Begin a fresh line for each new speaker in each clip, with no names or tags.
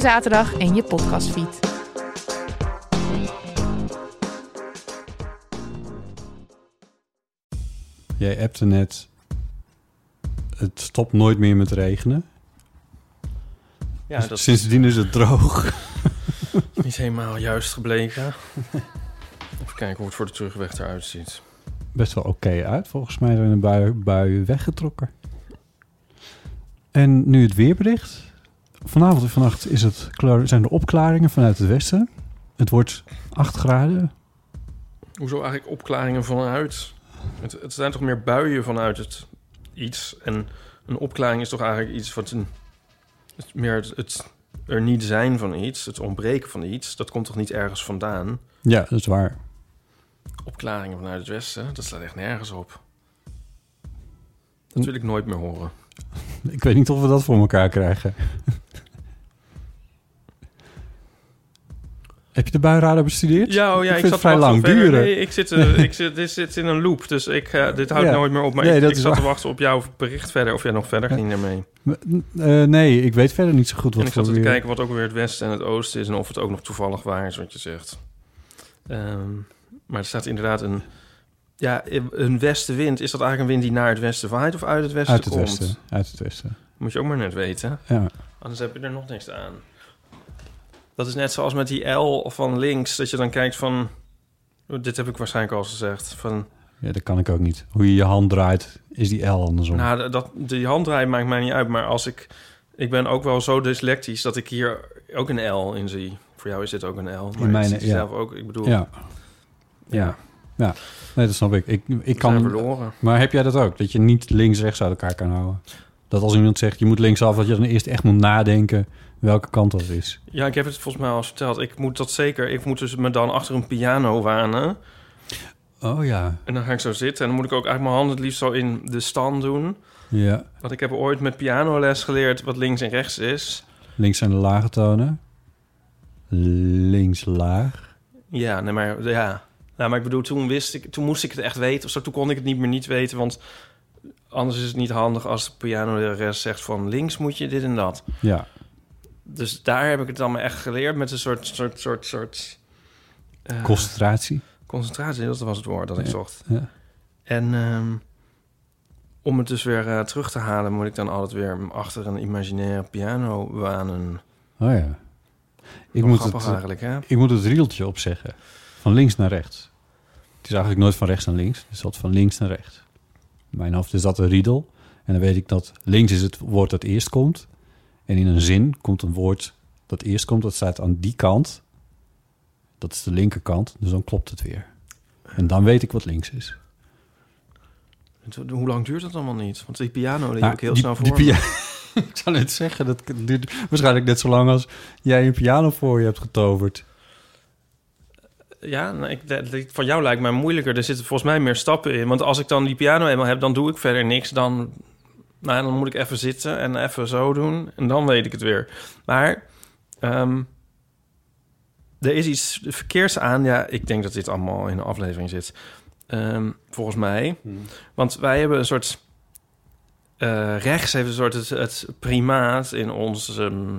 zaterdag in je podcastfeed.
Jij appte net. Het stopt nooit meer met regenen.
Ja, dat Dus is
Sindsdien is het droog.
niet helemaal juist gebleken. Even kijken hoe het voor de terugweg eruit ziet.
Best wel oké uit. Volgens mij zijn de buien, buien weggetrokken. En nu het weerbericht. Vanavond en vannacht is het, klaar- zijn er opklaringen vanuit het westen. Het wordt 8 graden.
Hoezo eigenlijk opklaringen vanuit? Het, het zijn toch meer buien vanuit het iets. En een opklaring is toch eigenlijk iets wat een, het meer het, het er niet zijn van iets, het ontbreken van iets. Dat komt toch niet ergens vandaan?
Ja, dat is waar.
Opklaringen vanuit het westen, dat slaat echt nergens op. Dat wil ik nooit meer horen.
Ik weet niet of we dat voor elkaar krijgen. Heb je de buienradar bestudeerd?
Ja, oh ja,
ik
ik,
vind
zat
het vrij
te wachten
lang
op verder.
duren.
Nee, ik zit, eh, ik zit, dit zit in een loop, dus ik, eh, dit houdt
Ja.
nooit meer op. Maar
Nee,
ik,
dat
ik
is
zat te
waar.
wachten op jouw bericht verder, of jij nog verder
Ja.
ging daarmee.
Eh, nee, ik weet verder niet zo goed wat
en ik zat
voor
te
weer-
kijken wat ook weer het westen en het oosten is... en of het ook nog toevallig waar is wat je zegt. Ehm, maar er staat inderdaad een... Ja, een westenwind. Is dat eigenlijk een wind die naar het westen waait of uit het westen
Uit het
komt?
westen. Uit het westen.
Moet je ook maar net weten.
Ja.
Anders heb je er nog niks aan. Dat is net zoals met die L van links, dat je dan kijkt van... oh, Dit heb ik waarschijnlijk al eens gezegd. Van,
ja, dat kan ik ook niet. Hoe je je hand draait, is die L andersom.
nou, dat- dat, die handdraai maakt mij niet uit, maar als ik... Ik ben ook wel zo dyslectisch dat ik hier ook een L in zie. Voor jou is dit ook een L, maar
In mijn-
ik zie het
ja.
zelf ook. Ik bedoel,
ja.
ja,
nee, dat snap ik. Ik, ik
ik kan
kan...
verloren.
Maar heb jij dat ook? Dat je niet links-rechts uit elkaar kan houden? Dat als iemand zegt, je moet linksaf, dat je dan eerst echt moet nadenken welke kant dat is.
Ja, ik heb het volgens mij al eens verteld. Ik moet dat zeker... Ik moet dus me dan achter een piano wanen.
Oh ja.
En dan ga ik zo zitten. En dan moet ik ook eigenlijk mijn handen het liefst zo in de stand doen.
Ja.
Want ik heb ooit met pianoles geleerd wat links en rechts is.
Links zijn de lage tonen. Links laag.
Ja, nee, maar ja. Nou, maar ik bedoel, toen wist ik, toen moest ik het echt weten. Of zo, toen kon ik het niet meer niet weten, want anders is het niet handig als de pianoles zegt van links moet je dit en dat.
Ja.
Dus daar heb ik het dan maar echt geleerd met een soort, soort, soort, soort eh,
Concentratie.
concentratie. Dat was het woord dat ik
Ja.
zocht.
Ja.
En ehm, om het dus weer eh, terug te halen, moet ik dan altijd weer achter een imaginaire piano wanen.
Oh ja. Ik
Wel
moet,
grappig
het, eh,
eigenlijk, hè?
ik moet het rieltje opzeggen. Van links naar rechts. Het is eigenlijk nooit van rechts naar links. Het is altijd van links naar rechts. In mijn hoofd is dat een riedel. En dan weet ik dat links is het woord dat eerst komt. En in een zin komt een woord dat eerst komt. Dat staat aan die kant. Dat is de linkerkant. Dus dan klopt het weer. En dan weet ik wat links is.
Het- Hoe lang duurt dat allemaal niet? Want die piano die
Nou,
heb ik heel
die-
snel
die
voor. me.
pia- ik zou net zeggen, dat duurt waarschijnlijk net zo lang als jij een piano voor je hebt getoverd.
Ja, nou, ik, dat- dat- van jou lijkt mij moeilijker. Er zitten volgens mij meer stappen in. Want als ik dan die piano eenmaal heb, dan doe ik verder niks. Dan, nou, dan moet ik even zitten en even zo doen. En dan weet ik het weer. Maar ehm, er is iets verkeers aan. Ja, ik denk dat dit allemaal in de aflevering zit. Ehm, volgens mij. Want wij hebben een soort... eh, rechts heeft een soort het, het primaat in onze ehm,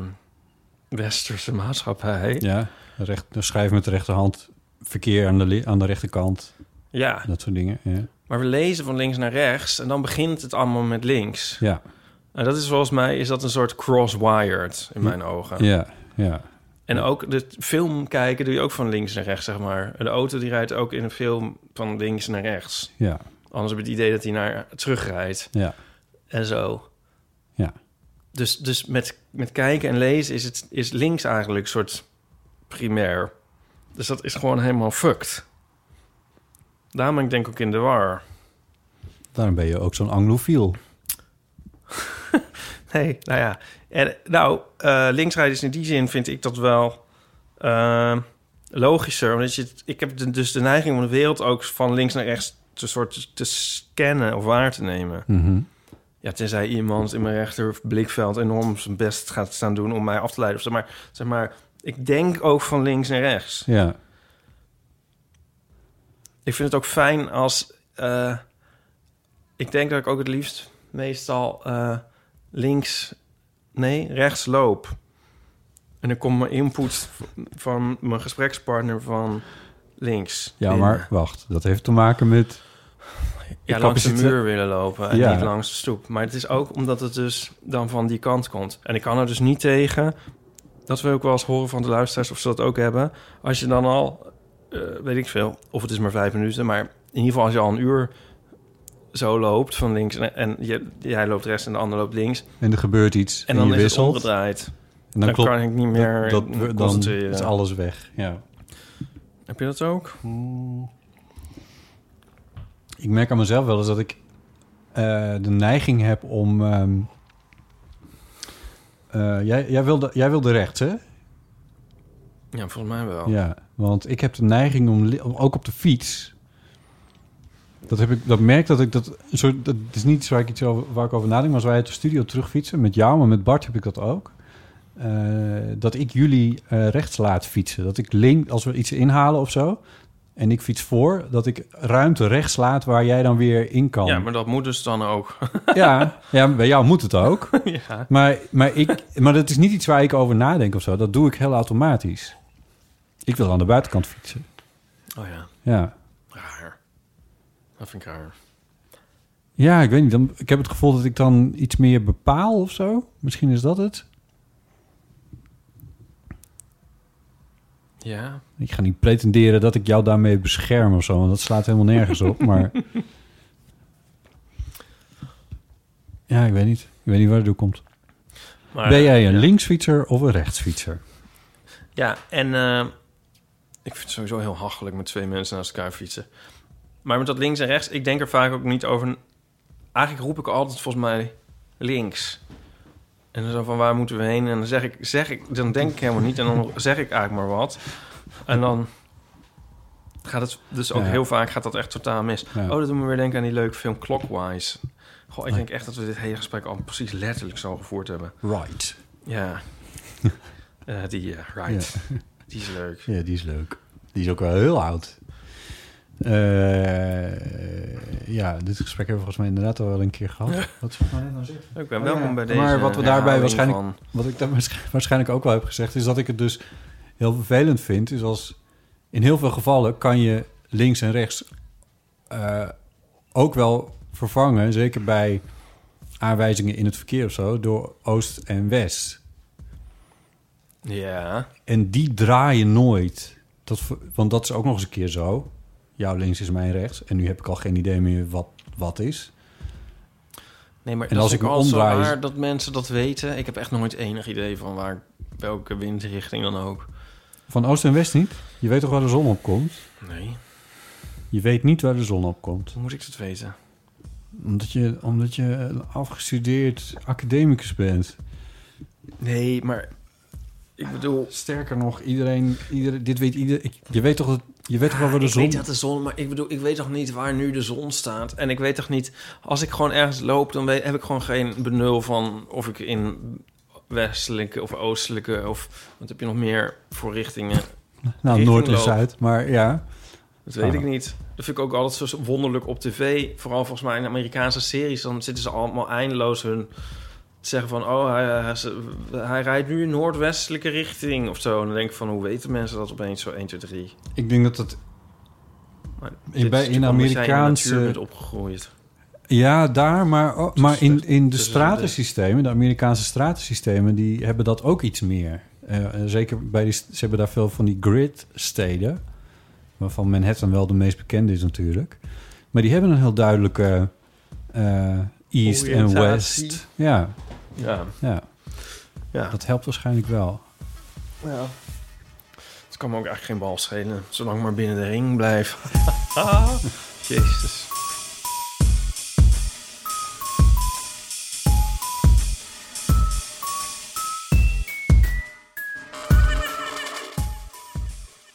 westerse maatschappij.
Ja, recht, schrijf met de rechterhand, verkeer aan de, li- aan de rechterkant,
ja.
dat soort dingen. Ja.
Maar we lezen van links naar rechts en dan begint het allemaal met links.
Ja,
En dat is volgens mij is dat een soort crosswired in mijn ogen.
ja, Ja.
En ook de film kijken doe je ook van links naar rechts, zeg maar. De auto die rijdt ook in een film van links naar rechts.
Ja.
Anders heb je het idee dat hij naar terugrijdt
Ja.
en zo.
Ja.
Dus, dus met, met kijken en lezen is, het, is links eigenlijk soort primair. Dus dat is gewoon helemaal fucked. Daarom ben ik denk ook in de war.
Daarom ben je ook zo'n anglofiel.
Nee, nou ja. En, nou, eh linksrijden is in die zin vind ik dat wel eh, logischer. Omdat je, het- ik heb de- dus de neiging om de wereld ook van links naar rechts te, soort, te scannen of waar te nemen.
Mhm.
Ja, tenzij iemand in mijn rechterblikveld enorm zijn best gaat staan doen om mij af te leiden. Of zeg maar, zeg maar, ik denk ook van links naar rechts.
Ja.
Ik vind het ook fijn als... eh, ik denk dat ik ook het liefst meestal eh, links... Nee, rechts loop. En dan komt mijn input v- van mijn gesprekspartner van links.
ja,
binnen.
maar wacht. Dat heeft te maken met...
Ja, langs de
capaciteit-
muur willen lopen en
Ja.
niet langs de stoep. Maar het is ook omdat het dus dan van die kant komt. En ik kan er dus niet tegen. Dat we ook wel eens horen van de luisteraars of ze dat ook hebben. Als je dan al, eh, weet ik veel, of het is maar vijf minuten... maar in ieder geval als je al een uur zo loopt van links... en, en je, jij loopt rechts en de ander loopt links...
En er gebeurt iets.
en dan
je
is het
wisselt.
omgedraaid.
En
Dan,
klopt-
kan ik niet meer
dat, we- dan
concentreren.
is alles weg. Ja.
Heb je dat ook?
Ik merk aan mezelf wel eens dat ik eh, de neiging heb om. ehm, eh, jij, jij, wilde, jij wilde rechts, hè?
Ja, volgens mij wel.
Ja, want ik heb de neiging om li- om- ook op de fiets. Dat, heb ik, dat merk dat ik dat. Een soort, dat is niet waar ik, iets over, waar ik over nadenk, maar als wij uit de studio terugfietsen met jou, maar met Bart heb ik dat ook. eh, dat ik jullie eh, rechts laat fietsen. Dat ik link, als we iets inhalen of zo. En ik fiets voor, dat ik ruimte rechts laat waar jij dan weer in kan.
Ja, maar dat moet dus dan ook.
ja, ja, bij jou moet het ook.
ja.
Maar, maar, ik, maar dat is niet iets waar ik over nadenk of zo. Dat doe ik heel automatisch. Ik wil aan de buitenkant fietsen.
Oh ja,
Ja.
raar. Dat vind ik raar.
Ja, ik weet niet. Dan, ik heb het gevoel dat ik dan iets meer bepaal of zo. Misschien is dat het.
Ja,
Ik ga niet pretenderen dat ik jou daarmee bescherm of zo. Want dat slaat helemaal nergens op. Maar. Ja, ik weet niet. Ik weet niet waar het door komt.
maar... eh,
ben jij een
ja.
linksfietser of een rechtsfietser?
Ja, en eh, ik vind het sowieso heel hachelijk met twee mensen naast elkaar fietsen. Maar met dat links en rechts, ik denk er vaak ook niet over. Eigenlijk roep ik altijd volgens mij links. En dan zo van waar moeten we heen? En dan zeg ik, zeg ik, dan denk ik helemaal niet. En dan zeg ik eigenlijk maar wat. En dan gaat het dus ook
Ja.
heel vaak gaat dat echt totaal mis.
Ja.
Oh, dat doet me weer denken aan die leuke film Clockwise. Goh, ik denk echt dat we dit hele gesprek al precies letterlijk zo gevoerd hebben.
Right.
Ja. Eh, die, eh, right. Die is leuk.
Ja, die is leuk. Die is ook wel heel oud. Eh, ja, dit gesprek hebben we volgens mij inderdaad al wel een keer gehad. Wat is volgens mij net nou zeggen?
Ik ben
Oh
welkom
ja,
bij deze.
maar wat we daarbij
herhaling
waarschijnlijk-
van-
Wat ik dan waarsch- waarschijnlijk ook wel heb gezegd, is dat ik het dus heel vervelend vind. Is als in heel veel gevallen kan je links en rechts eh, ook wel vervangen, zeker bij aanwijzingen in het verkeer of zo, door oost en west.
Ja.
En die draaien nooit. Dat, ver- want dat is ook nog eens een keer zo. Jouw links is mijn rechts. En nu heb ik al geen idee meer wat, wat is.
Nee, maar
En
dat
als
is
ik me
ook al zo
omdraai-
raar dat mensen dat weten. Ik heb echt nooit enig idee van waar welke windrichting dan ook.
Van oost en west niet. Je weet toch waar de zon op komt?
Nee,
Je weet niet waar de zon op komt.
hoe moet ik dat weten?
Omdat je, omdat je een afgestudeerd academicus bent.
Nee, maar ik bedoel.
Sterker nog, iedereen, iedereen dit weet iedereen. Je weet toch, dat, je weet toch wel waar de
Ah, Ik
zon...
weet dat de zon, maar ik bedoel, ik weet toch niet waar nu de zon staat. En ik weet toch niet, als ik gewoon ergens loop, dan weet, heb ik gewoon geen benul van of ik in westelijke of oostelijke of wat heb je nog meer voor richtingen
nou,
richting
Noord en
loopt.
Zuid, maar ja.
Dat weet
Ah.
ik niet. Dat vind ik ook altijd zo wonderlijk op tv. Vooral volgens mij in Amerikaanse series. Dan zitten ze allemaal eindeloos hun zeggen van... oh, hij, hij, ze- hij rijdt nu in noordwestelijke richting of zo. En dan denk ik van, hoe weten mensen dat opeens zo 1, 2, 3?
Ik denk dat dat...
Maar
ben in Amerikaanse-
Je bent opgegroeid.
Ja, daar, maar, oh, maar in, in de
tussen de-
stratensystemen... de Amerikaanse stratensystemen, die hebben dat ook iets meer. Eh, en zeker bij die, st- ze hebben daar veel van die grid-steden, waarvan Manhattan wel de meest bekende is natuurlijk. Maar die hebben een heel duidelijke eh, East en
Oriëntatie.
West. Ja,
Ja.
ja,
ja.
dat helpt waarschijnlijk wel.
ja. Het kan me ook eigenlijk geen bal schelen, zolang ik maar binnen de ring blijf. Jezus.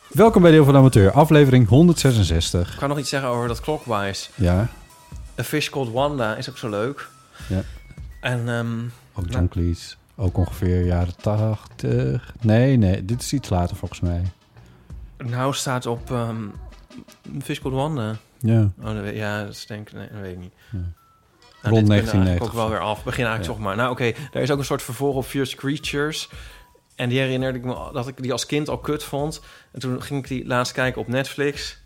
Welkom bij Deel van de Amateur, aflevering 166.
Ik kan nog iets zeggen over dat Clockwise.
Ja,
A Fish Called Wanda is ook zo leuk.
Ja.
En ehm,
ook
Ja.
John Cleese. Ook ongeveer jaren 80. Nee, nee, dit is iets later volgens mij.
nou staat op ehm Fish Called Wanda.
Ja.
Oh, dat weet, ja, dat is denk ik, nee, dat weet ik niet.
Ja.
Nou,
Rond
dit kunnen we eigenlijk
1990.
ook wel weer af. Begin eigenlijk
Ja.
toch maar. Nou, oké, er is ook een soort vervolg op Fierce Creatures. En die herinnerde ik me al- dat ik die als kind al kut vond. En toen ging ik die laatst kijken op Netflix.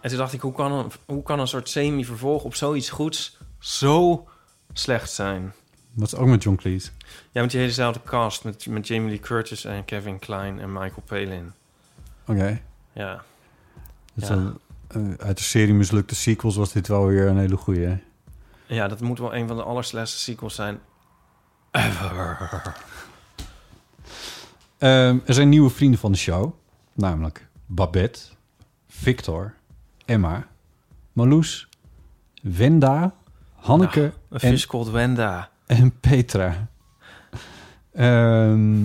En toen dacht ik, hoe kan een, hoe kan een soort semi-vervolg op zoiets goeds zo slecht zijn?
Wat is ook met John Cleese?
Ja, met die helezelfde cast. Met, met Jamie Lee Curtis en Kevin Klein en Michael Palin.
Oké.
Ja.
Dat is
Ja.
een- eh, uit de serie mislukte sequels was dit wel weer een hele goeie.
ja, dat moet wel een van de allerslechtste sequels zijn.
Ehm, er zijn nieuwe vrienden van de show. Namelijk Babette, Victor, Emma, Marloes, Wenda, Hanneke
Een
en,
Fish Called Wanda.
en Petra. Ehm,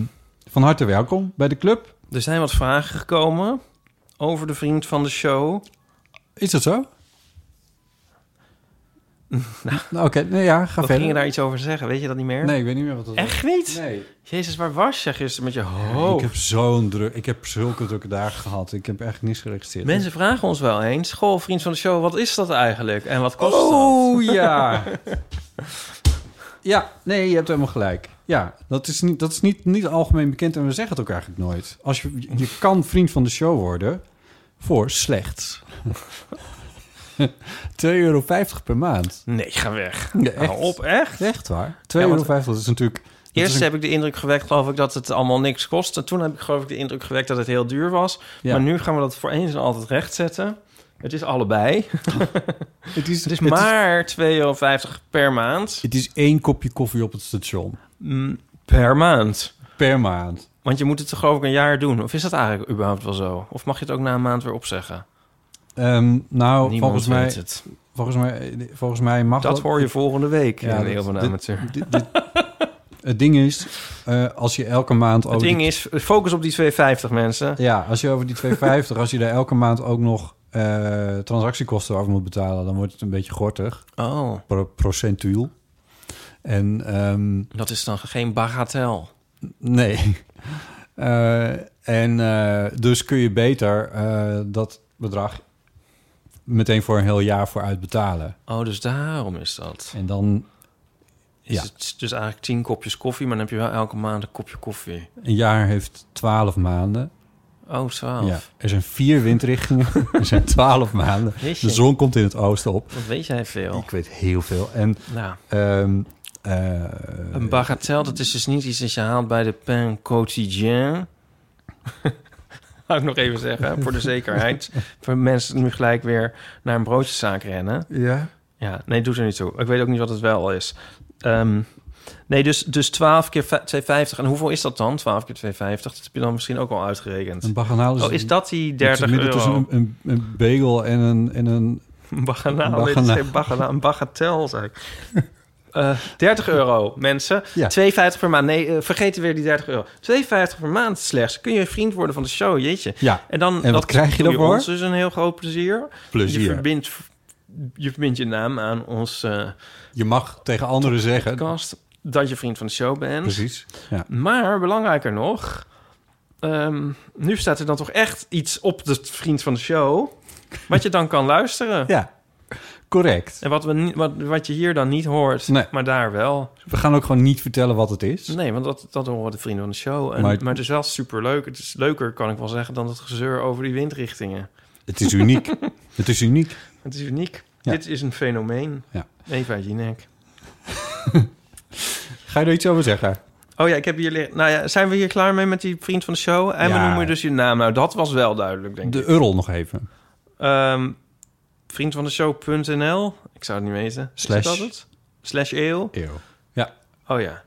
van harte welkom bij de club.
Er zijn wat vragen gekomen over de vriend van de show.
Is dat zo? Nou, Oké, nee, ja, ga
Wat
verder.
ging je daar iets over zeggen? Weet je dat niet meer?
Nee, ik weet niet meer wat dat
Echt niet?
was. Nee. Oh.
Jezus, waar was je gisteren met je
Ik
hoofd?
heb zo'n druk. Ik heb zulke drukke dagen gehad. Ik heb echt niks geregistreerd.
Mensen vragen ons wel eens... Goh, vriend van de show, wat is dat eigenlijk? En wat kost dat?
Oh ja. ja, nee, je hebt helemaal gelijk. Ja, dat is, niet, dat is niet, niet algemeen bekend en we zeggen het ook eigenlijk nooit. Als je, je kan vriend van de show worden voor slechts 2,50 euro per maand.
Nee, ga weg.
Ja,
Hou op, echt?
Echt waar? 2,50
Ja, want-
dat is natuurlijk... dat
Eerst
is een-
heb ik de indruk gewekt, geloof ik, dat het allemaal niks kost. En toen heb ik, geloof ik, de indruk gewekt dat het heel duur was.
Ja.
Maar nu gaan we dat voor eens en altijd rechtzetten. Het is allebei.
het is,
Het is
het
maar 2,50 euro per maand.
het is één kopje koffie op het station.
Mm, Per maand.
Per maand.
Want je moet het geloof ik een jaar doen. Of is dat eigenlijk überhaupt wel zo? Of mag je het ook na een maand weer opzeggen?
Ehm, nou,
Niemand
volgens
weet
mij,
het.
volgens, mij, volgens mij mag
Dat hoor je volgende week
Ja,
in
dat-
Wereld van de
dit- oh,
Amateur.
Dit- dit- het ding is, eh, als je elke maand over
Het ding
die,
is, focus op die 2,50 mensen.
ja, als je over die 2,50, als je daar elke maand ook nog eh, transactiekosten over moet betalen, dan wordt het een beetje gortig,
Oh,
pro- procentueel. En ehm,
dat is dan geen bagatel.
nee, Eh, en eh, dus kun je beter eh, dat bedrag meteen voor een heel jaar vooruit betalen.
Oh, dus daarom is dat.
En dan
Is
Ja.
het dus eigenlijk 10 kopjes koffie, maar dan heb je wel elke maand een kopje koffie.
een jaar heeft 12 maanden.
Oh, 12.
Ja, er zijn vier windrichtingen, er zijn 12 maanden.
Jeetje.
De zon komt in het oosten op.
Wat weet jij veel?
Ik weet heel veel. En
Nou,
ehm, eh,
een bagatel, dat is dus niet iets dat je haalt bij de pain quotidien. Wou ik nog even zeggen, voor de zekerheid. voor mensen nu gelijk weer naar een broodjeszaak rennen.
ja.
Ja, nee, doet er niet toe. Ik weet ook niet wat het wel is. Ehm, nee, dus, dus 12 keer vij- 2,50. En hoeveel is dat dan? 12 keer 2,50. Dat heb je dan misschien ook al uitgerekend.
Een baganaal is,
Oh, is dat die 30
midden tussen
euro?
een, een, een bagel en een, en een...
Een baganaal.
een
Nee, dit is geen baganaal. Een bagatel, zeg ik. Eh, 30 euro, mensen.
Ja.
2,50 per maand. Nee, eh, vergeet weer die 30 euro. 2,50 per maand slechts. Kun je vriend worden van de show, jeetje.
Ja,
En, dan,
En wat krijg je
doe
daarvoor?
Ons dus een heel groot plezier. Je
plezier. Je,
verbindt, je verbindt je naam aan ons... eh,
mag tegen anderen zeggen...
podcast dat je vriend van de show bent.
Precies. Ja.
Maar belangrijker nog, ehm, nu staat er dan toch echt iets op de vriend van de show wat je dan kan luisteren.
ja, correct.
En wat, we, niet- wat, wat je hier dan niet hoort,
Nee.
maar daar wel.
We gaan ook gewoon niet vertellen wat het is.
Nee, want dat, dat horen de vrienden van de show. En, maar,
Maar-
het is wel superleuk. Het is leuker, kan ik wel zeggen, dan het gezeur over die windrichtingen.
Het is uniek. het is uniek.
Het is uniek.
Ja.
Dit is een fenomeen.
Ja.
Eva Jinek.
Ga je er iets over zeggen?
Oh ja, ik heb hier... liggen- Nou ja, zijn we hier klaar mee met die vriend van de show? En we
Ja.
noemen dus je naam. Nou, dat was wel duidelijk, denk ik.
De Url nog even.
Ehm, vriendvandeshow.nl. Ik zou het niet weten. Is
Slash.
dat het? Slash eeuw.
Eeuw.
Oh ja.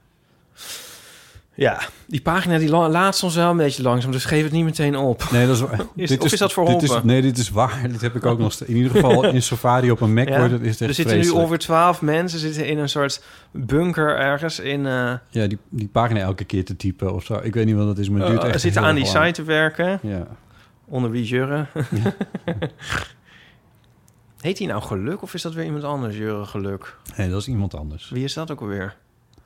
Ja, die pagina die la- laat soms wel een beetje langzaam, dus geef het niet meteen op.
Nee, dat is,
Is- of is dat verholpen?
Dit is, nee, dit is waar. Dit heb ik ook nog steeds. In ieder geval in Safari op een Mac
Ja.
wordt het is het echt
er zitten nu
vreselijk.
ongeveer twaalf mensen zitten in een soort bunker ergens in. eh
Ja, die, die pagina elke keer te typen of zo. Ik weet niet wat dat is, maar het duurt
eh,
echt
zitten
heel
aan die
lang.
site te werken,
Ja.
onder wie Jurre. Heet hij nou Geluk of is dat weer iemand anders, Jurre Geluk?
Nee, dat is iemand anders.
Wie is dat ook alweer?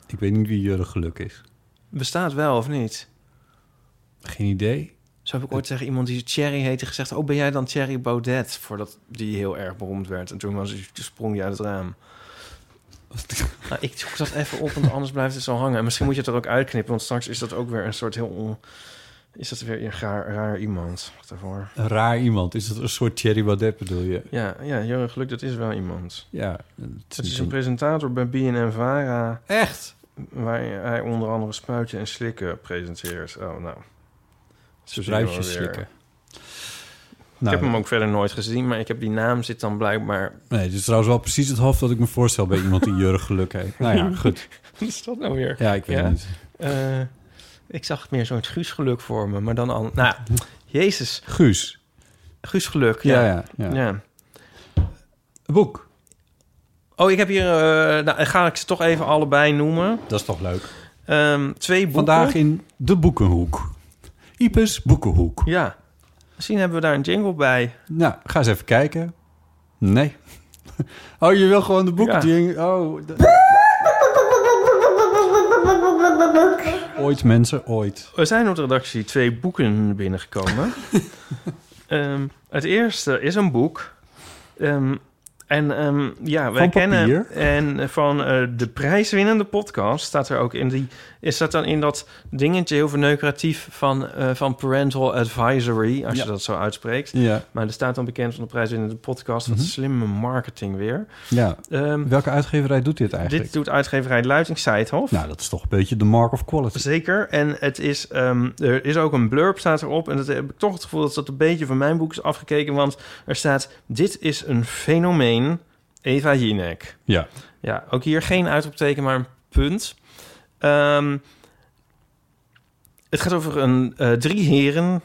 Ik weet niet wie Jurre Geluk is.
Bestaat wel of niet?
Geen idee.
Zo heb ik ooit tegen iemand die Thierry heette gezegd... oh, ben jij dan Thierry Baudet? Voordat die heel erg beroemd werd. En toen was hij, sprong hij uit het raam. Nou, ik zoek dat even op, want anders blijft het zo hangen. En misschien moet je het er ook uitknippen, want straks is dat ook weer een soort heel... On... Is dat weer een raar, raar iemand? Wacht even hoor.
Een raar iemand. Is dat een soort Thierry Baudet bedoel je?
Ja, ja, Jurgen Geluk, dat is wel iemand.
Ja.
Het is een presentator bij BNN Vara...
Echt?
waar hij onder andere spuitje en slikken presenteert. Oh, nou. Zo zien we
Spuitjes
weer.
slikken.
Ik
Nou,
heb hem ook verder nooit gezien, maar ik heb die naam zit dan blijkbaar
Nee, dit is trouwens wel precies het hoofd dat ik me voorstel bij iemand die Jurre Geluk heeft. Nou ja, goed.
Wat is dat nou weer?
Ja, ik weet
Ja.
het niet.
Eh, ik zag het meer zo'n Guusgeluk voor me, maar dan al... Nou, jezus.
Guus.
Guusgeluk,
Ja,
ja.
ja. ja.
ja.
Een boek.
Oh, ik heb hier... eh nou, ga ik ze toch even allebei noemen.
Dat is toch leuk.
Ehm, twee boeken.
Vandaag in de Boekenhoek. Ipes Boekenhoek.
Ja. Misschien hebben we daar een jingle bij.
Nou, ga eens even kijken. Nee. Oh, je wil gewoon de boekending. Oh. de- Ooit mensen, ooit.
Er zijn op de redactie twee boeken binnengekomen. Ehm, het eerste is een boek. Ehm, en ehm, ja, wij kennen
papier?
en eh, van eh, de prijswinnende podcast staat er ook in die is dat dan in dat dingetje heel verneukeratief van eh, van parental advisory als je
Ja.
dat zo uitspreekt.
Ja.
Maar er staat dan bekend van de prijswinnende podcast. Wat
Mhm.
slimme marketing weer.
ja.
Ehm,
Welke uitgeverij doet dit eigenlijk?
dit doet uitgeverij Luiting Seidhoff.
Nou, dat is toch een beetje de mark of quality.
Zeker. En het is, ehm, er is ook een blurb staat erop. En dat heb ik toch het gevoel dat dat een beetje van mijn boek is afgekeken. Want er staat, dit is een fenomeen, Eva Jinek.
Ja.
Ja, ook hier geen uitroepteken, maar een punt. Ehm, het gaat over een, eh, drie heren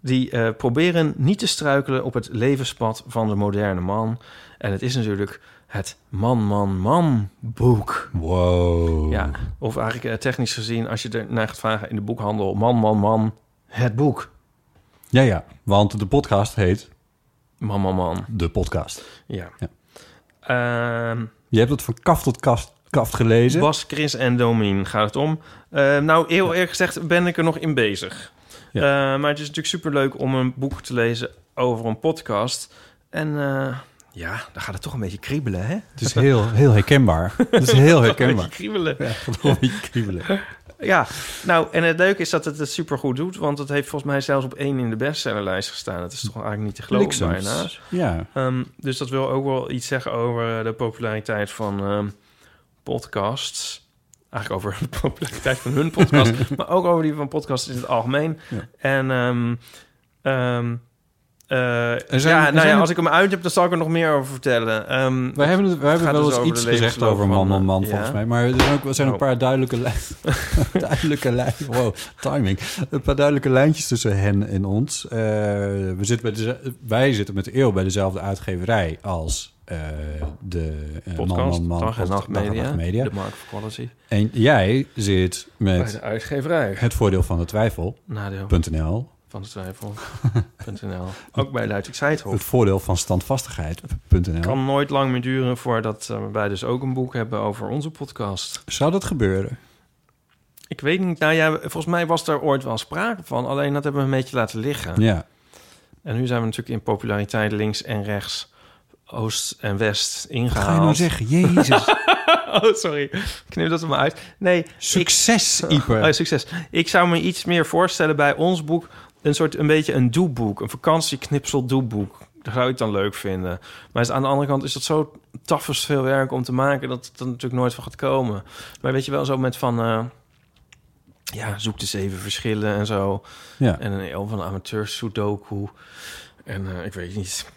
die eh, proberen niet te struikelen op het levenspad van de moderne man. En het is natuurlijk het man-man-man-boek.
Wow.
Ja, of eigenlijk eh, technisch gezien, als je er naar gaat vragen in de boekhandel, man, man, man, het boek.
ja, ja. Want de podcast heet
Man, man, man.
De Podcast.
Ja.
Ja.
Ehm,
Je hebt het van kaft tot kast, kaft gelezen.
Bas, Chris en Domien gaat het om. Eh, nou, heel eerlijk gezegd ben ik er nog in bezig.
Ja.
Eh, maar het is natuurlijk superleuk om een boek te lezen over een podcast. En eh, ja, dan gaat het toch een beetje kriebelen, hè?
Het is heel, heel herkenbaar. Het is heel
Een beetje
herkenbaar.
kriebelen.
Ja, gewoon een beetje kriebelen.
Ja, nou, en het leuke is dat het het supergoed doet... want het heeft volgens mij zelfs op één in de bestsellerlijst gestaan. Het is toch eigenlijk niet te geloven
Bliksems.
bijna.
Ja.
Ehm, dus dat wil ook wel iets zeggen over eh, de populariteit van ehm, podcasts. Eigenlijk over de populariteit van hun podcast, maar ook over die van podcasts in het algemeen.
Ja.
En ehm, ehm, eh,
Er zijn-
ja,
er
nou
zijn-
ja, als ik hem uit heb, dan zal ik er nog meer over vertellen. Ehm,
We hebben, het, we hebben
gaat
wel
dus
eens
over
iets
de
gezegd
levensloop
over man,
van,
man, man,
eh,
volgens
ja.
mij. Maar er zijn ook, er zijn
Oh.
een paar duidelijke, lijn- duidelijke lijn, wow, timing. Een paar duidelijke lijntjes tussen hen en ons. Eh, we zitten bij de, wij zitten met de eeuw bij dezelfde uitgeverij als eh, de eh, man,
podcast,
man, man,
dag en
pod-
nacht media,
media.
de markt for quality.
En jij zit
Bij de Oh.
met
uitgeverij.
het voordeel van de twijfel.nl.
Nadeel van de twijfel.nl. ook bij Luitik
Het
Seidhof.
voordeel van standvastigheid.nl.
Oh. Kan nooit lang meer duren voordat eh, wij dus ook een boek hebben over onze podcast.
Zou dat gebeuren?
Ik weet niet. Nou ja, volgens mij was daar ooit wel sprake van. Alleen dat hebben we een beetje laten liggen.
Ja.
En nu zijn we natuurlijk in populariteit links en rechts, oost en west
Wat
ingehaald.
ga je nou zeggen? Jezus.
Oh, sorry. Knip dat er maar uit. Nee,
Succes,
ik,
Ieper.
Oh, succes. Ik zou me iets meer voorstellen bij ons boek. Een soort, een beetje een doeboek. Een vakantieknipsel doeboek. Dat zou ik dan leuk vinden. Maar is- aan de andere kant is dat zo tafels veel werk om te maken... dat het er natuurlijk nooit van gaat komen. Maar weet je wel, zo met van... eh, ja, zoek de zeven verschillen en zo.
Ja.
En een eeuw van amateur sudoku. En eh, ik weet niet.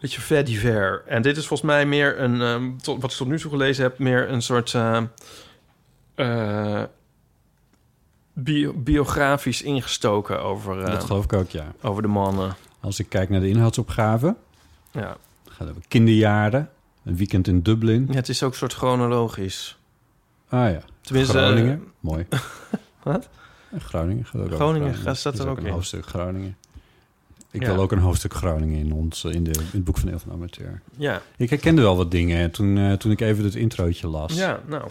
Beetje ver diver. En dit is volgens mij meer een, ehm, tot, wat ik tot nu toe gelezen heb, meer een soort eh, eh, bio- biografisch ingestoken over, eh,
Dat geloof ik ook, ja.
over de mannen.
Als ik kijk naar de inhoudsopgave,
Ja.
dan gaan we kinderjaren, een weekend in Dublin.
Ja, het is ook een soort chronologisch.
Ah ja,
Tenminste,
Groningen.
eh,
Mooi.
Wat?
En Groningen gaat ook over
Groningen, gaat- staat er
is
ook
een
in.
hoofdstuk Groningen. Ik
Ja.
wil ook een hoofdstuk Groningen in, ons, eh, in, de, in het boek van Eel van Amateur.
ja,
Ik herkende wel wat dingen hè, toen, eh, toen ik even het introotje las.
ja, nou,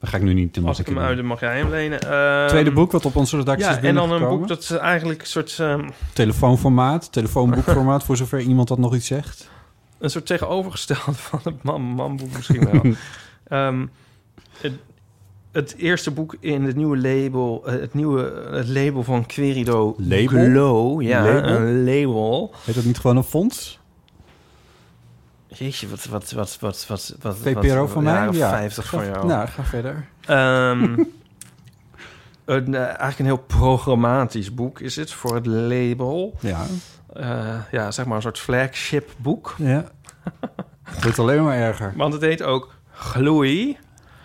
Dat ga ik nu niet in
als ik hem
doen.
uit, dan mag jij hem lenen. Ehm,
Tweede boek wat op onze redactie is
Ja, en dan een
binnengekomen.
boek dat is eigenlijk een soort, ehm,
Telefoonformaat, telefoonboekformaat, voor zover iemand dat nog iets zegt.
een soort tegenovergestelde van het mam, mamboek misschien wel. Ehm, het, het eerste boek in het nieuwe label, eh, het nieuwe het label van Querido.
Label?
Glow, ja,
Label?
een label.
Heet dat niet gewoon een fonds?
Jeetje, wat, wat, wat, wat, wat, wat.
VPRO
wat-
van mij?
jaren
Ja.
50 van jou.
Nou, ga verder.
Ehm, een, eh, eigenlijk een heel programmatisch boek is het voor het label.
Ja,
Eh, ja, zeg maar een soort flagship boek.
ja. Het wordt alleen maar erger.
Want het heet ook Gloei.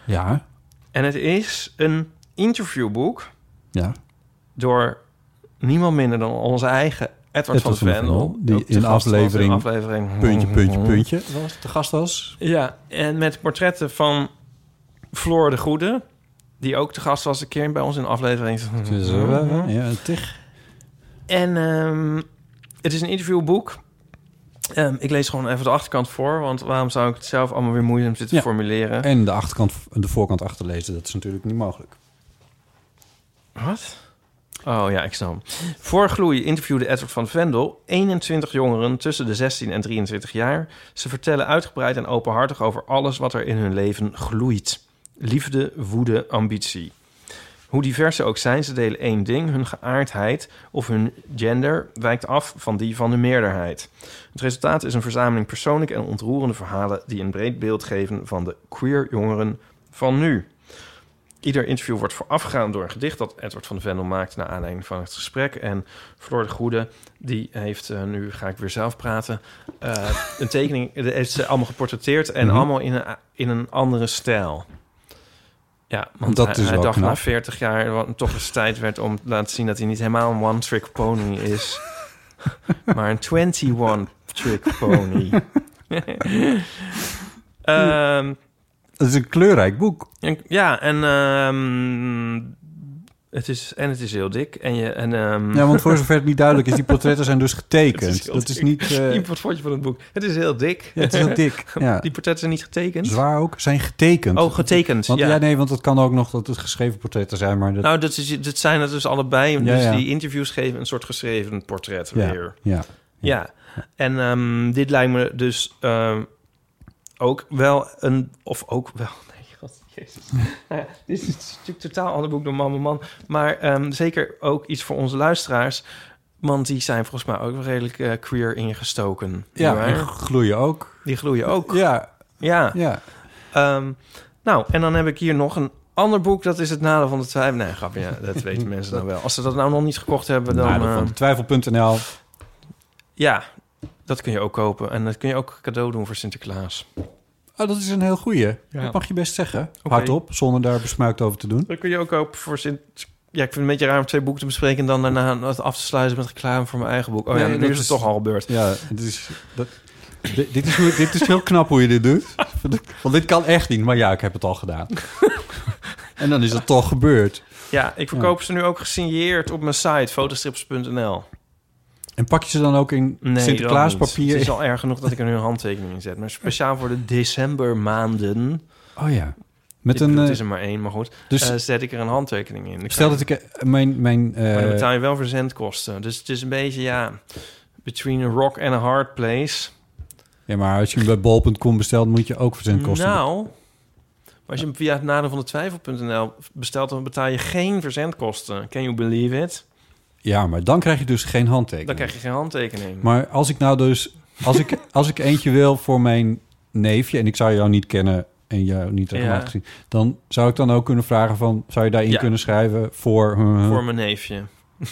Ja,
En het is een interviewboek
ja.
door niemand minder dan onze eigen Edward,
Edward
van
van
de
de
Vendel.
Vendel, die
Ook te
in
gast was
aflevering-
aflevering...
Puntje, puntje,
Mhm.
puntje. Was, de gast was.
Ja, en met portretten van Floor de Goede... die ook te gast was een keer bij ons in de aflevering.
Dus,
Mhm.
eh, ja, tig.
En ehm, het is een interviewboek. Ehm, ik lees gewoon even de achterkant voor... want waarom zou ik het zelf allemaal weer moeilijk zitten
Ja.
formuleren?
En de, achterkant, de voorkant achterlezen, dat is natuurlijk niet mogelijk.
Wat? Oh ja, ik snap hem. Voor Gloei interviewde Edward van Vendel 21 jongeren tussen de 16 en 23 jaar. Ze vertellen uitgebreid en openhartig over alles wat er in hun leven gloeit. Liefde, woede, ambitie. Hoe divers ze ook zijn, ze delen één ding. Hun geaardheid of hun gender wijkt af van die van de meerderheid. Het resultaat is een verzameling persoonlijke en ontroerende verhalen... die een breed beeld geven van de queer jongeren van nu. Ieder interview wordt voorafgegaan door een gedicht dat Edward van de Vendel maakt naar aanleiding van het gesprek. En Floor de Goede, die heeft, eh, nu ga ik weer zelf praten, eh, een tekening, dat heeft ze allemaal geportretteerd en
Mhm.
allemaal in een, in een andere stijl. Ja, want
Dat
hij,
is
hij
wel
dacht
knap.
na 40 jaar, wat hem toch eens tijd werd om te laten zien dat hij niet helemaal een one-trick pony is, maar een 21-trick pony. Ehm
Het is een kleurrijk boek.
en- ja, en, ehm, het is, en het is heel dik. En je, en, ehm,
Ja, want voor zover het niet duidelijk is, die portretten zijn dus getekend.
Het is heel
dat is
dik.
niet... eh,
Iemand vond je van het boek. Het is heel dik.
ja, het is heel dik. Ja.
Die portretten zijn niet getekend.
Zwaar ook. Zijn getekend.
Oh, getekend.
Want,
ja.
ja. nee, want het kan ook nog dat het geschreven portretten zijn, maar dat...
Nou, dat, is, dat zijn het dus allebei.
Ja,
dus
ja.
die interviews geven een soort geschreven portret weer.
ja, ja.
Ja, en ehm, dit lijkt me dus ehm, ook wel een... Of ook wel... Nee, god, jezus. Nou ja, dit is natuurlijk totaal ander boek dan Mama Man. Maar ehm, zeker ook iets voor onze luisteraars. Want die zijn volgens mij ook wel redelijk eh, queer ingestoken.
Ja, en
Nietwaar?
gloeien ook.
Die gloeien ook. Ja.
Ja, ja.
Ehm, nou, en dan heb ik hier nog een ander boek. Dat is Het Nadeel van de Twijfel. Nee, grapje. Ja, dat weten mensen nou wel. Als ze dat nou nog niet gekocht hebben, dan...
Nadeel
ehm,
van twijfel.nl.
Ja, dat kun je ook kopen. En dat kun je ook cadeau doen voor Sinterklaas.
Oh, dat is een heel goeie.
Ja.
Dat mag je best zeggen.
Oké.
Hardop, zonder daar besmuikt over te doen.
Dat kun je ook kopen voor Sint... Ja, ik vind het een beetje raar om twee boeken te bespreken... en dan daarna het af te sluiten met reclame voor mijn eigen boek. Oh ja,
Nee,
nu
dat
is het
is-
toch al gebeurd.
Ja, het is, dat, di- dit, is, hoe- dit is heel knap hoe je dit doet. Want dit kan echt niet, maar ja, ik heb het al gedaan. en dan is het toch gebeurd.
Ja, ik verkoop ze nu ook gesigneerd op mijn site, fotostrips.nl.
En pak je ze dan ook in
Nee, dan niet.
Sinterklaaspapier?
Het is al erg genoeg dat ik er nu een handtekening in zet. Maar speciaal voor de decembermaanden...
Oh ja.
Met
Met een,
een, het
eh,
is er maar één, maar goed...
dus
eh, zet ik er een handtekening in. Ik
stel
kan-
dat ik eh, mijn... mijn eh,
Maar dan betaal je wel verzendkosten. Dus het is een beetje, ja... Between a rock and a hard place...
ja, maar als je hem bij bol.com bestelt, moet je ook verzendkosten
Nou, maar als je hem via het nadeel van de twijfel.nl bestelt, dan betaal je geen verzendkosten. Can you believe it?
Ja, maar dan krijg je dus geen handtekening.
Dan krijg je geen handtekening.
Maar als ik nou dus... Als ik, als ik eentje wil voor mijn neefje... en ik zou jou niet kennen... en jou niet regelmatig
Ja.
zien. Dan zou ik dan ook kunnen vragen van... zou je daarin
Ja.
kunnen schrijven voor... eh,
voor mijn neefje.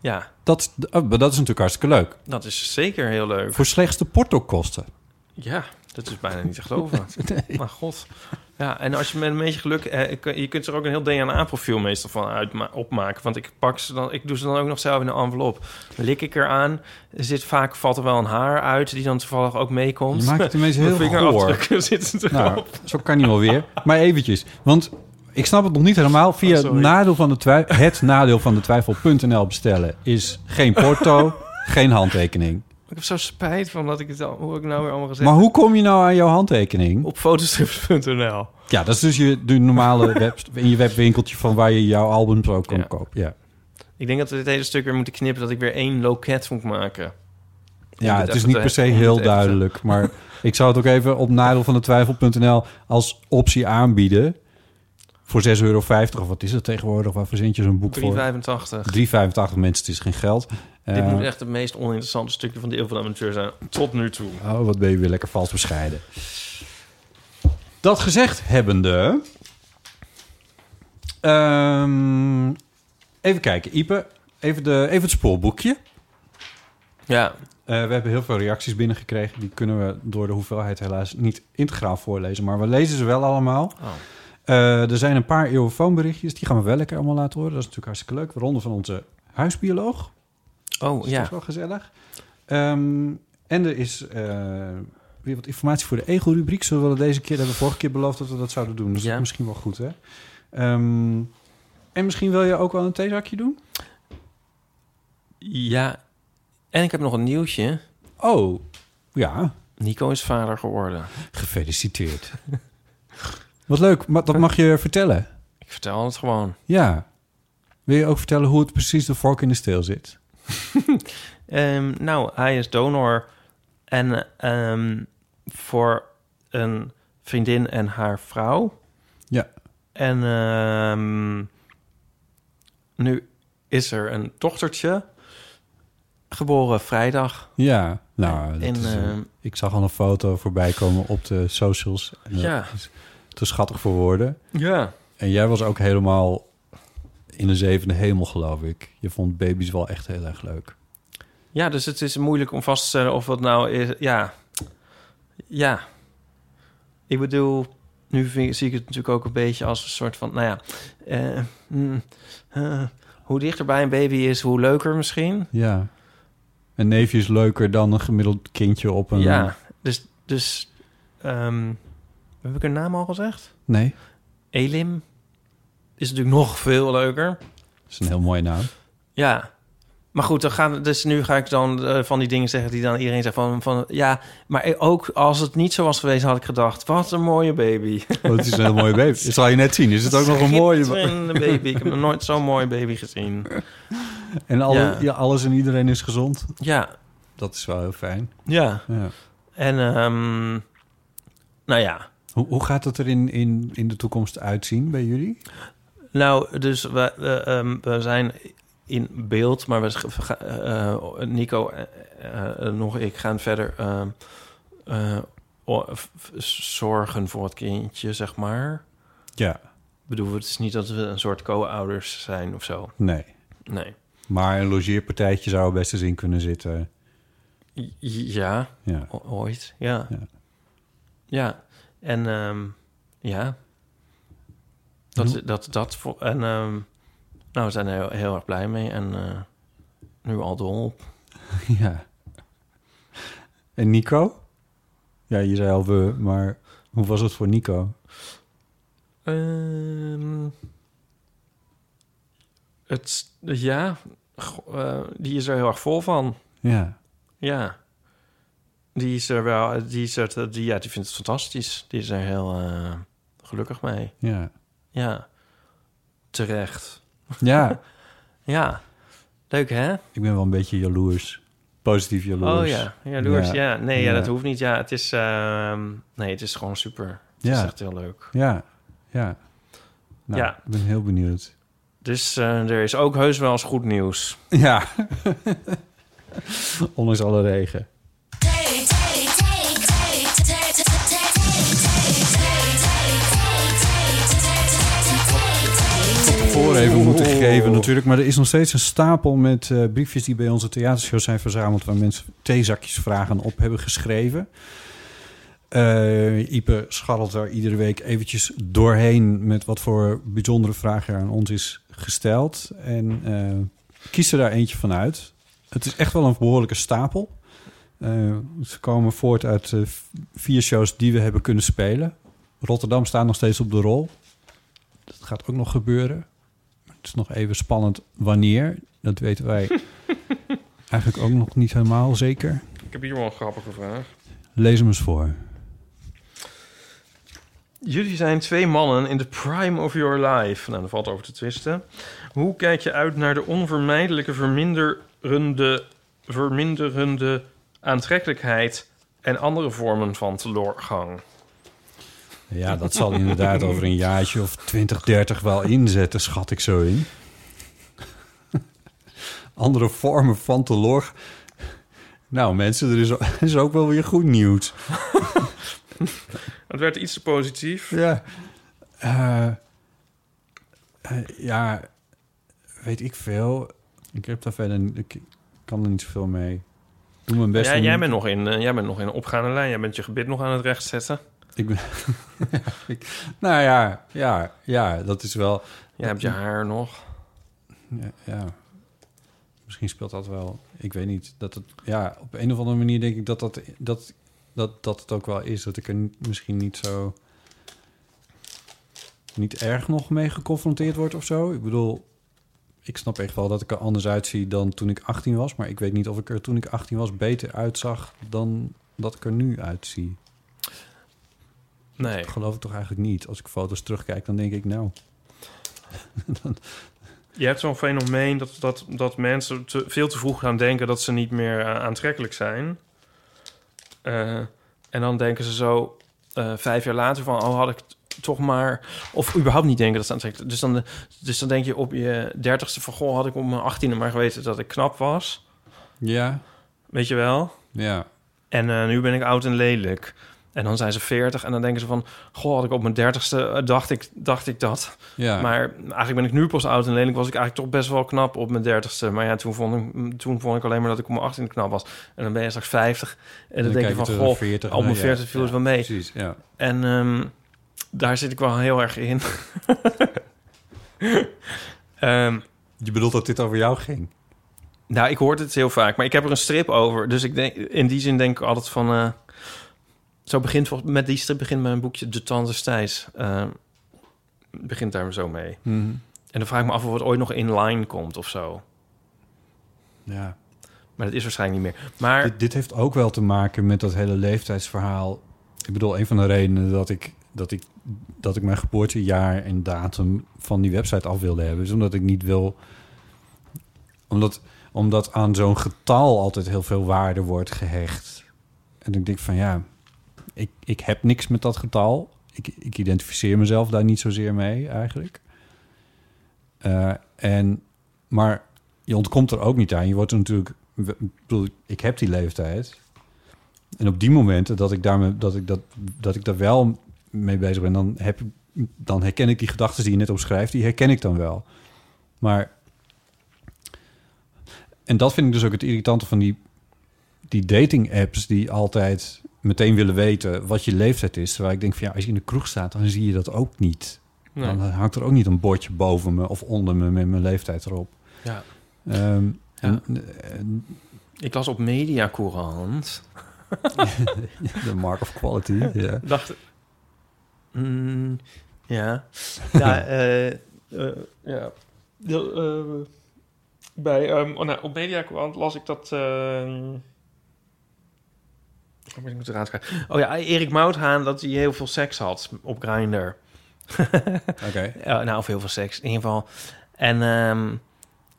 ja,
dat, oh, maar dat is natuurlijk hartstikke leuk.
dat is zeker heel leuk.
Voor slechts de portokosten.
Ja, dat is bijna niet te geloven. Maar god. Ja, en als je met een beetje geluk... eh, ik- je kunt er ook een heel DNA-profiel meestal van uitma- opmaken. Want ik pak ze dan... Ik doe ze dan ook nog zelf in een envelop. Lik ik eraan. Er zit vaak... Valt er wel een haar uit die dan toevallig ook meekomt.
Je maakt het ineens
Mijn
heel
vingerafdrukken zitten erop.
Nou, zo kan niet wel weer. Maar eventjes. Want ik snap het nog niet helemaal. Via
Oh, sorry.
nadeel van de twij- het nadeel van de twijfel.nl bestellen is geen porto, geen handtekening.
Ik heb zo spijt van dat ik het al... Hoe heb ik nou weer allemaal gezegd?
Maar hoe kom je nou aan jouw handtekening?
Op fotostrips.nl.
Ja, dat is dus je, de normale web, in je webwinkeltje van waar je jouw albums ook kan
Ja.
kopen. Ja,
Ik denk dat we dit hele stuk weer moeten knippen... dat ik weer één loket moet maken.
ja
moet
het is
even
niet
te-
per se
ik moet
heel
even te-
duidelijk. Maar ik zou het ook even op nadeel van de twijfel.nl als optie aanbieden. Voor 6,50 euro of wat is dat tegenwoordig? Waar verzend je zo'n boek voor?
385.
3,85 mensen, het is geen geld.
Dit
Eh,
moet echt het meest oninteressante stukje van de Eeuw van de Amateur zijn. Tot nu toe.
Oh, wat ben je weer lekker vals bescheiden. Dat gezegd hebbende... ehm, even kijken, Ipe. Even, de, even het spoorboekje.
Ja,
Eh, we hebben heel veel reacties binnengekregen. Die kunnen we door de hoeveelheid helaas niet integraal voorlezen. Maar we lezen ze wel allemaal.
Oh.
Eh, er zijn een paar eeuwenfoonberichtjes. Die gaan we wel lekker allemaal laten horen. Dat is natuurlijk hartstikke leuk. Waaronder van onze huisbioloog.
Oh
Dus dat
ja.
is wel gezellig. Ehm, en er is eh, weer wat informatie voor de ego-rubriek. Zullen we dat deze keer, dat hebben we vorige keer beloofd dat we dat zouden doen. Dus
Ja.
dat is misschien wel goed, hè? Ehm, en misschien wil je ook wel een theezakje doen?
Ja. En ik heb nog een nieuwtje.
Oh, ja.
Nico is vader geworden.
Gefeliciteerd. wat leuk, maar dat mag je vertellen.
Ik vertel het gewoon.
Ja. Wil je ook vertellen hoe het precies de vork in de steel zit?
Ehm, nou, hij is donor. En ehm, voor een vriendin en haar vrouw.
Ja.
En ehm, nu is er een dochtertje. Geboren vrijdag.
Ja, nou, dat
En,
is, eh,
ehm,
ik zag al een foto voorbij komen op de socials. En dat
Ja.
is te schattig voor woorden.
Ja.
En jij was ook helemaal in de zevende hemel, geloof ik. Je vond baby's wel echt heel erg leuk.
Ja, dus het is moeilijk om vast te stellen of dat nou is. Ja. Ja. Ik bedoel, nu vind, zie ik het natuurlijk ook een beetje als een soort van. Nou ja. eh, mm, eh, hoe dichterbij een baby is, hoe leuker misschien.
Ja. Een neefje is leuker dan een gemiddeld kindje op een...
Ja. Dus. dus ehm, heb ik een naam al gezegd?
Nee,
Elim. Is natuurlijk nog veel leuker.
dat is een heel mooie naam.
Ja. Maar goed, dan gaan, dus nu ga ik dan eh, van die dingen zeggen die dan iedereen zegt van, van... Ja, maar ook als het niet zo was geweest, had ik gedacht... Wat een mooie baby.
Oh, het is een heel mooie baby. Dat zal je net zien. Is het ook nog een mooie...
Schitterende baby. Ik heb nog nooit zo'n mooie baby gezien.
En alle, ja.
Ja.
alles en iedereen is gezond.
Ja,
Dat is wel heel fijn.
ja.
Ja.
En, ehm, nou ja.
Hoe, hoe gaat dat er in, in, in de toekomst uitzien bij jullie?
Nou, dus we, we, ehm, we zijn in beeld, maar we, sch- we gaan, eh, Nico, eh, eh, eh, nog ik gaan verder ehm, eh, o- f- f- zorgen voor het kindje, zeg maar.
Ja.
Ik bedoel, het is niet dat we een soort co-ouders zijn of zo.
Nee.
Nee.
Maar een logeerpartijtje zou er best eens in kunnen zitten.
I- Ja,
Ja.
o- ooit. Ja.
Ja.
Ja. En ehm, ja. Dat, dat, dat, vo- en ehm, nou, we zijn er heel, heel erg blij mee. En eh, nu al dol op.
Ja. En Nico? Ja, je zei al we, maar hoe was het voor Nico?
Ehm, het, ja, go- eh, die is er heel erg vol van.
Ja.
Ja. Die is er wel, die, is er, die, ja, die vindt het fantastisch. Die is er heel eh, gelukkig mee.
Ja.
Ja. Terecht.
Ja,
Ja. Leuk, hè?
ik ben wel een beetje jaloers. Positief jaloers.
Oh ja, jaloers.
Ja.
Ja, nee, ja.
Ja.
dat hoeft niet. Ja, het is, ehm, nee, het is gewoon super. Het
Ja.
is echt heel leuk.
Ja. Ja. Nou,
Ja.
ik ben heel benieuwd.
Dus eh, er is ook heus wel eens goed nieuws.
Ja. Ondanks alle regen.
Take, take, take, take, take, take, take, take, take, take.
vooreven moeten geven natuurlijk. Maar er is nog steeds een stapel met eh, briefjes die bij onze theatershow zijn verzameld... waar mensen theezakjes vragen op hebben geschreven. Eh, Ipe scharrelt daar iedere week eventjes doorheen... met wat voor bijzondere vragen er aan ons is gesteld. En eh kies er daar eentje van uit. Het is echt wel een behoorlijke stapel. Eh, ze komen voort uit eh, v- vier shows die we hebben kunnen spelen. Rotterdam staat nog steeds op de rol. Dat gaat ook nog gebeuren. Het is nog even spannend wanneer. Dat weten wij eigenlijk ook nog niet helemaal zeker.
Ik heb hier wel een grappige vraag.
Lees hem eens voor.
Jullie zijn twee mannen in de prime of your life. Nou, daar valt over te twisten. Hoe kijk je uit naar de onvermijdelijke verminderende, verminderende aantrekkelijkheid en andere vormen van teleurgang?
Ja, dat zal inderdaad over een jaartje of 20, 30 wel inzetten, schat ik zo in. Andere vormen van telorg. Nou mensen, er is, er is ook wel weer goed nieuws.
Het werd iets te positief.
Ja. Eh, eh, ja, weet ik veel. Ik heb daar verder... Ik kan er niet zoveel mee. Ik Doe mijn best.
Ja,
om-
jij, bent nog in, eh, jij bent nog in een opgaande lijn. Jij bent je gebit nog aan het recht zetten.
Ik ben... Ik- nou ja, ja, ja, dat is wel...
Jij hebt je haar nog.
Ja, ja. Misschien speelt dat wel. Ik weet niet. Dat het, ja, op een of andere manier denk ik dat, dat, dat, dat, dat het ook wel is. Dat ik er niet- misschien niet zo... niet erg nog mee geconfronteerd word of zo. Ik bedoel, ik snap echt wel dat ik er anders uitzie dan toen ik 18 was. Maar ik weet niet of ik er toen ik 18 was beter uitzag dan dat ik er nu uitzie.
Nee.
Ik geloof het toch eigenlijk niet. Als ik foto's terugkijk, dan denk ik nou...
Je hebt zo'n fenomeen dat, dat, dat mensen te, veel te vroeg gaan denken dat ze niet meer eh, aantrekkelijk zijn. Eh, en dan denken ze zo eh, vijf jaar later van, oh had ik t- toch maar... Of überhaupt niet denken dat ze aantrekkelijk dus dan Dus dan denk je op je dertigste van, goh, had ik op mijn achttiende maar geweten dat ik knap was.
Ja,
Weet je wel?
ja.
En eh, nu ben ik oud en lelijk. En dan zijn ze veertig en dan denken ze van... Goh, had ik op mijn dertigste, eh, dacht ik, dacht ik dat.
ja.
Maar eigenlijk ben ik nu pas oud en lelijk. Was ik eigenlijk toch best wel knap op mijn dertigste. Maar ja, toen vond ik, toen vond ik alleen maar dat ik op mijn achttiende knap was. En dan ben je straks vijftig. En dan, denk je van, goh, op mijn veertig viel het wel mee.
Precies, ja.
En ehm, daar zit ik wel heel erg in. Ehm,
Je bedoelt dat dit over jou ging?
nou, ik hoor het heel vaak. Maar ik heb er een strip over. Dus ik denk, in die zin denk ik altijd van... eh, zo begint, volgens- met die strip begint mijn boekje De Tante Stijs. Ehm, begint daar zo mee. En dan vraag ik me af of het ooit nog in line komt of zo.
Ja.
Maar dat is waarschijnlijk niet meer. Maar
Dit, dit heeft ook wel te maken met dat hele leeftijdsverhaal. Ik bedoel, een van de redenen dat ik, dat ik, dat ik mijn geboortejaar en datum van die website af wilde hebben... is omdat ik niet wil... Omdat, omdat aan zo'n getal altijd heel veel waarde wordt gehecht. En ik denk van ja, ik, ik heb niks met dat getal. Ik, ik identificeer mezelf daar niet zozeer mee eigenlijk. Eh, en, maar je ontkomt er ook niet aan. Je wordt er natuurlijk. ik bedoel, Ik heb die leeftijd. En op die momenten dat ik daar, dat ik dat, dat ik daar wel mee bezig ben, dan, heb, ik- dan herken ik die gedachten die je net opschrijft, die herken ik dan wel. Maar. En dat vind ik dus ook het irritante van die, die dating-apps die altijd meteen willen weten wat je leeftijd is. Terwijl ik denk van ja, als je in de kroeg staat, dan zie je dat ook niet.
nee.
Dan hangt er ook niet een bordje boven me of onder me met mijn leeftijd erop.
ja.
Ehm,
Ja.
en- en
ik las op Mediacourant.
de mark of quality. ja.
Dacht. Mm, ja. ja, eh, eh, ja. De, eh, bij, ehm, oh, nou, op Mediacourant las ik dat. ehm, oh, maar ik moet eraan schrijven. Oh ja, Erik Mouthaan dat hij heel veel seks had op Grindr.
Oké.
Ja, nou, of heel veel seks. In ieder geval. En ehm,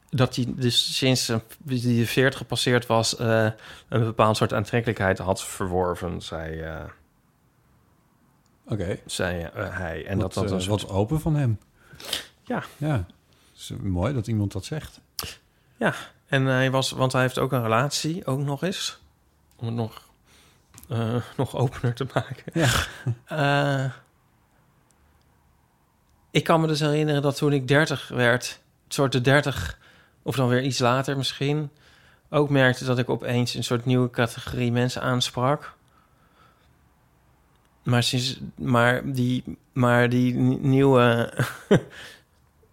dat hij dus sinds eh, die 40 gepasseerd was... eh, een bepaald soort aantrekkelijkheid had verworven, zei, eh,
Oké.
zei eh, hij. En
Wat,
dat dat
eh,
een soort...
wat open van hem.
Ja.
Ja. Is mooi dat iemand dat zegt.
En hij was... Want hij heeft ook een relatie, ook nog eens. Om het nog, eh, nog opener te maken.
Ja.
Eh, Ik kan me dus herinneren dat toen ik 30 werd, het soort de 30, of dan weer iets later misschien, ook merkte dat ik opeens een soort nieuwe categorie mensen aansprak. Maar, sinds, maar die, maar die n- nieuwe,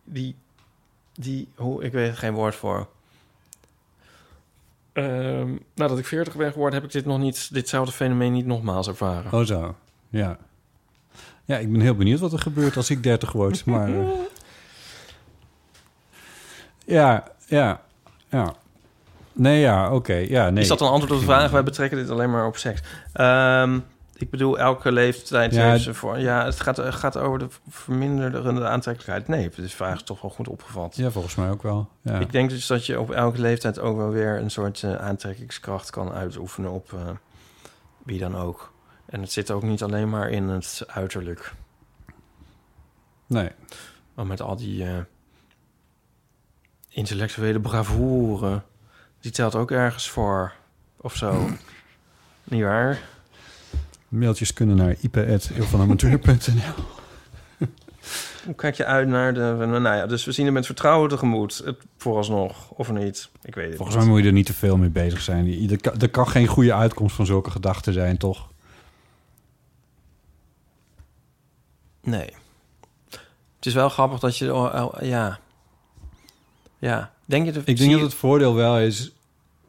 die, die, hoe, ik weet er geen woord voor. Ehm, nadat ik 40 ben geworden, heb ik dit nog niet, ditzelfde fenomeen niet nogmaals ervaren.
Oh zo, ja. Ja, ik ben heel benieuwd wat er gebeurt als ik 30 word. Maar eh, ja, ja, ja. Nee, ja, oké. ja, nee.
Is dat een antwoord op de vraag? Wij betrekken dit alleen maar op seks. Ehm, ik bedoel, elke leeftijd
Ja,
heeft ze voor. Ja, het gaat, het gaat over de verminderde aantrekkelijkheid. Nee, de vraag is toch wel goed opgevat.
Ja, volgens mij ook wel. Ja.
Ik denk dus dat je op elke leeftijd ook wel weer een soort eh, aantrekkingskracht kan uitoefenen op eh, wie dan ook. En het zit ook niet alleen maar in het uiterlijk.
Nee.
Maar met al die eh, intellectuele bravoure, die telt ook ergens voor. Of zo. niet waar?
Mailtjes kunnen naar ipa.eeuwvanamateur.nl
Hoe kijk je uit naar de... Nou ja, dus we zien er met vertrouwen tegemoet. Het, vooralsnog, of niet. Ik weet het
Volgens
niet.
mij moet je er niet te veel mee bezig zijn. Je- Er kan, er kan geen goede uitkomst van zulke gedachten zijn, toch?
Nee. Het is wel grappig dat je... oh, oh, ja. Ja. Denk je... De,
Ik
zie
denk dat
je-
het voordeel wel is...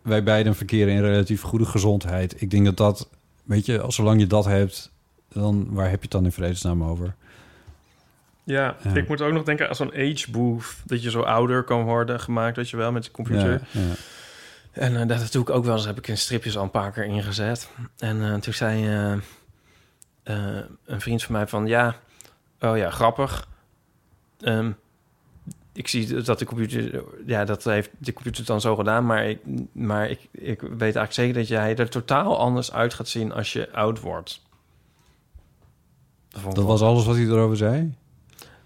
wij beiden verkeren in relatief goede gezondheid. Ik denk dat dat... Weet je, als zolang je dat hebt... dan waar heb je het dan in vredesnaam over?
Ja,
Ja.
ik moet ook nog denken aan zo'n age booth. Dat je zo ouder kan worden gemaakt, weet je wel, met de computer.
Ja, ja.
En eh, dat doe ik ook wel eens. Heb ik in stripjes al een paar keer ingezet. En eh, toen zei eh, eh, een vriend van mij van... Ja, oh ja, grappig. Ehm, ik zie dat de computer... Ja, dat heeft de computer dan zo gedaan. Maar ik, maar ik, ik weet eigenlijk zeker dat jij er totaal anders uit gaat zien... als je oud wordt. vond
Dat
ik wel-
was alles wat hij erover zei?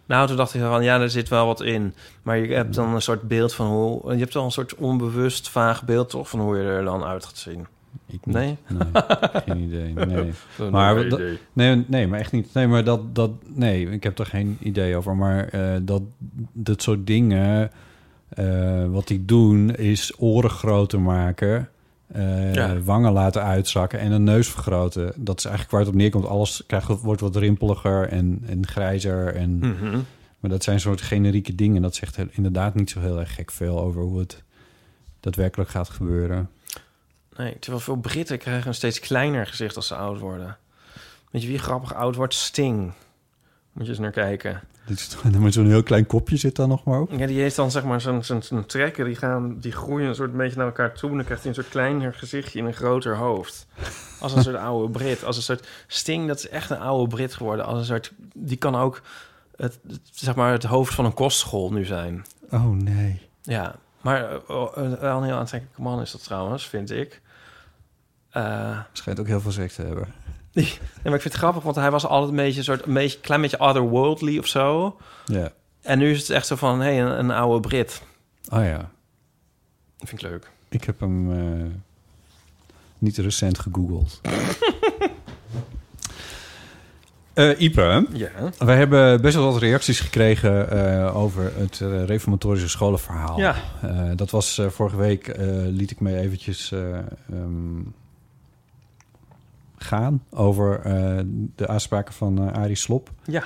nou, toen dacht ik van ja, er zit wel wat in. Maar je hebt dan een soort beeld van hoe. Je hebt dan een soort onbewust vaag beeld toch van hoe je er dan uit gaat zien.
Ik niet.
Nee?
geen idee. Nee. Maar, dat- nee, nee, maar echt niet. Nee, maar dat, dat, nee, ik heb er geen idee over. Maar eh, dat, dat soort dingen, eh, wat die doen, is oren groter maken, eh,
Ja.
wangen laten uitzakken en een neus vergroten. Dat is eigenlijk waar het op neerkomt. Alles krijgt, wordt wat rimpeliger en, en grijzer. En,
Mhm.
Maar dat zijn soort generieke dingen. Dat zegt heel- inderdaad niet zo heel erg gek veel over hoe het daadwerkelijk gaat gebeuren.
Nee, terwijl veel Britten krijgen een steeds kleiner gezicht als ze oud worden. Weet je wie grappig oud wordt? Sting. Moet je eens naar kijken.
Dit is, met zo'n heel klein kopje zit daar nog maar op.
Ja, die heeft dan zeg maar zo'n zo'n- zo'n trekken, die, gaan, die groeien een soort beetje naar elkaar toe. En dan krijgt hij een soort kleiner gezichtje en een groter hoofd. Als een soort oude Brit. Als een soort Sting, dat is echt een oude Brit geworden. Als een soort, die kan ook het, het, zeg maar het hoofd van een kostschool nu zijn.
Oh nee.
Ja, maar eh, oh, eh, wel een heel aantrekkelijke man is dat trouwens, vind ik. Eh,
Schijnt ook heel veel seks te hebben.
nee, maar ik vind het grappig, want hij was altijd een beetje een soort, een beetje, klein beetje otherworldly of zo.
Ja.
En nu is het echt zo van, hé, hey, een, een oude Brit.
Oh ja.
Dat vind ik leuk.
Ik heb hem eh, niet recent gegoogeld. Eh Ipe,
Ja.
wij hebben best wel wat reacties gekregen eh, over het eh, reformatorische scholenverhaal.
Ja.
Eh, dat was eh, vorige week, eh, liet ik me eventjes eh, ehm, gaan over eh, de aanspraken van eh Arie Slop.
Ja.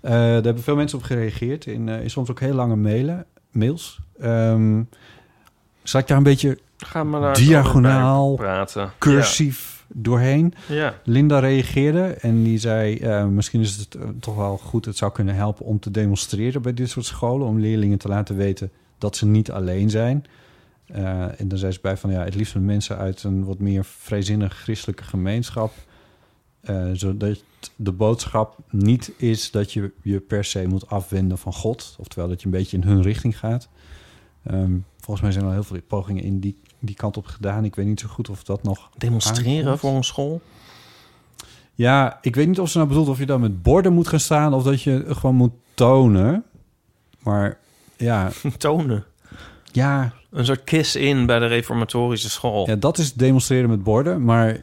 Eh, daar hebben veel mensen op gereageerd. In, eh, in soms ook heel lange mailen, mails. Ehm zal ik daar een beetje
Ga maar daar
Diagonaal.
over praten.
cursief doorheen?
Ja. ja.
Linda reageerde en die zei... eh, misschien is het eh, toch wel goed, het zou kunnen helpen om te demonstreren bij dit soort scholen. Om leerlingen te laten weten dat ze niet alleen zijn. Eh, en dan zei ze bij van ja, het liefst met mensen uit een wat meer vrijzinnig christelijke gemeenschap. Eh, zodat de boodschap niet is dat je je per se moet afwenden van God. Oftewel dat je een beetje in hun richting gaat. Ehm, volgens mij zijn er al heel veel pogingen in die, die kant op gedaan. Ik weet niet zo goed of dat nog
Demonstreren
aankomt.
voor een school.
Ja, ik weet niet of ze nou bedoelt of je dan met borden moet gaan staan of dat je gewoon moet tonen. Maar ja,
Tonen.
ja,
Een soort kiss in bij de reformatorische school.
ja dat is demonstreren met borden. Maar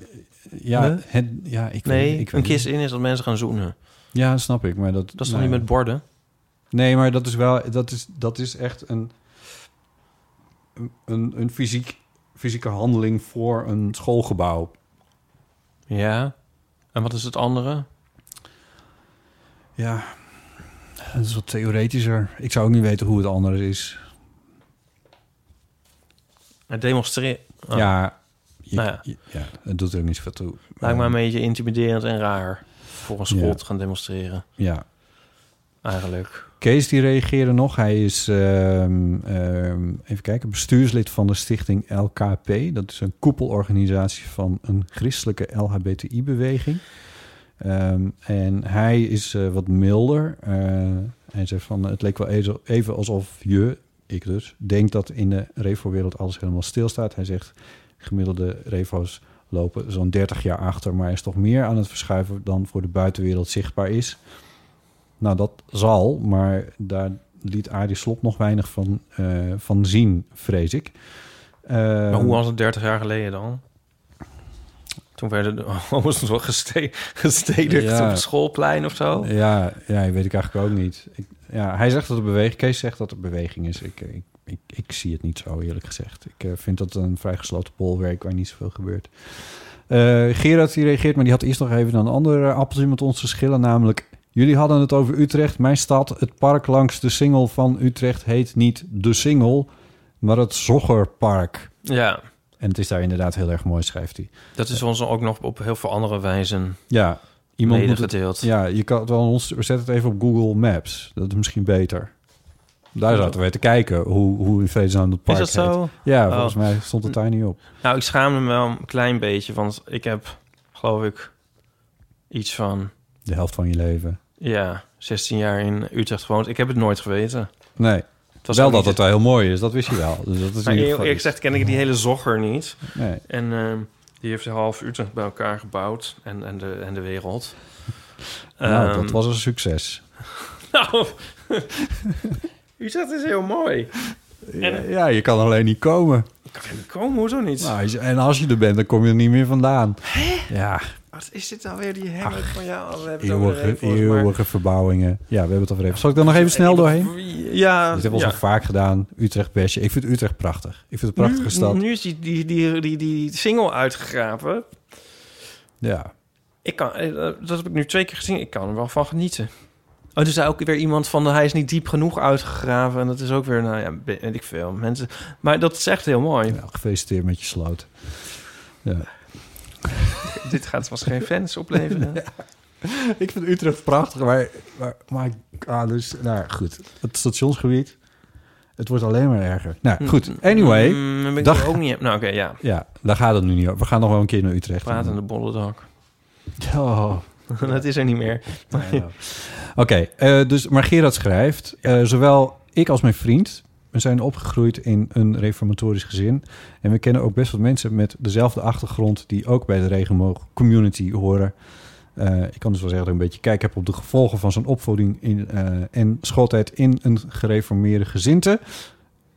ja,
Nee?
het, ja ik weet
nee,
niet, ik weet
een
niet.
kiss in is dat mensen gaan zoenen.
Ja, dat snap ik. Maar dat,
Dat is
nou
dan niet
ja.
met borden?
Nee, maar dat is wel, dat is, dat is echt een, een, een fysiek, fysieke handeling voor een schoolgebouw.
Ja. En wat is het andere?
Ja, dat is wat theoretischer. Ik zou ook niet weten hoe het andere is.
Het demonstreren. Oh,
Ja, je-
Nou ja.
je- ja, het doet er ook niet zoveel toe. Ehm,
Lijkt me een beetje intimiderend en raar voor een school
Ja.
te gaan demonstreren.
Ja.
Eigenlijk.
Kees die reageerde nog. Hij is, ehm, ehm, even kijken, bestuurslid van de stichting LKP. Dat is een koepelorganisatie van een christelijke LHBTI-beweging. Ehm, en hij is eh, wat milder. Eh, hij zegt van, het leek wel ezo- even alsof je, ik dus, denkt dat in de revo-wereld alles helemaal stilstaat. Hij zegt, gemiddelde revo's lopen zo'n 30 jaar achter, maar is toch meer aan het verschuiven dan voor de buitenwereld zichtbaar is. Nou, dat zal, maar daar liet Arie Slop nog weinig van, eh, van zien, vrees ik. Ehm,
Maar hoe was het 30 jaar geleden dan? Toen werden de homo's wel geste gestedigd
Ja.
op het schoolplein of zo.
Ja, ja, weet ik eigenlijk ook niet. Ik, ja, hij zegt dat het beweging, Kees zegt dat het beweging is. Ik, ik, ik, ik zie het niet zo, eerlijk gezegd. Ik eh, vind dat een vrij gesloten bolwerk waar niet zoveel gebeurt. Eh, Gerard die reageert, maar die had eerst nog even een andere appeltje met ons te schillen, namelijk... Jullie hadden het over Utrecht, mijn stad. Het park langs de Singel van Utrecht heet niet de Singel, maar het Zoggerpark.
Ja,
En het is daar inderdaad heel erg mooi, schrijft hij.
dat is ons ook nog op heel veel andere wijzen
Ja, iemand moet het,
medegedeeld.
ja je kan het wel ons, zet het even op Google Maps. Dat is misschien beter. Daar zouden we te kijken hoe, hoe in vredesnaam dat
Is
park
dat zo?
heet. Ja,
Oh.
volgens mij stond het daar niet op.
Nou, ik schaamde me wel een klein beetje, want ik heb, geloof ik, iets van,
De helft van je leven.
ja, 16 jaar in Utrecht gewoond. Ik heb het nooit geweten.
Nee,
Het was
wel
ook
dat
niet-
het daar heel mooi is. Dat wist je wel. Dus dat is
Maar
in ieder
eerlijk
geval iets.
gezegd ken ik die hele zogger niet.
Nee.
En ehm, die heeft half Utrecht bij elkaar gebouwd en, en, de, en de wereld.
nou,
Ehm,
dat was een succes.
Nou, Utrecht is heel mooi.
Ja, ja, je kan alleen niet komen.
Ik kan er niet komen, hoezo niet?
Nou, als je- en als je er bent, dan kom je er niet meer vandaan. Ja,
Wat is dit alweer, die hemel van jou? Oh, We hebben het over
eeuwige,
Revo's, maar-
eeuwige verbouwingen. Ja, we hebben het over even. Zal ik dan nog even snel doorheen?
Ja,
Dit hebben we
ja.
al zo vaak gedaan. Utrecht bestje. Ik vind Utrecht prachtig. Ik vind het een prachtige
nu,
stad.
Nu is die, die, die, die, die single uitgegraven. mm.
Ja.
Ik kan, eh, dat heb ik nu twee keer gezien. Ik kan er wel van genieten. Oh, er zei ook weer iemand van... hij is niet diep genoeg uitgegraven. En dat is ook weer, nou ja, weet ik veel. Mensen, maar dat is echt heel mooi.
Nou, gefeliciteerd met je sloot. Ja.
Dit gaat vast geen fans opleveren.
Ik vind Utrecht prachtig, maar, maar, maar ah, dus, nou goed. Het stationsgebied, het wordt alleen maar erger. Nou goed, anyway.
Mm, dan ben ik
dag-
er ook niet... Nou, oké, ja.
Ja, daar gaat het nu niet over. We gaan nog wel een keer naar Utrecht.
Pratende bollendak.
Oh.
dat is er niet meer.
Ja. Oké, eh, dus, maar Gerard schrijft... eh, zowel ik als mijn vriend... we zijn opgegroeid in een reformatorisch gezin... en we kennen ook best wat mensen met dezelfde achtergrond... die ook bij de regenboog-community horen. Eh, ik kan dus wel zeggen dat ik een beetje kijk heb op de gevolgen... van zo'n opvoeding in, eh, en schooltijd in een gereformeerde gezinte.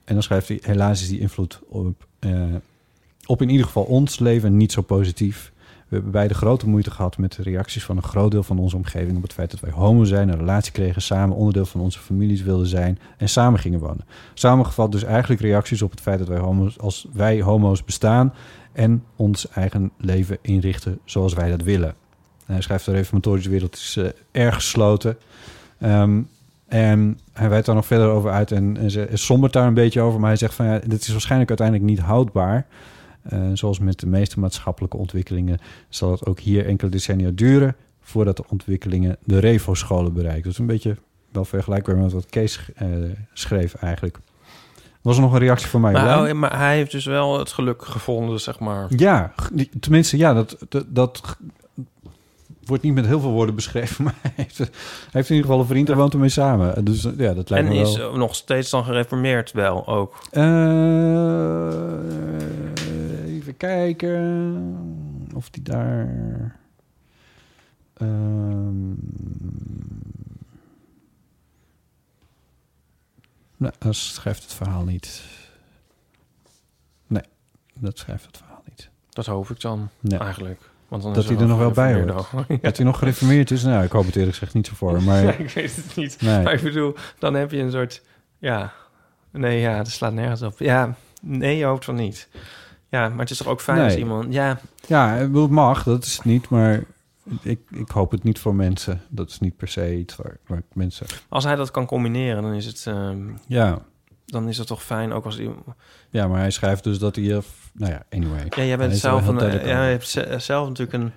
En dan schrijft hij... helaas is die invloed op, eh, op in ieder geval ons leven niet zo positief... We hebben beide grote moeite gehad met de reacties van een groot deel van onze omgeving op het feit dat wij homo zijn, een relatie kregen, samen onderdeel van onze families wilden zijn en samen gingen wonen. Samengevat dus eigenlijk reacties op het feit dat wij homo's, als wij homo's bestaan en ons eigen leven inrichten zoals wij dat willen. En hij schrijft de reformatorische wereld is eh, erg gesloten. Ehm, en hij wijdt daar nog verder over uit en, en ze- en sombert daar een beetje over. Maar hij zegt van ja, dit is waarschijnlijk uiteindelijk niet houdbaar. Eh, zoals met de meeste maatschappelijke ontwikkelingen zal het ook hier enkele decennia duren voordat de ontwikkelingen de Revo-scholen bereiken. Dus een beetje wel vergelijkbaar met wat Kees eh, schreef eigenlijk. Was er nog een reactie van mij? Johan?
Maar, oh, maar hij heeft dus wel het geluk gevonden, zeg maar.
Ja, g- die- tenminste, ja, dat, dat, dat g- wordt niet met heel veel woorden beschreven. Maar hij heeft, hij heeft in ieder geval een vriend en woont ermee samen. Dus eh, ja, dat lijkt
En
me wel.
is eh, nog steeds dan gereformeerd wel ook.
Eh, even kijken of die daar. Ehm, nee, dat nou, schrijft het verhaal niet. Nee, dat schrijft het verhaal niet.
Dat hoop ik dan
Nee.
eigenlijk. Want dan
Dat
is
hij er nog wel bij
gereformeerd
hoort.
ook.
Dat hij nog gereformeerd is? Nou, ik hoop het eerlijk gezegd niet zo voor. Maar
Ja, ik weet het niet.
Nee.
Maar ik bedoel, dan heb je een soort... Ja, nee, ja, dat slaat nergens op. Ja, nee, je hoopt van niet. Ja, maar het is toch ook fijn
Nee.
als iemand... Ja,
ja, ik bedoel, het mag, dat is het niet. Maar ik, ik hoop het niet voor mensen. Dat is niet per se iets waar, waar ik mensen...
als hij dat kan combineren, dan is het, ehm,
Ja,
dan is het toch fijn ook als iemand...
ja, maar hij schrijft dus dat hij... eh, f- Nou ja, anyway.
Ja, jij
Hij
bent
is er
zelf,
wel
een,
heel
ja,
duidelijk
je
over.
hebt ze- zelf natuurlijk een...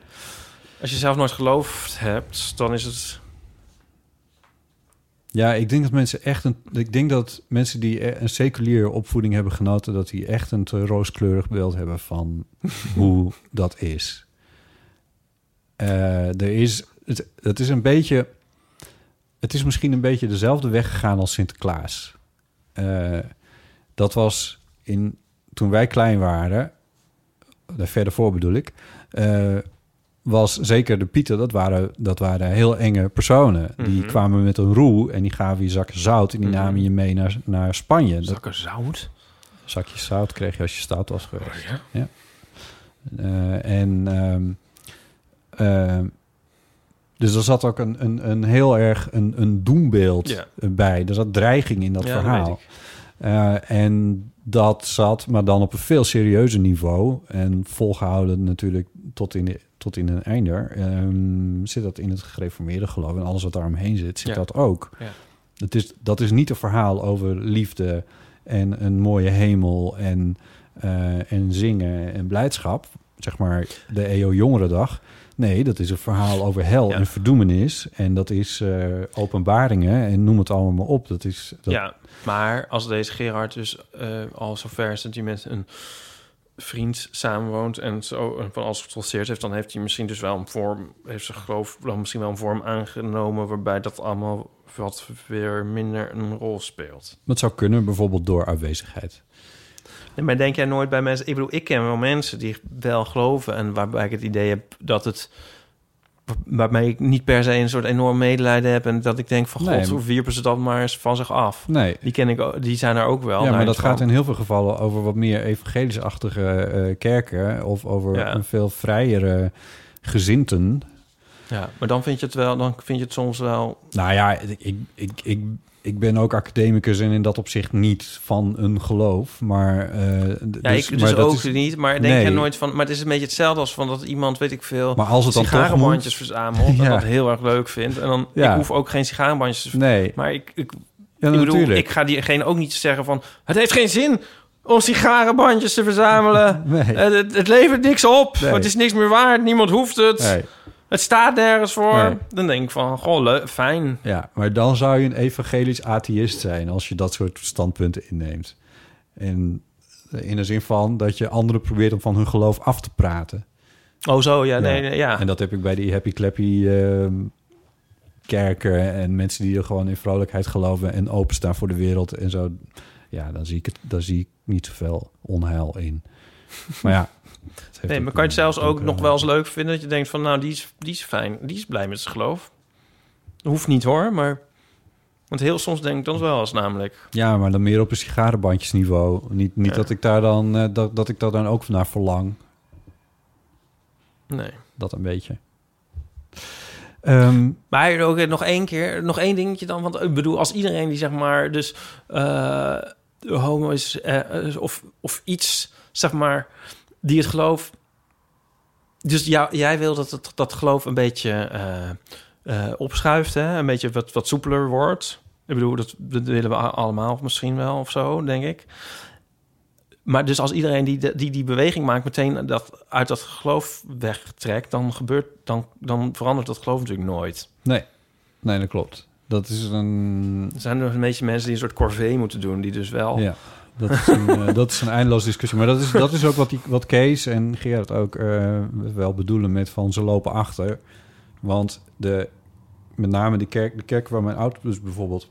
Als je zelf nooit geloofd hebt, dan is het...
Ja, ik denk dat mensen echt een. Ik denk dat mensen die e- een seculiere opvoeding hebben genoten, dat die echt een te rooskleurig beeld hebben van hoe dat is. Eh, er is het, het is een beetje. Het is misschien een beetje dezelfde weg gegaan als Sinterklaas. Eh, dat was in, toen wij klein waren, daar verder voor bedoel ik, eh, was zeker de Pieten, dat waren, dat waren heel enge personen. Die
Mhm.
kwamen met een roe en die gaven je zakken zout en die
Mhm.
namen je mee naar, naar Spanje. Dat
Zakken zout?
zakje zout kreeg je als je stout was geweest. Eh, en ehm, ehm, dus er zat ook een, een, een heel erg een, een doembeeld
Ja.
bij. Er zat dreiging in dat
Ja, dat
verhaal.
weet ik.
Eh, en dat zat, maar dan op een veel serieuzer niveau. En volgehouden natuurlijk tot in, de- tot in een einde. ehm, zit dat in het gereformeerde geloof. En alles wat daaromheen zit, zit
Ja.
dat ook.
Ja.
Dat, is, dat is niet een verhaal over liefde en een mooie hemel en, eh, en zingen en blijdschap. Zeg maar de EO Jongerendag. Nee, dat is een verhaal over hel
Ja.
en verdoemenis. En dat is eh, openbaringen en noem het allemaal maar op. Dat is, dat,
Ja, maar als deze Gerard dus eh, al zover is dat hij met een vriend samenwoont en zo eh, van alles getrotseerd heeft, dan heeft hij misschien dus wel een vorm, heeft ze geloof dan misschien wel een vorm aangenomen waarbij dat allemaal wat weer minder een rol speelt.
Dat zou kunnen, bijvoorbeeld door aanwezigheid.
Nee, maar denk jij nooit bij mensen, ik bedoel, ik ken wel mensen die wel geloven en waarbij ik het idee heb dat het waarmee ik niet per se een soort enorm medelijden heb en dat ik denk van
Nee,
god, hoe
maar-
wierpen ze dat maar eens van zich af?
Nee.
Die ken ik, ook- die zijn er ook wel.
Ja, maar
daar
dat
is van.
gaat in heel veel gevallen over wat meer evangelisch-achtige eh, kerken... of over
Ja.
een veel vrijere gezinten.
Ja, maar dan vind je het wel, dan vind je het soms wel.
Nou ja, ik, ik, ik, ik ben ook academicus en in dat opzicht niet van een geloof. Maar, eh, d-
Ja,
dus,
ik dus
maar dat
ook
is-
niet. Maar denk
Nee.
jij nooit van. Maar het is een beetje hetzelfde als van dat iemand, weet ik veel,
Maar als het dan toch moet...
sigarenbandjes verzamelt
Ja.
en dat heel erg leuk vindt. En dan
Ja.
ik hoef ook geen sigarenbandjes. te ver-
Nee,
Maar ik, ik,
ja,
ik bedoel,
natuurlijk.
ik ga diegene ook niet zeggen van. Het heeft geen zin om sigarenbandjes te verzamelen.
Nee.
Het, het, het levert niks op.
Nee.
Het is niks meer waard. Niemand hoeft het.
Nee.
Het staat nergens voor.
Nee.
Dan denk ik van, goh, le- fijn.
Ja, maar dan zou je een evangelisch atheïst zijn als je dat soort standpunten inneemt. En in de zin van dat je anderen probeert om van hun geloof af te praten.
Oh, zo, ja, nee, nee, ja.
En dat heb ik bij die happy clappy ehm, kerken en mensen die er gewoon in vrolijkheid geloven en openstaan voor de wereld en zo. Ja, dan zie ik, het, dan zie ik niet zoveel onheil in. Maar ja. het heeft ook
Nee,
eh,
maar kan je het zelfs
een-
ook nog wel eens leuk vinden dat je denkt van, nou, die is, die is fijn, die is blij met zijn geloof. Dat hoeft niet hoor, maar. Want heel soms denk ik dat wel eens namelijk.
Ja, maar dan meer op een sigarenbandjesniveau. Niet, niet
Ja.
dat ik daar dan eh, dat, dat ik daar dan ook naar verlang.
Nee.
Dat een beetje. Ehm,
Maar ook eh, nog één keer, nog één dingetje dan. Want eh, ik bedoel, als iedereen die zeg maar, dus eh, homo is, eh, eh, of, of iets, zeg maar, die het geloof. Dus jou, jij wil dat het, dat geloof een beetje eh, eh, opschuift, hè? een beetje wat, wat soepeler wordt. Ik bedoel, dat, dat willen we a- allemaal misschien wel of zo, denk ik. Maar dus als iedereen die de- die, die beweging maakt, meteen dat, uit dat geloof wegtrekt, dan, gebeurt, dan, dan verandert dat geloof natuurlijk nooit.
nee. nee, dat klopt. Dat is een.
Er zijn er een beetje mensen die een soort corvée moeten doen, die dus wel.
Ja, dat is een, eh, dat is een eindeloze discussie. Maar dat is, dat is ook wat, die, wat Kees en Gerard ook eh, wel bedoelen met van ze lopen achter. Want de, met name de kerk, de kerk waar mijn autobus bijvoorbeeld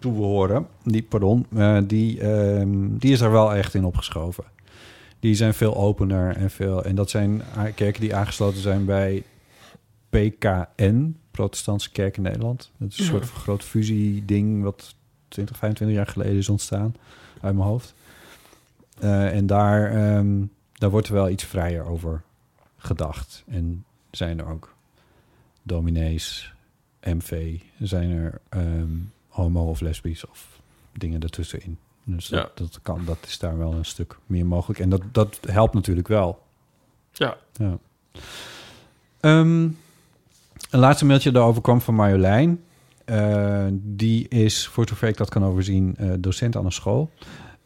toe behoren, die, pardon, eh, die, ehm, die is daar wel echt in opgeschoven. Die zijn veel opener en veel. En dat zijn a- kerken die aangesloten zijn bij PKN, Protestantse Kerk in Nederland. Dat is een soort van groot fusieding wat 20, 25 jaar geleden is ontstaan uit mijn hoofd. Eh, en daar, ehm, daar wordt er wel iets vrijer over gedacht. En zijn er ook dominees, MV, zijn er ehm, homo of lesbisch of dingen ertussenin. Dus dat,
Ja.
dat kan, dat is daar wel een stuk meer mogelijk. En dat, dat helpt natuurlijk wel.
Ja.
Ja. Ehm, een laatste mailtje daarover kwam van Marjolein. Eh, die is, voor zover ik dat kan overzien, eh, docent aan een school.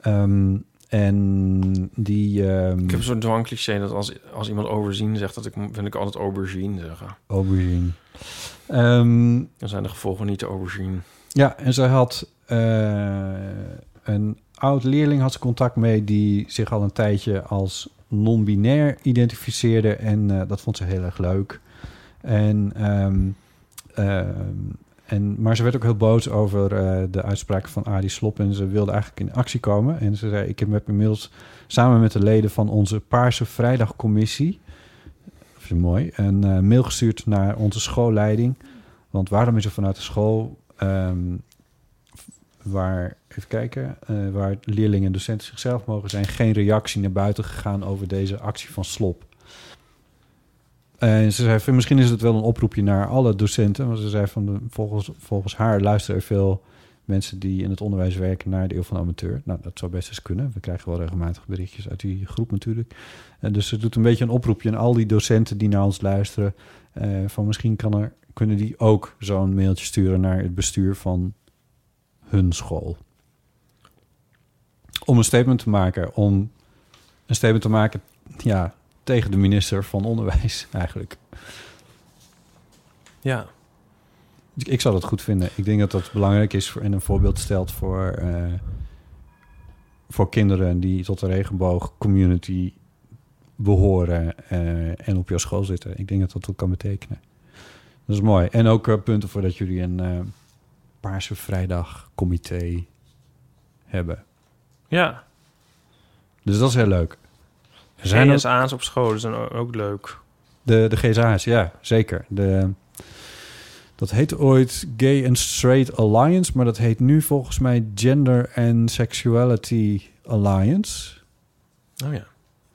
Ehm, en die... ehm,
Ik heb zo'n dwangcliché dat als, als iemand overzien zegt, dat ik, vind ik altijd aubergine zeggen.
Aubergine. Ehm,
Dan zijn de gevolgen niet te overzien.
ja, en ze had eh, een oud leerling had ze contact mee die zich al een tijdje als non-binair identificeerde en eh, dat vond ze heel erg leuk. En, ehm, ehm, en, maar ze werd ook heel boos over eh, de uitspraken van Adi Slop en ze wilde eigenlijk in actie komen. En ze zei, ik heb inmiddels samen met de leden van onze Paarse Vrijdagcommissie, dat is mooi, een eh, mail gestuurd naar onze schoolleiding. Want waarom is er vanuit de school ehm, waar, even kijken, eh, waar leerlingen en docenten zichzelf mogen zijn, geen reactie naar buiten gegaan over deze actie van slop. En ze zei, van, misschien is het wel een oproepje naar alle docenten. Want ze zei, van, de- volgens, volgens haar luisteren er veel mensen die in het onderwijs werken naar de eeuw van de amateur. Nou, dat zou best eens kunnen. We krijgen wel regelmatig berichtjes uit die groep natuurlijk. En dus ze doet een beetje een oproepje aan al die docenten die naar ons luisteren. eh, van misschien kan er, kunnen die ook zo'n mailtje sturen naar het bestuur van hun school. Om een statement te maken. Om een statement te maken ja, tegen de minister van Onderwijs eigenlijk.
Ja.
Dus Ik ik zou dat goed vinden. Ik denk dat dat belangrijk is voor, en een voorbeeld stelt voor, eh, voor kinderen die tot de regenboogcommunity behoren eh, en op jouw school zitten. Ik denk dat dat wat kan betekenen. Dat is mooi. En ook eh, punten voor dat jullie een eh, Paarse Vrijdag-comité hebben.
Ja.
Dus dat is heel leuk. Er
Zijn
zijn ook-
GSA's E op scholen zijn o- ook leuk.
De, de GSA's, ja, zeker. De, dat heette ooit Gay and Straight Alliance, maar dat heet nu volgens mij Gender and Sexuality Alliance.
Oh ja.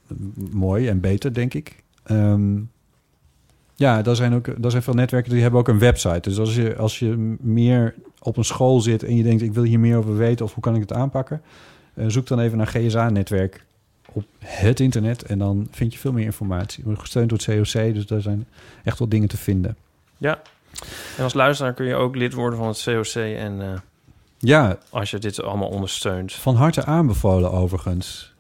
M- Mooi en beter, denk ik. Ehm, ja, daar zijn, ook, daar zijn veel netwerken die hebben ook een website. Dus als je, als je meer op een school zit en je denkt, ik wil hier meer over weten of hoe kan ik het aanpakken, eh, zoek dan even naar GSA-netwerk op het internet en dan vind je veel meer informatie. We worden gesteund door het COC, dus daar zijn echt wel dingen te vinden.
Ja. En als luisteraar kun je ook lid worden van het COC. En eh,
Ja,
als je dit allemaal ondersteunt.
van harte aanbevolen overigens,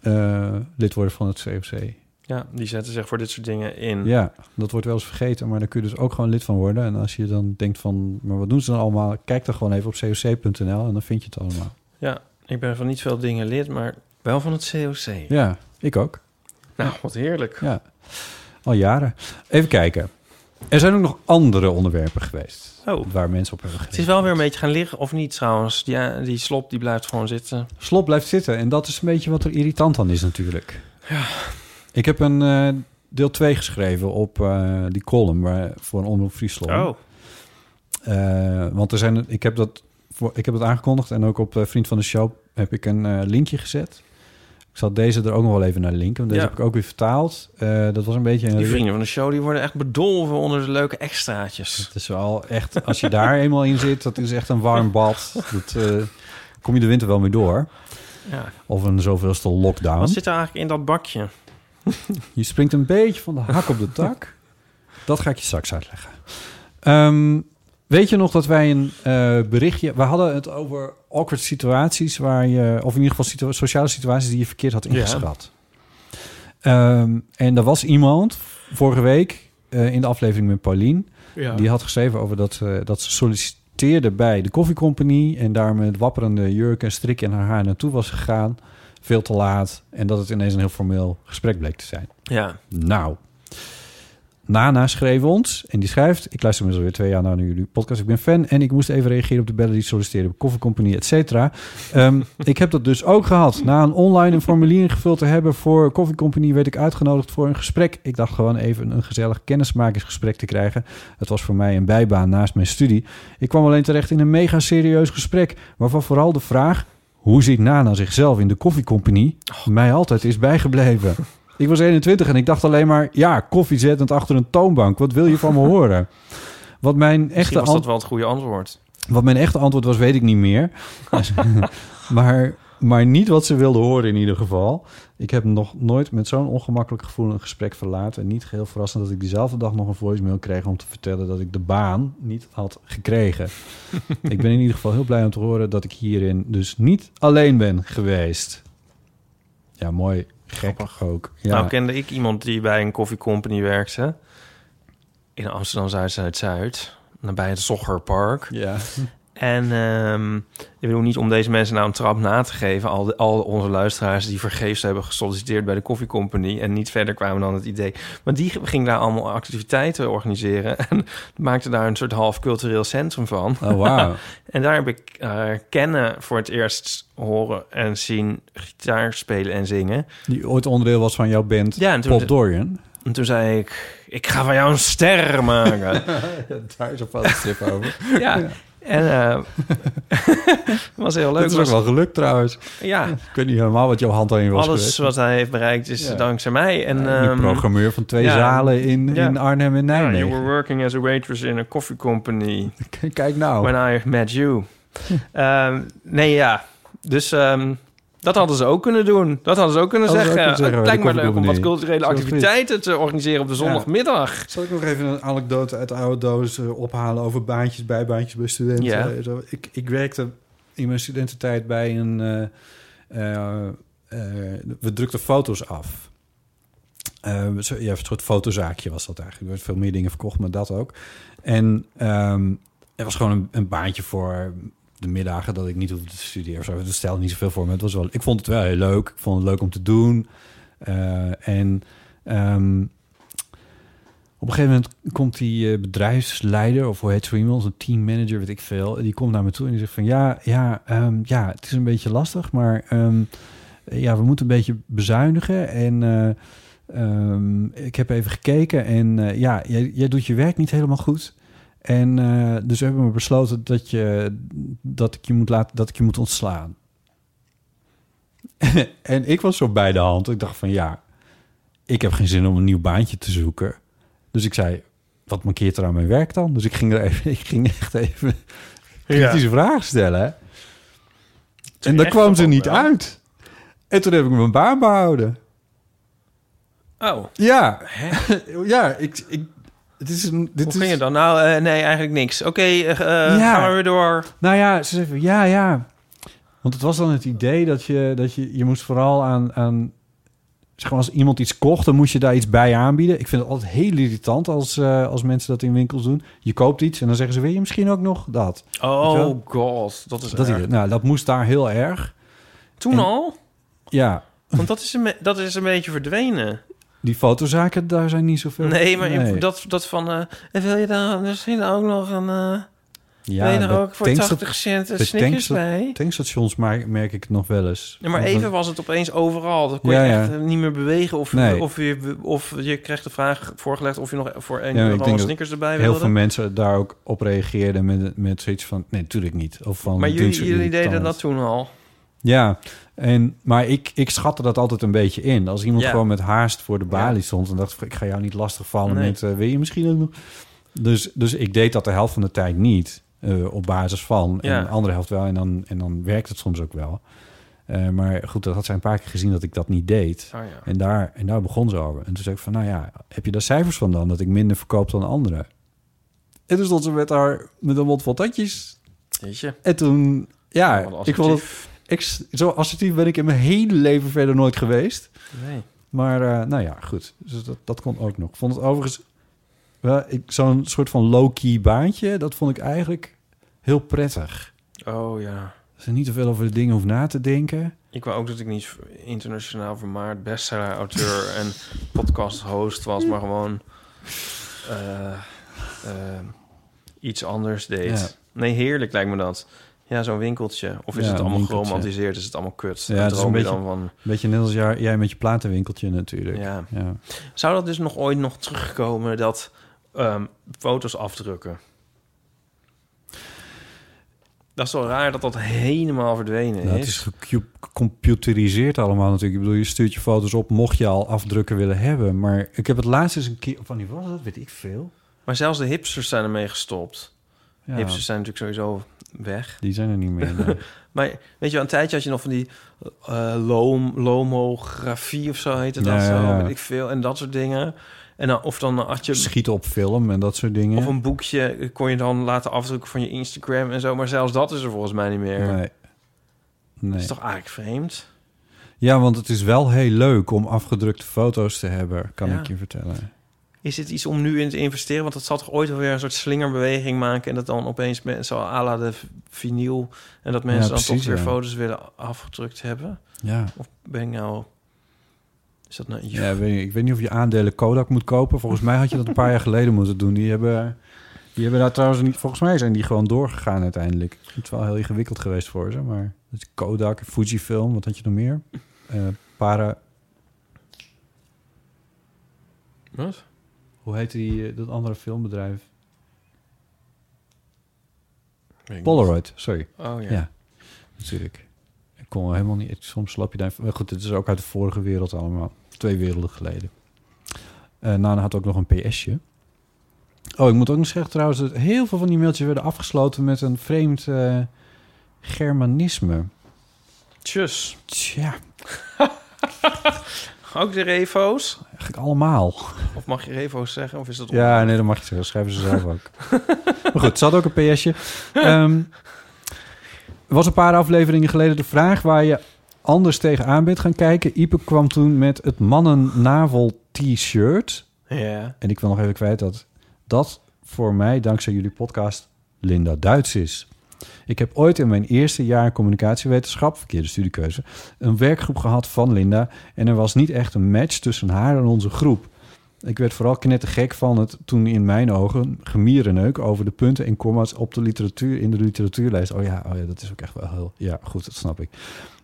eh, lid worden van het COC.
Ja, die zetten zich voor dit soort dingen in.
Ja, dat wordt wel eens vergeten, maar daar kun je dus ook gewoon lid van worden. En als je dan denkt van, maar wat doen ze dan allemaal? Kijk dan gewoon even op coc.nl en dan vind je het allemaal.
Ja, ik ben van niet veel dingen lid, maar wel van het COC.
Ja, ik ook.
Nou, wat heerlijk.
Ja, al jaren. Even kijken. Er zijn ook nog andere onderwerpen geweest
Oh.
waar mensen op hebben
Het is
gereageerd.
wel weer een beetje gaan liggen, of niet trouwens. Die, die slop die blijft gewoon zitten.
Slop blijft zitten en dat is een beetje wat er irritant aan is natuurlijk. Ik heb een eh, deel 2 geschreven op eh, die column waar, voor een omroep Friesland.
Oh.
Eh, want er zijn, ik, heb dat voor, ik heb dat aangekondigd en ook op eh, Vriend van de Show heb ik een eh, linkje gezet. Ik zal deze er ook nog wel even naar linken, want deze
Ja.
heb ik ook weer vertaald. Eh, dat was een beetje een...
Die vrienden van de show die worden echt bedolven onder de leuke extraatjes.
Het is wel echt, als je daar eenmaal in zit, dat is echt een warm bad. Dat eh, kom je de winter wel mee door.
Ja.
Of een zoveelste lockdown.
Wat zit er eigenlijk in dat bakje?
Je springt een beetje van de hak op de tak. Dat ga ik je straks uitleggen. Ehm, weet je nog dat wij een eh, berichtje... We hadden het over awkward situaties waar je... Of in ieder geval situa- sociale situaties die je verkeerd had ingeschat. Ehm, en er was iemand vorige week eh, in de aflevering met Paulien... Die had geschreven over dat, eh, dat ze solliciteerde bij de koffiecompagnie... en daar met wapperende jurk en strik in haar haar naartoe was gegaan. Veel te laat. En dat het ineens een heel formeel gesprek bleek te zijn.
Ja.
Nou, Nana schreef ons en die schrijft... Ik luister inmiddels alweer twee jaar naar jullie podcast. Ik ben fan en ik moest even reageren op de bellen die solliciteerden... bij Coffee Company, et cetera. Ehm, ik heb dat dus ook gehad. Na een online een formulier ingevuld te hebben voor Coffee Company... werd ik uitgenodigd voor een gesprek. Ik dacht gewoon even een gezellig kennismakingsgesprek te krijgen. Het was voor mij een bijbaan naast mijn studie. Ik kwam alleen terecht in een mega serieus gesprek... waarvan vooral de vraag... hoe ziet Nana zichzelf in de Coffee Company... mij altijd is bijgebleven. Ik was 21 en ik dacht alleen maar... ja, koffiezettend achter een toonbank. Wat wil je van me horen? Wat mijn
Misschien
echte
was dat
antwoord...
wel het goede antwoord.
Wat mijn echte antwoord was, weet ik niet meer. maar, maar niet wat ze wilde horen in ieder geval. Ik heb nog nooit met zo'n ongemakkelijk gevoel een gesprek verlaten. En niet geheel verrassend dat ik diezelfde dag nog een voicemail kreeg... om te vertellen dat ik de baan niet had gekregen. ik ben in ieder geval heel blij om te horen... dat ik hierin dus niet alleen ben geweest. Ja, mooi. Gek ook. Ja.
Nou kende ik iemand die bij een koffiecompany werkte. In Amsterdam Zuid-Zuid-Zuid. Nabij het Zoggerpark.
Ja.
En ehm, ik bedoel niet om deze mensen nou een trap na te geven. Al, de- al onze luisteraars die vergeefs hebben gesolliciteerd bij de koffiecompany. En niet verder kwamen dan het idee. Maar die ging daar allemaal activiteiten organiseren. En maakte daar een soort half cultureel centrum van.
Oh, wauw.
en daar heb ik eh, kennen voor het eerst horen en zien gitaar spelen en zingen.
Die ooit onderdeel was van jouw band
Ja, en toen-
Pop Dorian.
En toen zei ik, ik ga van jou een ster maken.
Daar is een fotostrip over.
ja. En eh, het was heel leuk.
Dat is ook wel gelukt trouwens.
Ja,
Ik weet niet helemaal wat jouw hand aan je was
alles
geweest.
wat hij heeft bereikt is
Ja.
dankzij mij. En,
Die
ehm,
programmeur van twee
ja.
zalen in,
Ja.
in Arnhem en
ja,
Nijmegen.
you were working as a waitress in a coffee company
Kijk nou.
when I met you. Ehm, nee, ja. Dus ehm, dat hadden ze ook kunnen doen. Dat hadden ze ook kunnen
Hadden ze ook
zeggen.
kunnen zeggen,
het
bij de
lijkt me leuk om
koffiecompany.
wat culturele
Zo goed.
activiteiten te organiseren op de zondagmiddag.
Zal ik nog even een anekdote uit de oude doos eh, ophalen over baantjes, bijbaantjes bij studenten?
Ja.
Eh, zo. Ik, ik werkte in mijn studententijd bij een... eh, eh, eh, we drukten foto's af. Eh, zo- ja, een soort fotozaakje was dat eigenlijk. Er werd veel meer dingen verkocht, maar dat ook. En ehm er was gewoon een, een baantje voor de middagen dat ik niet hoefde te studeren. of zo. Dat stelde niet zoveel voor me. Het was wel, ik vond het wel heel leuk. Ik vond het leuk om te doen. Eh, en ehm, op een gegeven moment komt die eh, bedrijfsleider, of hoe heet zo iemand, een teammanager, weet ik veel, die komt naar me toe en die zegt van ja, ja, ehm, ja, het is een beetje lastig, maar ehm, ja, we moeten een beetje bezuinigen. En eh, ehm, ik heb even gekeken en eh, ja, jij, jij doet je werk niet helemaal goed. En eh, dus hebben we besloten dat, je, dat, ik je moet laten, dat ik je moet ontslaan. en ik was zo bij de hand. Ik dacht van ja, ik heb geen zin om een nieuw baantje te zoeken. Dus ik zei, wat mankeert er aan mijn werk dan? Dus ik ging, er even, ik ging echt even kritische vragen stellen. En daar
echt
kwam ze
wel,
niet
hè?
uit. En toen heb ik mijn baan behouden.
Oh,
Ja, ja ik, ik, het is een, dit
hoe
is,
ging het dan? Nou, eh, nee, eigenlijk niks. Oké, eh, eh, gaan we weer door.
Nou ja, ze zei van, ja, ja. Want het was dan het idee dat je, dat je, je moest vooral aan, aan... Zeg maar, als iemand iets kocht, dan moest je daar iets bij aanbieden. Ik vind het altijd heel irritant als, eh, als mensen dat in winkels doen. Je koopt iets en dan zeggen ze, wil je misschien ook nog dat? Weet je wel?
Oh god, dat is
dat
erg.
hier- nou, dat moest daar heel erg.
Toen
En-
al?
Ja,
Want dat is een, be- dat is een beetje verdwenen.
die fotozaken, daar zijn niet zoveel...
Nee, maar in-
Nee.
Dat, dat van... eh, en wil je daar misschien ook nog een... eh
Ja,
wil je er
bij
ook voor
tankstat-
80 cent een
bij
snickers
tankstat-
bij?
Tankstations ma- merk ik het nog wel eens.
Ja, maar
Want
even
dan-
was het opeens overal. Dan kon
Ja,
je
ja.
echt eh, niet meer bewegen. Of,
Nee.
of, je, of je kreeg de vraag voorgelegd of je nog voor één
Ja, ik
euro
denk dat
snickers erbij
Heel
wilde.
veel mensen daar ook op reageerden met, met zoiets van... Nee, natuurlijk niet. Of van,
maar
"Dit
jullie,
is
jullie deden
irritant."
dat toen al.
Ja, en, maar ik, ik schatte dat altijd een beetje in. Als iemand
Ja.
gewoon met haast voor de balie
Ja.
stond... en dacht ik, ik ga jou niet lastigvallen
Nee.
met... eh, wil je misschien ook nog... Dus, dus ik deed dat de helft van de tijd niet eh, op basis van.
Ja.
En de andere helft wel. En dan, en dan werkt het soms ook wel. Eh, maar goed, dat had zij een paar keer gezien dat ik dat niet deed.
Oh, ja.
En daar, en daar begon ze over. En toen zei ik van, nou ja, heb je daar cijfers van dan? Dat ik minder verkoop dan anderen? En toen stond ze met haar, met een mond vol tandjes.
Weet je?
En toen, ja,
Wat
ik vond het
assertief.
ik, zo assertief ben ik in mijn hele leven verder nooit geweest.
Nee.
Maar eh, nou ja, goed. Dus dat, dat kon ook nog. Ik vond het overigens... wel, ik- Zo'n soort van low-key baantje, dat vond ik eigenlijk heel prettig.
Oh ja.
Dat je niet te veel over de dingen hoeft na te denken.
Ik wou ook dat ik niet internationaal vermaard bestseller-auteur en podcast-host was, maar gewoon eh, eh, iets anders deed.
Ja.
Nee, heerlijk lijkt me dat. Ja, zo'n winkeltje. Of is
Ja,
het
een
allemaal
winkeltje.
geromantiseerd? Is het allemaal kut?
Ja,
Dan
het is
droom
een
je
beetje-
dan van.
Beetje net als jij, jij met je platenwinkeltje natuurlijk.
Ja.
Ja.
Zou dat dus nog ooit nog terugkomen dat ehm, foto's afdrukken? Dat is wel raar dat dat helemaal verdwenen
Nou, het is
is.
gecomputeriseerd allemaal natuurlijk. Ik bedoel, je stuurt je foto's op mocht je al afdrukken willen hebben. Maar ik heb het laatst eens een keer... Van die was dat? Weet ik veel.
Maar zelfs de hipsters zijn ermee gestopt.
Ja,
Hipsters zijn natuurlijk sowieso weg.
Die zijn er niet meer. eh, nee.
Maar weet je, wel, een tijdje had je nog van die eh loom, lomografie of zo heette dat
Ja,
zo,
ja, ja.
weet ik veel. En dat soort dingen. En dan, of dan had je...
Schieten op film en dat soort dingen.
Of een boekje kon je dan laten afdrukken van je Instagram en zo. Maar zelfs dat is er volgens mij niet meer.
Nee.
Dat is
nee.
toch eigenlijk vreemd?
Ja, want het is wel heel leuk om afgedrukte foto's te hebben, kan
Ja.
ik je vertellen.
Is het iets om nu in te investeren? Want dat zal toch ooit wel weer een soort slingerbeweging maken... en dat dan opeens mensen à la de v- vinyl... en dat mensen
Ja,
dan
precies,
toch weer
ja.
foto's willen afgedrukt hebben?
Ja.
Of ben ik nou... Is dat nou... iets?
Ja, ik weet niet, ik weet niet of je aandelen Kodak moet kopen. Volgens mij had je dat een paar jaar geleden moeten doen. Die hebben, die hebben daar trouwens niet... Volgens mij zijn die gewoon doorgegaan uiteindelijk. Het is wel heel ingewikkeld geweest voor ze, maar... Dat is Kodak, Fujifilm, wat had je nog meer? Eh, para...
Wat?
Hoe heette die, eh, dat andere filmbedrijf?
Weet ik
Polaroid, sorry.
niet. Oh ja.
Ja. Natuurlijk. Ik kon helemaal niet... ik- Soms slap je daar... Maar goed, het is ook uit de vorige wereld allemaal. Twee werelden geleden. Eh Nana had ook nog een PSje. Oh, ik moet ook nog zeggen trouwens... dat heel veel van die mailtjes werden afgesloten... met een vreemd eh, germanisme.
Tjus.
Tja,
Ook de revo's?
eigenlijk allemaal.
Of mag je revo's zeggen? Of is dat...
Ja, nee, dat mag je zeggen. Dat Schrijven ze zelf ook. maar goed, ze had ook een PSje. Ehm, er was een paar afleveringen geleden de vraag waar je anders tegenaan bent gaan kijken. Ipe kwam toen met het mannennavel-t-shirt.
Ja.
En ik wil nog even kwijt dat dat voor mij, dankzij jullie podcast, Linda Duits is. Ik heb ooit in mijn eerste jaar communicatiewetenschap, verkeerde studiekeuze, een werkgroep gehad van Linda. En er was niet echt een match tussen haar en onze groep. Ik werd vooral knettergek van het toen in mijn ogen gemierenneuk over de punten en comma's op de literatuur in de literatuurlijst. Oh ja, oh ja, dat is ook echt wel heel. Ja, goed, dat snap ik.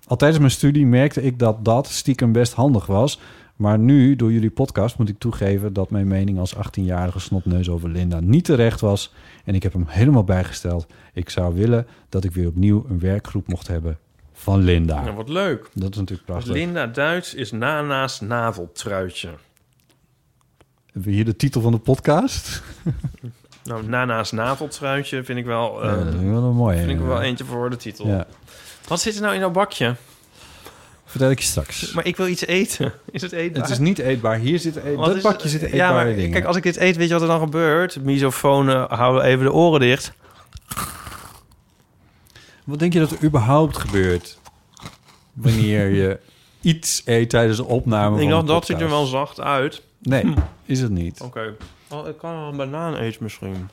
Al tijdens mijn studie merkte ik dat dat stiekem best handig was. Maar nu, door jullie podcast, moet ik toegeven dat mijn mening als 18-jarige snopneus over Linda niet terecht was. En ik heb hem helemaal bijgesteld. Ik zou willen dat ik weer opnieuw een werkgroep mocht hebben van Linda.
Nou, wat leuk.
Dat is natuurlijk prachtig.
Linda Duits is Nana's naveltruitje.
Hebben we hier de titel van de podcast?
Nou, Nana's naveltruitje vind ik wel, eh,
ja, dat vind ik wel een mooie.
vind ik er wel
ja.
eentje voor de titel.
Ja,
Wat zit er nou in dat bakje?
vertel ik je straks.
Maar ik wil iets eten. Is het eten?
het is niet eetbaar. Hier zit eet, dat bakje zit eetbare
Ja, maar
dingen.
kijk, als ik dit eet, weet je wat er dan gebeurt? Misofonen houden even de oren dicht.
Wat denk je dat er überhaupt gebeurt wanneer je iets eet tijdens de opname
ik
van
dacht,
een
dat ziet er wel
podcast?
zacht uit.
Nee, is het niet.
Oké. Oh, ik kan wel een banaan eten misschien.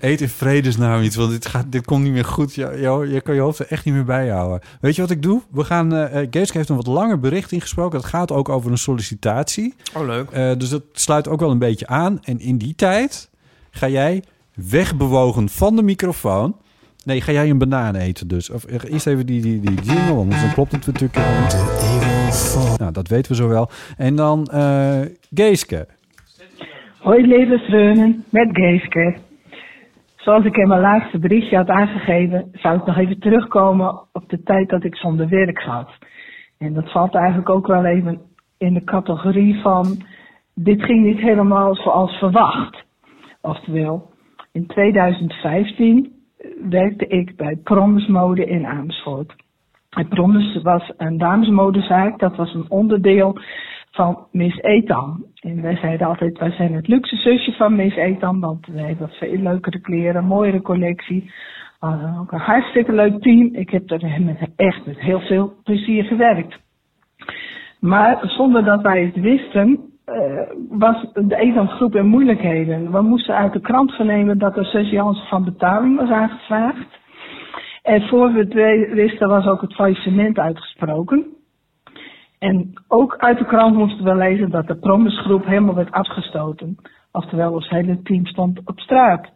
Eet in vredesnaam iets, want dit, gaat, dit komt niet meer goed. Je, je, je kan je hoofd er echt niet meer bij houden. Weet je wat ik doe? We gaan, eh eh, Geeske heeft een wat langer bericht ingesproken. Het gaat ook over een sollicitatie.
Oh, leuk.
Eh, dus dat sluit ook wel een beetje aan. En in die tijd ga jij wegbewogen van de microfoon. Nee, ga jij een banaan eten dus? Of eh, eerst even die, die, die jingle, anders dan klopt het natuurlijk al niet. Nou, dat weten we zo wel. En dan eh Geeske.
Hoi lieve Freunen, met Geeske. Zoals ik in mijn laatste berichtje had aangegeven, zou ik nog even terugkomen op de tijd dat ik zonder werk zat. En dat valt eigenlijk ook wel even in de categorie van, dit ging niet helemaal zoals verwacht. Oftewel, in 2015 werkte ik bij Promis Mode in Amersfoort. En Promis was een damesmodezaak, dat was een onderdeel van Miss Etam. En wij zeiden altijd, wij zijn het luxe zusje van Miss Etam, want wij hebben veel leukere kleren, mooiere collectie. We hadden ook een hartstikke leuk team. Ik heb er met- echt met heel veel plezier gewerkt. Maar zonder dat wij het wisten, eh, was de ETAM-groep in moeilijkheden. We moesten uit de krant vernemen dat er surveillance van betaling was aangevraagd. En voor we het we- wisten was ook het faillissement uitgesproken. En ook uit de krant moesten we lezen dat de promisgroep helemaal werd afgestoten. Oftewel, ons hele team stond op straat.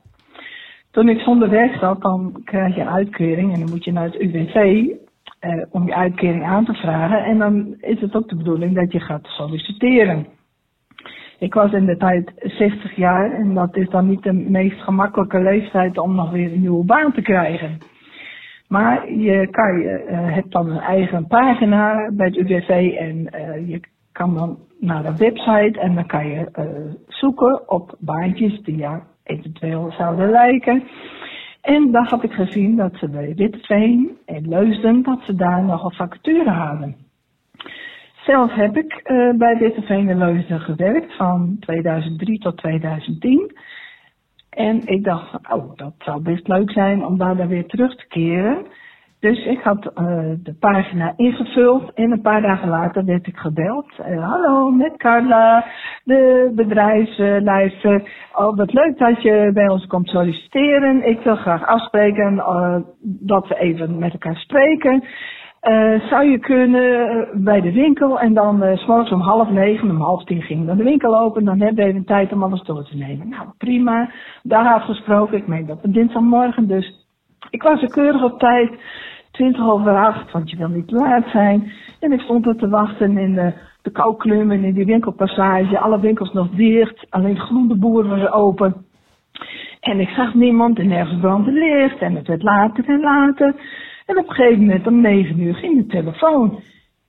Toen ik zonder werk zat, dan krijg je een uitkering en dan moet je naar het UWV eh, om je uitkering aan te vragen. En dan is het ook de bedoeling dat je gaat solliciteren. Ik was in de tijd 60 jaar en dat is dan niet de meest gemakkelijke leeftijd om nog weer een nieuwe baan te krijgen. Maar je, kan, je eh, hebt dan een eigen pagina bij het UWV en eh, je kan dan naar een website en dan kan je eh, zoeken op baantjes die jou eventueel zouden lijken. En daar had ik gezien dat ze bij Witteveen en Leusden, dat ze daar nogal vacature hadden. Zelf heb ik eh, bij Witteveen en Leusden gewerkt van 2003 tot 2010. En ik dacht, van, oh, dat zou best leuk zijn om daar dan weer terug te keren. Dus ik had eh, de pagina ingevuld en een paar dagen later werd ik gebeld. Eh, Hallo, met Carla, de bedrijfsleider. Oh, wat leuk dat je bij ons komt solliciteren. Ik wil graag afspreken eh, dat we even met elkaar spreken. Eh, zou je kunnen eh, bij de winkel en dan eh, s s'morgens om half negen, om half tien ging dan de winkel open. Dan hebben we even tijd om alles door te nemen. Nou, prima. Daar afgesproken. Ik meen dat op dinsdagmorgen, dus ik was er keurig op tijd, 20 over acht, want je wil niet te laat zijn. En ik stond er te wachten in de, de kouklum en in die winkelpassage. Alle winkels nog dicht, alleen groene boeren was open. En ik zag niemand en nergens brandde licht en het werd later en later. En op een gegeven moment om negen uur ging de telefoon.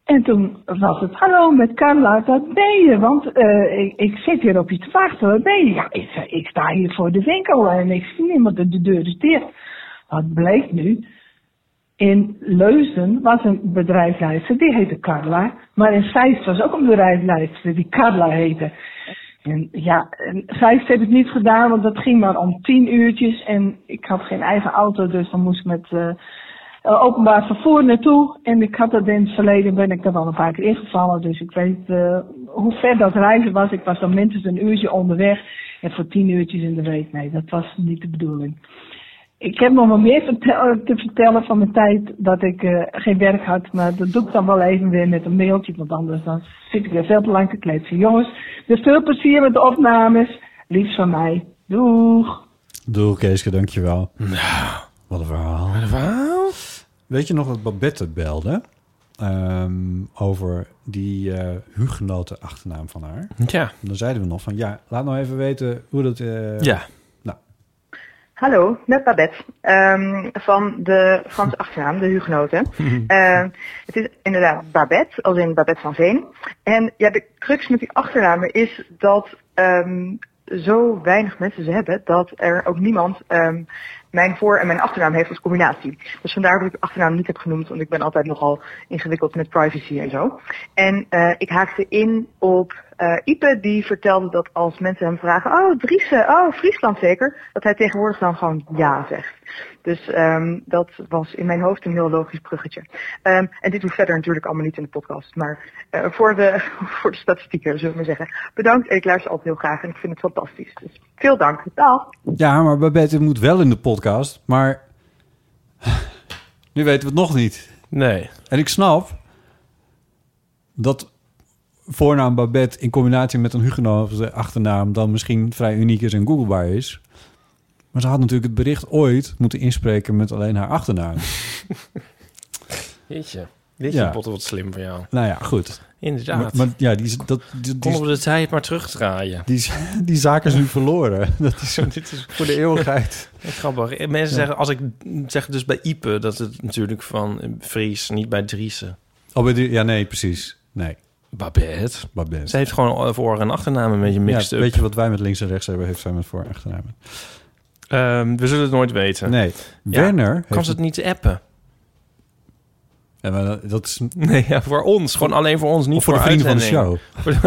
En toen was het, hallo met Carla, waar ben je? Want eh, ik, ik zit hier op je te wachten, waar ben je? Ja, ik, zei, ik sta hier voor de winkel en ik zie niemand en de deur is dicht. Wat bleek nu? In Leusden was een bedrijfsleider, die heette Carla. Maar in Zeist was ook een bedrijfsleider die Carla heette. En ja, en Zeist heeft het niet gedaan, want dat ging maar om tien uurtjes. En ik had geen eigen auto, dus dan moest ik met eh, eh, openbaar vervoer naartoe. En ik had dat in het verleden, ben ik daar wel een paar keer ingevallen. Dus ik weet eh, hoe ver dat reizen was. Ik was dan minstens een uurtje onderweg. En voor tien uurtjes in de week, nee, dat was niet de bedoeling. Ik heb nog wel meer vertel- te vertellen van mijn tijd dat ik eh, geen werk had. Maar dat doe ik dan wel even weer met een mailtje. Want anders dan zit ik weer veel te lang te kletsen. Jongens, dus veel plezier met de opnames. Liefst van mij. Doeg!
Doe Keeske, dankjewel. Nou. Wat een verhaal. Weet je nog dat Babette belde? Ehm, over die eh hugenoten achternaam van haar.
Ja.
En dan zeiden we nog van, ja, laat nou even weten hoe dat... eh,
Ja.
Hallo, met Babette ehm, van de Franse achternaam, de Hugenoten. Eh, het is inderdaad Babette, als in Babette van Veen. En ja, de crux met die achternamen is dat ehm, zo weinig mensen ze hebben... dat er ook niemand ehm, mijn voor- en mijn achternaam heeft als combinatie. Dus vandaar dat ik de achternaam niet heb genoemd... want ik ben altijd nogal ingewikkeld met privacy en zo. En eh, ik haakte in op eh, Ipe, die vertelde dat als mensen hem vragen... oh, Driessen, oh, Friesland zeker... dat hij tegenwoordig dan gewoon ja zegt. Dus ehm, dat was in mijn hoofd een heel logisch bruggetje. Ehm, en dit hoeft verder natuurlijk allemaal niet in de podcast. Maar eh, voor, de, voor de statistieken, zullen we maar zeggen. Bedankt, en ik luister altijd heel graag en ik vind het fantastisch. Dus veel dank. Dag.
Ja, maar Babette moet wel in de podcast, maar nu weten we het nog niet.
Nee.
En ik snap dat voornaam Babette in combinatie met een hugenoten achternaam dan misschien vrij uniek is en googlebaar is. Maar ze had natuurlijk het bericht ooit moeten inspreken met alleen haar achternaam.
Jeetje. Dit
Ja.
is potten wat slim van jou.
nou ja, goed.
Inderdaad.
Maar, maar ja, die, is- dat, die, die,
Konden
die,
we de tijd maar terugdraaien.
is- die zaak is nu verloren. Dat is
Dit is
voor de eeuwigheid.
grappig. Mensen zeggen, als ik zeg dus bij Ipe, dat het natuurlijk van Fries, niet bij Driessen.
Oh, maar die- ja, nee, precies. Nee,
Babette.
Babette.
Ze heeft gewoon voor- en achternaam een beetje mixed
ja,
up.
Weet je wat wij met links en rechts hebben, heeft zij met voor- en achternamen.
Ehm, we zullen het nooit weten.
Nee,
Ja,
Werner... heeft
Kan ze het niet appen?
Ja, maar dat- dat is niet
Nee, ja, voor ons. Gewoon alleen voor ons, niet
voor de vrienden van de show.
Voor de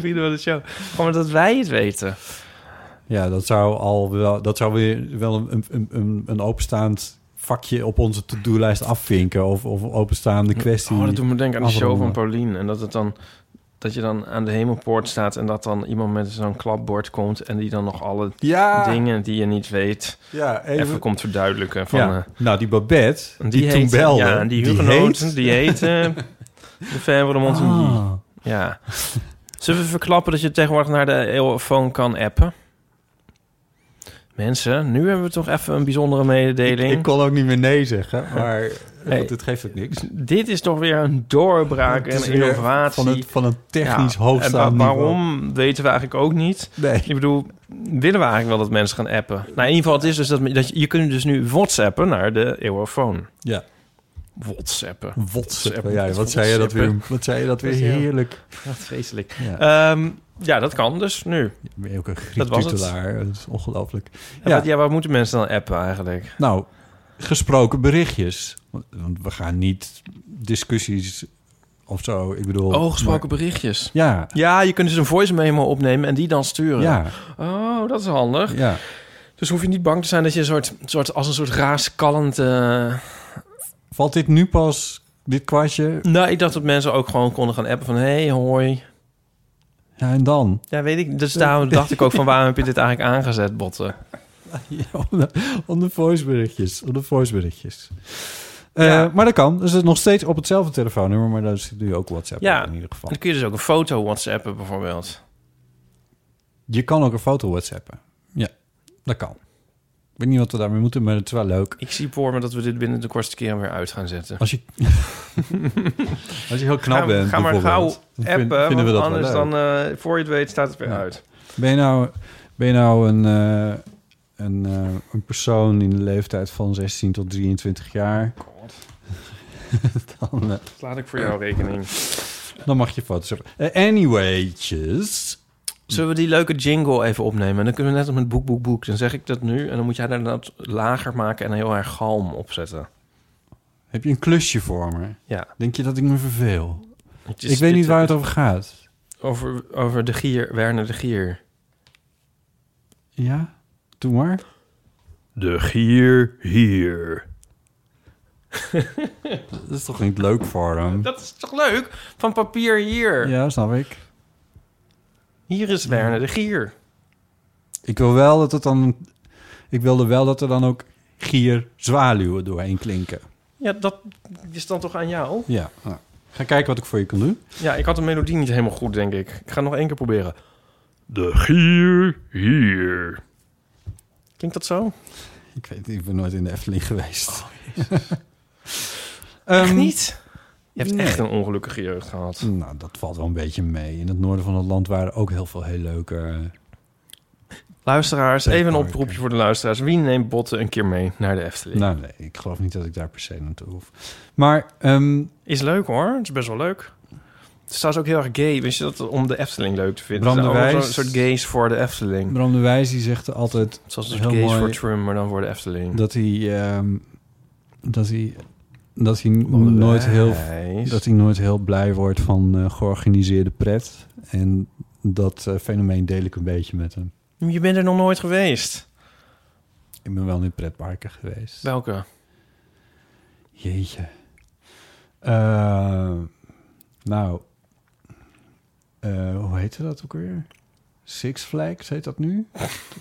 vrienden van de show. Gewoon dat wij het weten.
Ja, dat zou al wel, dat zou weer wel een, een, een, een openstaand vakje op onze to-do-lijst afvinken. Of, of een openstaande kwestie.
Oh, dat doet me denken aan de show van
afronden.
Pauline. En dat het dan dat je dan aan de hemelpoort staat en dat dan iemand met zo'n klapbord komt en die dan nog alle
Ja,
dingen die je niet weet
ja, even.
even, komt verduidelijken. Van,
ja.
eh,
nou, die Babette, die,
heet-
toen belde,
Ja, en die hugenoten, die heten de Fèvre de Montigny.
Ah,
Ja. Zullen we verklappen dat je tegenwoordig naar de eeuwfoon kan appen? Mensen, nu hebben we toch even een bijzondere mededeling.
Ik kon ook niet meer nee zeggen, maar
Nee.
goed, het geeft ook niks.
Dit is toch weer een doorbraak
Het is
en
weer
innovatie.
Van, het, van een technisch
Ja,
hoogstaand
en wa-
niveau.
Waarom weten we eigenlijk ook niet.
Nee.
Ik bedoel, willen we eigenlijk wel dat mensen gaan appen? Nou, in ieder geval, het is dus dat, me- dat je, je kunt dus nu whatsappen naar de Eurofoon.
Ja.
Whatsappen.
Wotsappen. Ja, wat zei je dat weer, wat zei je dat weer heerlijk.
Wat vreselijk.
Ja.
Ja. Ehm, ja, dat kan dus nu.
Ben je ook een
Dat was het.
griektutelaar? Dat is ongelooflijk.
Ja. Wat, ja, waar moeten mensen dan appen eigenlijk?
Nou, gesproken berichtjes. Want- Want we gaan niet discussies of zo. Ik bedoel.
Oh, gesproken berichtjes.
maar- ja,
Ja, je kunt dus een voice memo opnemen en die dan sturen.
ja,
Oh, dat is handig.
ja.
Dus hoef je niet bang te zijn dat je een soort, soort als een soort raaskallend... eh,
Valt dit nu pas, dit kwartje?
Nou, ik dacht dat mensen ook gewoon konden gaan appen van... hey, hoi.
Ja, en dan?
Ja, weet ik. Dus daarom dacht ik ook van... waarom heb je dit eigenlijk aangezet, Botten?
Ja, om de- om de voiceberichtjes. Om de voiceberichtjes.
Ja.
Eh, maar dat kan. Dus het is nog steeds op hetzelfde telefoonnummer, maar daar zit nu ook WhatsApp
Ja.
in ieder geval.
Dan kun je dus ook een foto whatsappen bijvoorbeeld.
Je kan ook een foto whatsappen. Ja, dat kan. Ik weet niet wat we daarmee moeten, maar het is wel leuk.
Ik zie voor me dat we dit binnen de kortste keer weer uit gaan zetten.
Als je, als je heel knap
Ga,
bent,
ga maar gauw
bijvoorbeeld,
appen,
dan vind-
want
vinden we dat wel
anders
leuk.
dan... eh, voor je het weet staat het weer
Ja.
uit.
Ben je nou, ben je nou een, eh, een, eh, een persoon in de leeftijd van 16 tot 23 jaar? dan, eh,
Dat Dus laat ik voor jouw rekening.
dan mag je foto's hebben. Eh, anywaytjes.
Zullen we die leuke jingle even opnemen? En dan kunnen we net op met boek, boek, boek. Dan zeg ik dat nu en dan moet jij daar dat lager maken en heel erg galm opzetten.
Heb je een klusje voor me?
Ja.
Denk je dat ik me verveel?
Het is-
ik weet
dit-
niet waar het over gaat.
Over, over de gier, Werner de Gier.
Ja? Doe maar.
De gier hier.
Dat is toch niet leuk voor hem?
Dat is toch leuk? Van papier hier.
Ja, snap ik.
Hier is Werner de Gier.
Ik wil wel dat het dan... Ik wilde wel dat er dan ook gier zwaluwen doorheen klinken.
Ja, dat is dan toch aan jou?
Ja. nou, Ga kijken wat ik voor je kan doen.
Ja, ik had de melodie niet helemaal goed, denk ik. Ik ga het nog één keer proberen. De gier hier. Klinkt dat zo?
Ik weet niet, ik ben nooit in de Efteling geweest. Oh,
Echt
Ehm,
niet? Je hebt
nee.
echt een ongelukkige jeugd gehad.
Nou, dat valt wel een beetje mee. In het noorden van het land waren ook heel veel heel leuke...
Luisteraars, even een
Parken.
oproepje voor de luisteraars. Wie neemt Botten een keer mee naar de Efteling?
Nou nee, ik geloof niet dat ik daar per se naartoe hoef. Maar ehm,
Is leuk hoor, het is best wel leuk. Het is trouwens ook heel erg gay, wist je dat, om de Efteling leuk te vinden.
Bram de
Er zijn allemaal
Wijs.
Zo'n soort gays voor de Efteling.
Bram de Wijs die zegt altijd
Zoals een
Heel
soort gays
mooi.
voor Trum, maar dan voor de Efteling.
dat hij... ehm, dat hij... Dat hij
Bram de
nooit heel...
Wijs.
Dat hij nooit heel blij wordt van eh, georganiseerde pret. En dat eh, fenomeen deel ik een beetje met hem.
Je bent er nog nooit geweest.
Ik ben wel in pretparken geweest.
Welke?
Jeetje. Eh, nou, eh, hoe heette dat ook weer? Six Flags heet dat nu?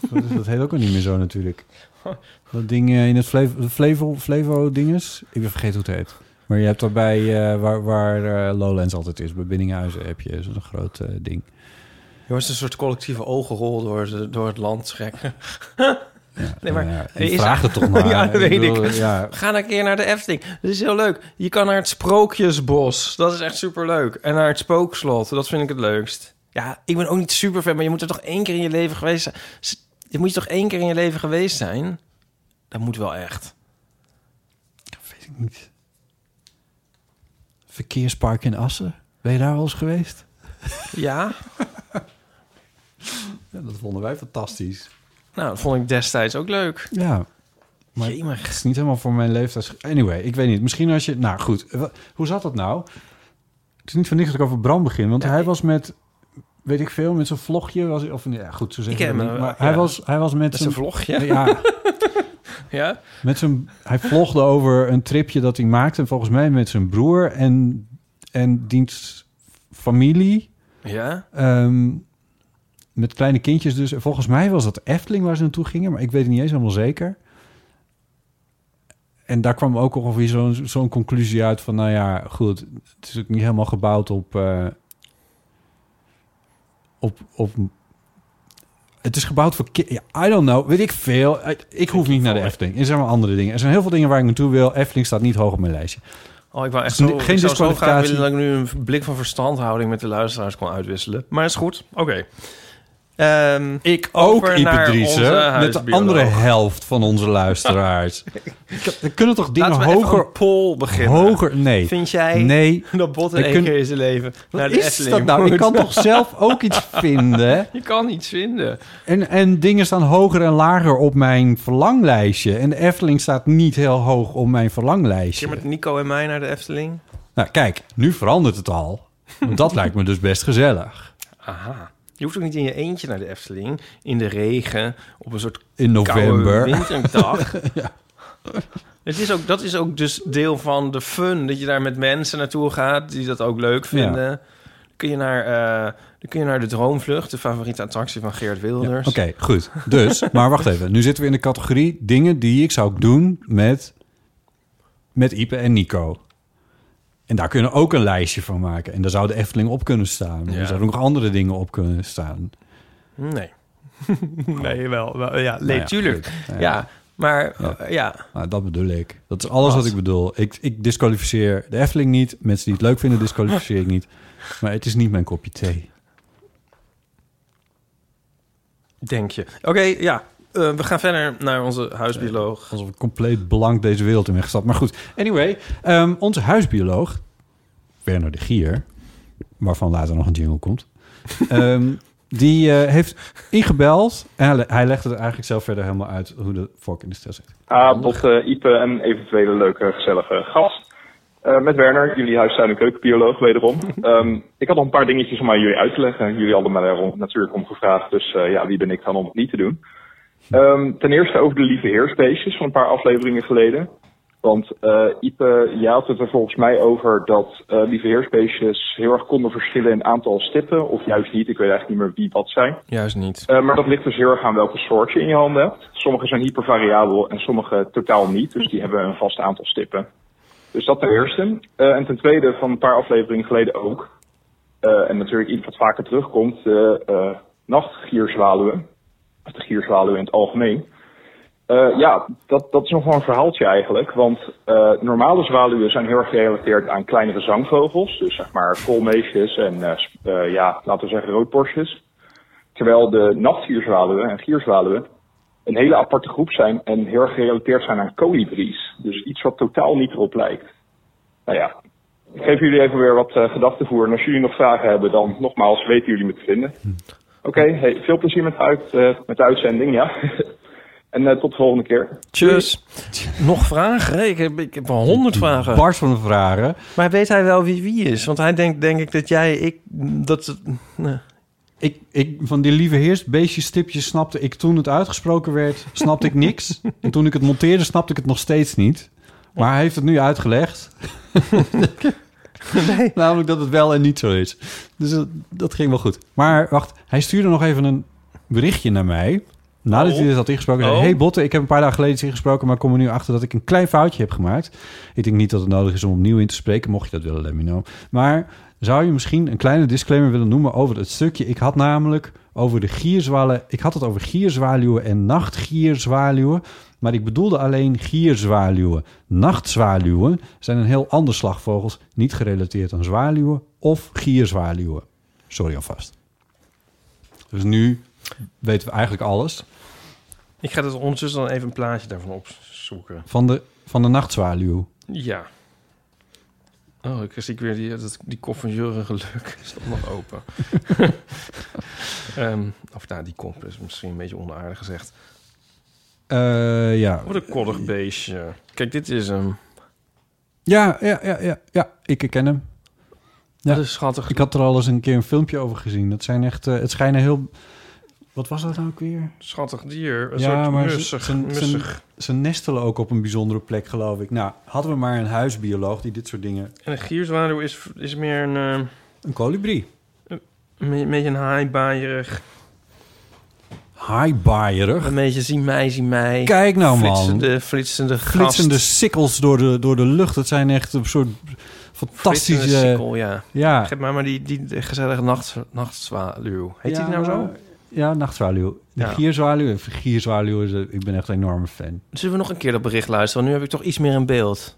dat, is- dat heet ook al niet meer zo natuurlijk. Dat ding eh, in het Flevo, Flevo, Flevo dinges. Ik ben vergeten hoe het heet. Maar je hebt daarbij eh, waar, waar eh, Lowlands altijd is. Bij Biddinghuizen heb je zo'n groot eh, ding.
Je wordt een soort collectieve ogenrol door, de- door het land trekken. nee, maar...
Nou ja,
is-
ik vraag er toch naar.
Ja, dat weet ik.
Ja,
Ga nou een keer naar de Efteling. Dat is heel leuk. Je kan naar het Sprookjesbos. Dat is echt superleuk. En naar het Spookslot. Dat vind ik het leukst. Ja, ik ben ook niet super fan, maar je moet er toch één keer in je leven geweest zijn. S- Je moet toch één keer in je leven geweest zijn? Dat moet wel echt.
weet ik niet. Verkeerspark in Assen. Ben je daar wel eens geweest?
Ja?
Ja, dat vonden wij fantastisch.
Nou, dat vond ik destijds ook leuk.
Ja, Maar-
Jemig.
het is niet helemaal voor mijn leeftijd. Anyway, ik weet niet. Misschien als je... Nou goed, Eh, wa- hoe zat dat nou? Het is niet van niks dat ik over Bram begin. Want hij was met, weet ik veel, met zo'n vlogje. Was, hij- of ja, goed, zo
Ik
zeggen we
ken
dat niet.
hem,
Maar
ja.
hij, was, hij was met
Dat is een
zijn...
vlogje.
Ja,
Ja?
met zijn, hij vlogde over een tripje dat hij maakte. Volgens mij met zijn broer en, en diens familie.
Ja?
Ehm, met kleine kindjes dus. En volgens mij was dat Efteling waar ze naartoe gingen, maar ik weet het niet eens helemaal zeker. En daar kwam ook ongeveer zo'n zo'n conclusie uit van, nou ja, goed, het is ook niet helemaal gebouwd op, eh, op, op Het is gebouwd voor ki- Ja, I don't know. Weet ik veel. Ik, ik hoef niet naar de Efteling. Er zijn maar andere dingen. Er zijn heel veel dingen waar ik naartoe wil. Efteling staat niet hoog op mijn lijstje.
Oh, ik wou echt
Dus
zo,
ni- geen
ik zou zo graag
disqualificatie.
willen dat ik nu een blik van verstandhouding met de luisteraars kon uitwisselen. Maar is goed. Oké. Ehm,
Ik ook,
over naar onze
Ipedrice. Met de
huisbioloog.
andere helft van onze luisteraars. Er kunnen toch dingen
Laten we even
hoger...
een poll beginnen.
Hoger... Nee.
Vind jij
Nee.
dat Botten
We
één
kunnen-
keer in zijn leven naar
Wat
de
is
Efteling
dat nou? Ik
moet?
kan toch zelf ook iets vinden?
Je kan iets vinden.
En, en dingen staan hoger en lager op mijn verlanglijstje. En de Efteling staat niet heel hoog op mijn verlanglijstje.
Keer met Nico en mij naar de Efteling.
Nou, kijk, nu verandert het al. Want dat lijkt me dus best gezellig.
Aha. Je hoeft ook niet in je eentje naar de Efteling. In de regen, op een soort
In november.
koude winterdag. Het is ook, dat is ook dus deel van de fun. Dat je daar met mensen naartoe gaat die dat ook leuk vinden. Kun je naar, eh, dan kun je naar de Droomvlucht, de favoriete attractie van Geert
Ja,
Wilders.
Oké, goed. Dus, maar wacht even. Nu zitten we in de categorie dingen die ik zou doen met, met Ipe en Nico. En daar kunnen we ook een lijstje van maken. En daar zou de Efteling op kunnen staan.
Ja.
Er zouden ook nog andere dingen op kunnen staan.
Nee. nee, wel. wel, ja, nee,
Nou ja,
tuurlijk.
goed.
Ja,
Nou
maar eh, ja.
Nou, dat bedoel ik. Dat is alles wat, ik bedoel. Ik, ik disqualificeer de Efteling niet. Mensen die het leuk vinden, disqualificeer ik niet. Maar het is niet mijn kopje thee.
Denk je. Oké, ja. Eh, we gaan verder naar onze huisbioloog.
Alsof ik compleet blank deze wereld in weg zat. Maar goed, anyway. ehm, onze huisbioloog, Werner de Gier... waarvan later nog een jingle komt... ehm, die eh, heeft ingebeld... en hij, le- hij legde het eigenlijk zelf verder helemaal uit... hoe de vork in de stijl zit.
Ah, tot eh, Ipe en eventuele leuke, gezellige gast. Eh, met Werner, jullie huistuin- en keukenbioloog wederom. Ehm, ik had nog een paar dingetjes om aan jullie uit te leggen. Jullie hadden me daar om- natuurlijk om gevraagd, dus eh, ja, wie ben ik dan om het niet te doen? Ehm, ten eerste over de lieve heersbeestjes van een paar afleveringen geleden. Want eh, Ipe, jij had het er volgens mij over dat eh, lieve heersbeestjes heel erg konden verschillen in aantal stippen. Of juist niet, ik weet eigenlijk niet meer wie wat zijn.
Juist niet.
Eh, maar dat ligt dus heel erg aan welke soort je in je handen hebt. Sommige zijn hypervariabel en sommige totaal niet. Dus die hebben een vast aantal stippen. Dus dat ten eerste. Eh, en ten tweede, van een paar afleveringen geleden ook. eh, en natuurlijk iets wat vaker terugkomt. de eh nachtgierzwaluwen. Of de gierzwaluwen in het algemeen. Eh, ja, dat, dat is nog wel een verhaaltje eigenlijk. Want eh, normale zwaluwen zijn heel erg gerelateerd aan kleinere zangvogels. Dus zeg maar koolmeesjes en eh, sp- eh, ja, laten we zeggen roodborstjes. Terwijl de nachtgierzwaluwen en gierzwaluwen een hele aparte groep zijn en heel erg gerelateerd zijn aan kolibries. Dus iets wat totaal niet erop lijkt. Nou ja, ik geef jullie even weer wat eh, gedachtenvoer. En als jullie nog vragen hebben, dan nogmaals weten jullie me te vinden. Oké, hey, veel plezier met, de uit, eh, met de uitzending, ja. en eh, tot de volgende keer.
Tjus. Nog vragen? Ik heb, ik heb wel honderd vragen.
Bars van de vragen.
Maar weet hij wel wie wie is? Want hij denkt, denk ik, dat jij, ik, dat... Nee.
Ik, ik, van die lieve heerst, beestjes, stipjes snapte ik toen het uitgesproken werd, snapte ik niks. En toen ik het monteerde, snapte ik het nog steeds niet. Maar hij heeft het nu uitgelegd. Namelijk dat het wel en niet zo is. Dus dat, dat ging wel goed. Maar wacht, hij stuurde nog even een berichtje naar mij. Nadat hij dit had ingesproken. Hij zei,
Oh.
hey Botte, ik heb een paar dagen geleden iets ingesproken... maar kom er nu achter dat ik een klein foutje heb gemaakt. Ik denk niet dat het nodig is om opnieuw in te spreken. Mocht je dat willen, let me know. Maar zou je misschien een kleine disclaimer willen noemen over het stukje? Ik had namelijk over de gierzwalen... Ik had het over gierzwaluwen en nachtgierzwaluwen... maar ik bedoelde alleen gierzwaluwen. Nachtzwaluwen zijn een heel ander slagvogels... niet gerelateerd aan zwaluwen of gierzwaluwen. Sorry alvast. Dus nu weten we eigenlijk alles...
Ik ga dus ondertussen dan even een plaatje daarvan opzoeken.
Van de, van de nachtzwaluw.
Ja. Oh, ik zie ik weer die, dat, die kop van Jurgen Geluk. Is dat nog open? Ehm, of nou, die kop is misschien een beetje onaardig gezegd.
Eh, ja.
Wat een koddig beestje. Kijk, dit is hem.
ja. Ja, ja, ja, ja. Ik herken hem. Ja.
Dat is schattig.
Ik had er al eens een keer een filmpje over gezien. Dat zijn echt... eh, het schijnen heel... Wat was dat nou ook weer?
Schattig dier. Een
ja,
soort
maar ze-
mussig.
ze- ze-
mussig.
ze nestelen ook op een bijzondere plek, geloof ik. Nou, hadden we maar een huisbioloog die dit soort dingen...
En een gierzwaluw is, is meer een, eh,
Een kolibrie.
een beetje een haaibaaierig.
Haaibaaierig.
Een beetje zie mij, zie mij.
Kijk nou, man.
Flitsende, flitsende gast.
Flitsende sikkels door de, door de lucht. Dat zijn echt een soort
Flitsende
fantastische...
sikkel, ja.
Ja.
Geef mij maar die, die de gezellige nacht, nachtzwaluw. Heet die nou zo?
Ja, nachtzwaluw. De
Ja.
gierzwaluw. En gierzwaluw is... een- Ik ben echt een enorme fan.
Zullen we nog een keer dat bericht luisteren? Want nu heb ik toch iets meer in beeld.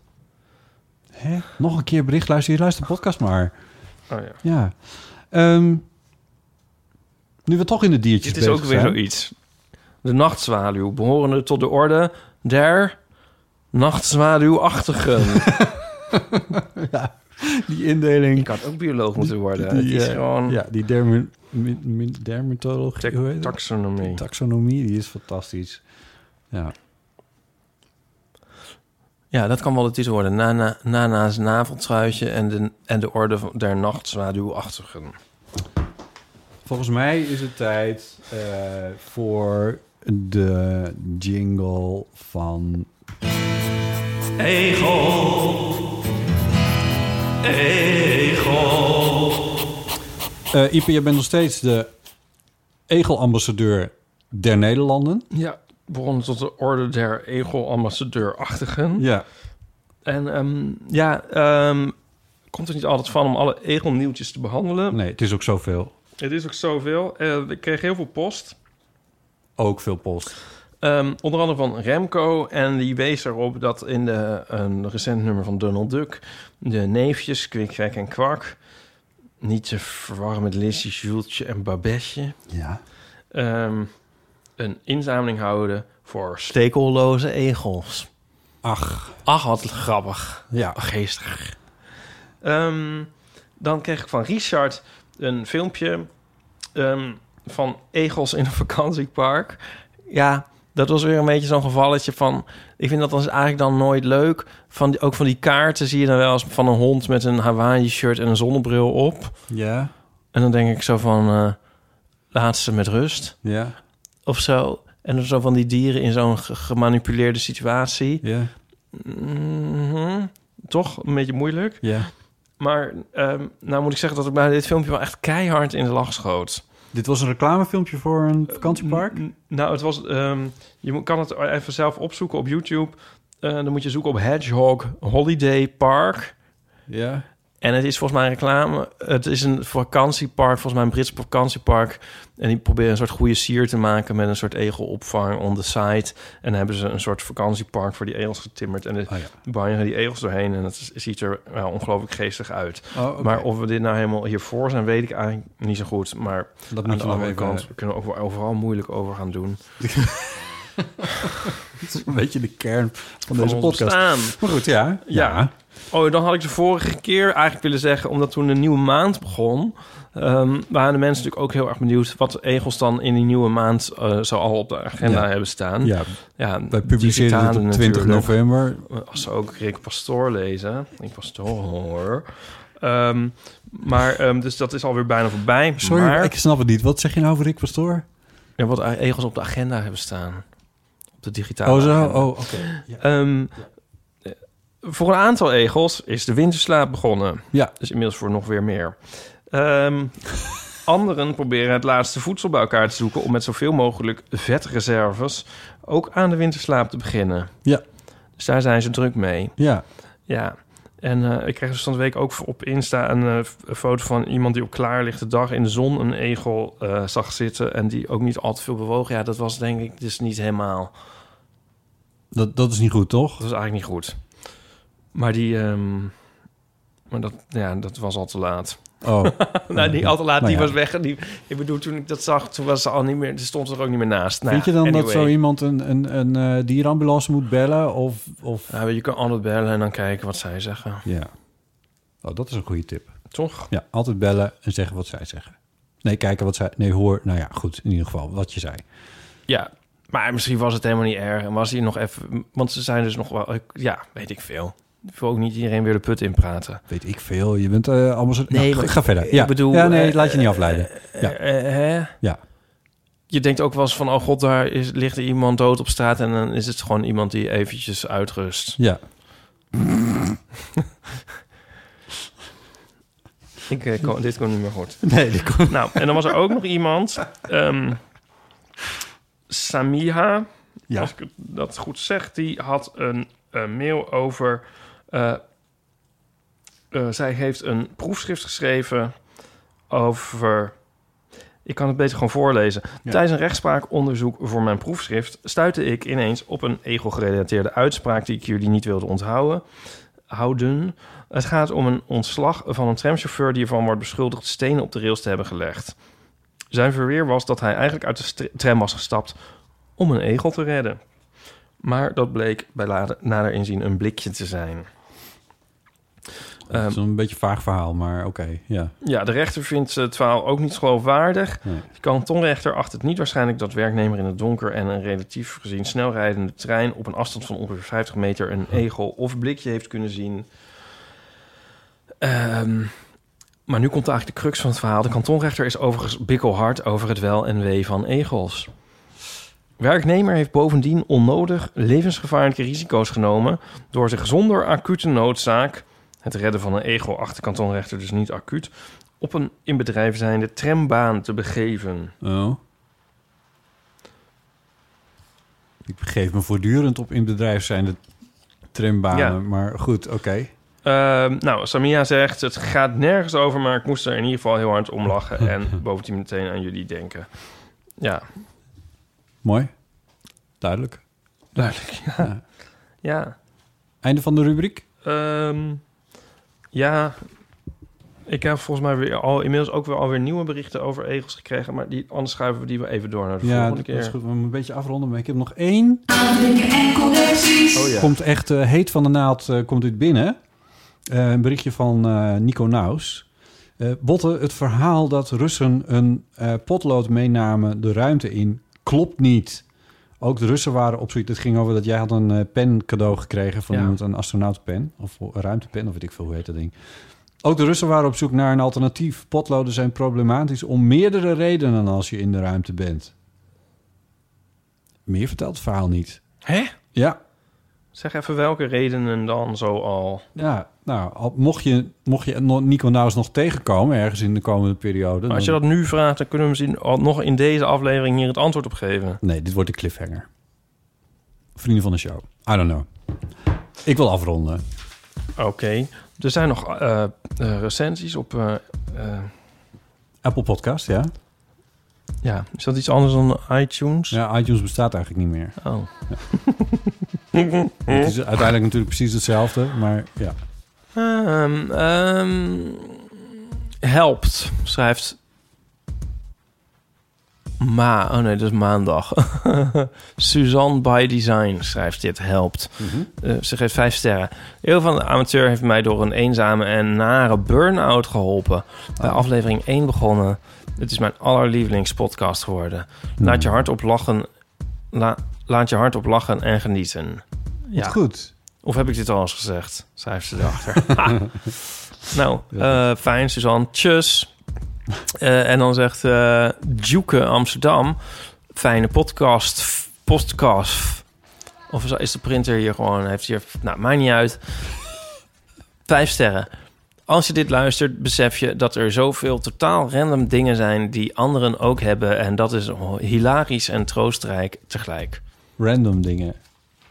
Hè? Nog een keer bericht luisteren. Je luistert de podcast maar.
Oh ja.
Ja. Ehm, nu we toch in de diertjes
Dit is ook
bezig
weer
zijn.
zoiets. De nachtzwaluw, behorende tot de orde der nachtzwaluwachtigen.
Die indeling.
Ik had ook bioloog moeten worden.
Die,
Het is
eh,
gewoon
Ja, die dermen- min- min- dermatologie. hoe heet
ta-
het?
taxonomie.
Taxonomie, die is fantastisch. Ja.
Ja, dat kan wel de titel worden. Nana, Nana's naveltruitje en de, en de orde van- der nachtzwaluwachtigen.
Volgens mij is het tijd eh, voor de jingle van...
Egel. Egel.
Eh Ipe, je bent nog steeds de egelambassadeur der Nederlanden.
Ja, begonnen tot de orde der egelambassadeurachtigen.
Ja.
En ehm, ja, ehm, komt er niet altijd van om alle egelnieuwtjes te behandelen.
Nee, het is ook zoveel.
Het is ook zoveel. Eh ik kreeg heel veel post.
Ook veel post.
Ehm, onder andere van Remco. En die wees erop dat in de, een recent nummer van Donald Duck... de neefjes Kwik, Kwek en Kwak... niet te verwarren met Lissy, Jultje en Babetje...
Ja.
ehm, een inzameling houden voor stekelloze egels.
Ach.
Ach, wat grappig.
Ja.
Geestig. Ehm, dan kreeg ik van Richard een filmpje ehm, van egels in een vakantiepark. Ja, dat was weer een beetje zo'n gevalletje van... Ik vind dat dan is eigenlijk dan nooit leuk. Van die, ook van die kaarten zie je dan wel eens van een hond met een Hawaii-shirt en een zonnebril op.
Ja.
En dan denk ik zo van... eh laat ze met rust.
Ja.
Of zo. En dan zo van die dieren in zo'n ge- gemanipuleerde situatie.
Ja.
Mhm. Toch een beetje moeilijk.
Ja.
Maar ehm, nou moet ik zeggen dat ik bij dit filmpje wel echt keihard in de lach schoot.
Dit was een reclamefilmpje voor een vakantiepark?
Nou, het was, ehm, je moet- kan het even zelf opzoeken op YouTube. Eh, dan moet je zoeken op Hedgehog Holiday Park.
Ja.
En het is volgens mij een reclame. Het is een vakantiepark, volgens mij een Brits vakantiepark. En die proberen een soort goede sier te maken met een soort egelopvang on the site. En dan hebben ze een soort vakantiepark voor die egels getimmerd. En
Oh,
dan banjeren die egels doorheen. En het ziet er wel ongelooflijk geestig uit.
Oh, oké.
Maar of we dit nou helemaal hiervoor zijn, weet ik eigenlijk niet zo goed. Maar
Dat moet
aan de
je nog
andere
even- eh,
kant, we kunnen ook wel overal moeilijk over gaan doen.
Dat is een beetje de kern van,
van
deze
ons
podcast.
bestaan.
Maar goed, ja.
Ja. Oh, dan had ik de vorige keer eigenlijk willen zeggen, omdat toen de nieuwe maand begon, ehm, waren de mensen natuurlijk ook heel erg benieuwd wat de egels dan in die nieuwe maand eh, zo al op de agenda
Ja.
hebben staan.
Ja.
ja
Wij publiceren dit
digitale
op 20
natuurlijk.
november.
Als ze ook Rick Pastoor lezen. Rick Pastoor. Ehm, maar, ehm, dus dat is alweer bijna voorbij.
Sorry,
maar,
ik snap het niet. Wat zeg je nou over Rick Pastoor?
Ja, wat e-, egels op de agenda hebben staan. Op de digitale
Oh, zo?
agenda.
Oh, oké. Ja.
Ehm, eh, Voor een aantal egels is de winterslaap begonnen.
Ja.
Dus inmiddels voor nog weer meer. Ehm, anderen proberen het laatste voedsel bij elkaar te zoeken... om met zoveel mogelijk vetreserves ook aan de winterslaap te beginnen.
Ja.
Dus daar zijn ze druk mee.
Ja.
Ja. En eh, ik kreeg dus van de week ook op Insta een eh, f- een foto van iemand die op klaarlichte dag in de zon een egel eh, zag zitten. En die ook niet al te veel bewoog. Ja, dat was denk ik dus niet helemaal.
Dat, dat is niet goed, toch?
Dat was eigenlijk niet goed. Maar die. ehm, maar dat, ja, dat was al te laat.
Oh.
nou, niet al te laat.
Nou
die
ja.
was weg. En die, ik bedoel, toen ik dat zag, toen was ze al niet meer. Die stond er ook niet meer naast. Nou
Vind je
ja,
dan dat
anyway.
zo iemand een, een, een eh, dierenambulance moet bellen? Of, of...
Ja, je kan altijd bellen en dan kijken wat zij zeggen.
Ja. Oh, dat is een goede tip.
Toch?
Ja, altijd bellen en zeggen wat zij zeggen. Nee, kijken wat zij... Nee, hoor. Nou ja, goed. In ieder geval, wat je zei.
Ja. Maar misschien was het helemaal niet erg. En was hij nog even. Want ze zijn dus nog wel. Ja, weet ik veel. Ik wil ook niet iedereen weer de put in praten.
Weet ik veel. Je bent eh ambassadeur.
Nee,
Nee,
maar
ga verder.
ik
Ja.
bedoel,
ja, nee,
eh,
laat je niet afleiden. Ja.
Eh, eh, hè?
Ja.
Je denkt ook wel eens van: oh god, daar is, ligt er iemand dood op straat. En dan is het gewoon iemand die eventjes uitrust.
Ja.
Ik, eh, kon- dit kon niet meer goed.
Nee, die komt...
Nou, en dan was er ook nog iemand. ehm, Samiha,
Ja.
als ik het- dat goed zeg, die had een, eh, mail over. eh, eh, zij heeft een proefschrift geschreven over. Ik kan het beter gewoon voorlezen.
Ja.
Tijdens een rechtspraakonderzoek voor mijn proefschrift stuitte ik ineens op een ego-gerelateerde uitspraak die ik jullie niet wilde onthouden. Houden. Het gaat om een ontslag van een tramchauffeur die ervan wordt beschuldigd stenen op de rails te hebben gelegd. Zijn verweer was dat hij eigenlijk uit de stra- tram was gestapt om een egel te redden. Maar dat bleek bij lader- nader inzien een blikje te zijn. eh,
Het is een beetje vaag verhaal, maar oké. ja.
Ja, de rechter vindt het verhaal ook niet geloofwaardig.
Nee.
De kantonrechter acht het niet waarschijnlijk dat werknemer in het donker en een relatief gezien snelrijdende trein op een afstand van ongeveer 50 meter een egel of blikje heeft kunnen zien. Ehm, maar nu komt eigenlijk de crux van het verhaal. De kantonrechter is overigens bikkelhard over het wel en wee van egels. Werknemer heeft bovendien onnodig levensgevaarlijke risico's genomen door zich zonder acute noodzaak, het redden van een egel achter kantonrechter dus niet acuut, op een in bedrijf zijnde trambaan te begeven.
Oh. Ik begeef me voortdurend op in bedrijf zijn de trambanen.
Ja.
Maar goed, oké.
Ehm, nou, Samia zegt, het gaat nergens over, maar ik moest er in ieder geval heel hard om lachen en bovendien meteen aan jullie denken. Ja,
Mooi. Duidelijk.
Duidelijk, ja. ja.
Einde van de rubriek.
Ehm, ja, ik heb volgens mij weer al, inmiddels ook weer alweer nieuwe berichten over egels gekregen. Maar die, anders schuiven we die wel even door naar de
Ja,
volgende
dat
keer.
is goed. We moeten een beetje afronden, maar ik heb nog één.
Oh ja.
Komt echt eh, heet van de naald eh, komt dit binnen. Eh, een berichtje van eh, Nico Naus. Eh, Botte, het verhaal dat Russen een eh, potlood meenamen de ruimte in, klopt niet. Ook de Russen waren op zoiets. Het ging over dat jij had een eh, pen cadeau gekregen van
Ja.
iemand, een astronautenpen. Of een ruimtepen, of weet ik veel hoe heet dat ding. Ook de Russen waren op zoek naar een alternatief. Potloden zijn problematisch om meerdere redenen als je in de ruimte bent. Meer vertelt het verhaal niet.
Hè?
Ja,
Zeg even welke redenen dan zo al.
ja, nou, al- mocht je, mocht je no- Nico Nauws nog tegenkomen ergens in de komende periode...
Maar als je
dan-
dat nu vraagt, dan kunnen we misschien al nog in deze aflevering hier het antwoord op geven.
Nee, dit wordt de cliffhanger. Vrienden van de show. I don't know. Ik wil afronden.
Oké, er zijn nog eh, eh, recensies op... eh, eh,
Apple Podcast, ja?
ja, is dat iets anders dan iTunes?
Ja, iTunes bestaat eigenlijk niet meer.
Oh. Hm?
Het is uiteindelijk natuurlijk precies hetzelfde, maar ja.
Ehm, ehm, helpt, schrijft. Ma, oh nee, dat is maandag. Suzanne by Design schrijft dit, helpt. Eh, ze geeft vijf sterren. Heel van de amateur heeft mij door een eenzame en nare burn-out geholpen. Bij aflevering 1 begonnen. Het is mijn allerlievelingspodcast geworden. Laat je hard op lachen. La- laat je hard op lachen en genieten.
Wat goed.
Of heb ik dit al eens gezegd? Schrijft ze erachter. Ha. nou, eh, fijn, Suzanne. Tjus. Eh, en dan zegt eh Juke Amsterdam... Fijne podcast. f- Podcast. Of is- is de printer hier gewoon... Heeft hier, nou, maakt niet uit. Vijf sterren. Als je dit luistert, besef je dat er zoveel totaal random dingen zijn... die anderen ook hebben. En dat is oh, hilarisch en troostrijk tegelijk.
Random dingen.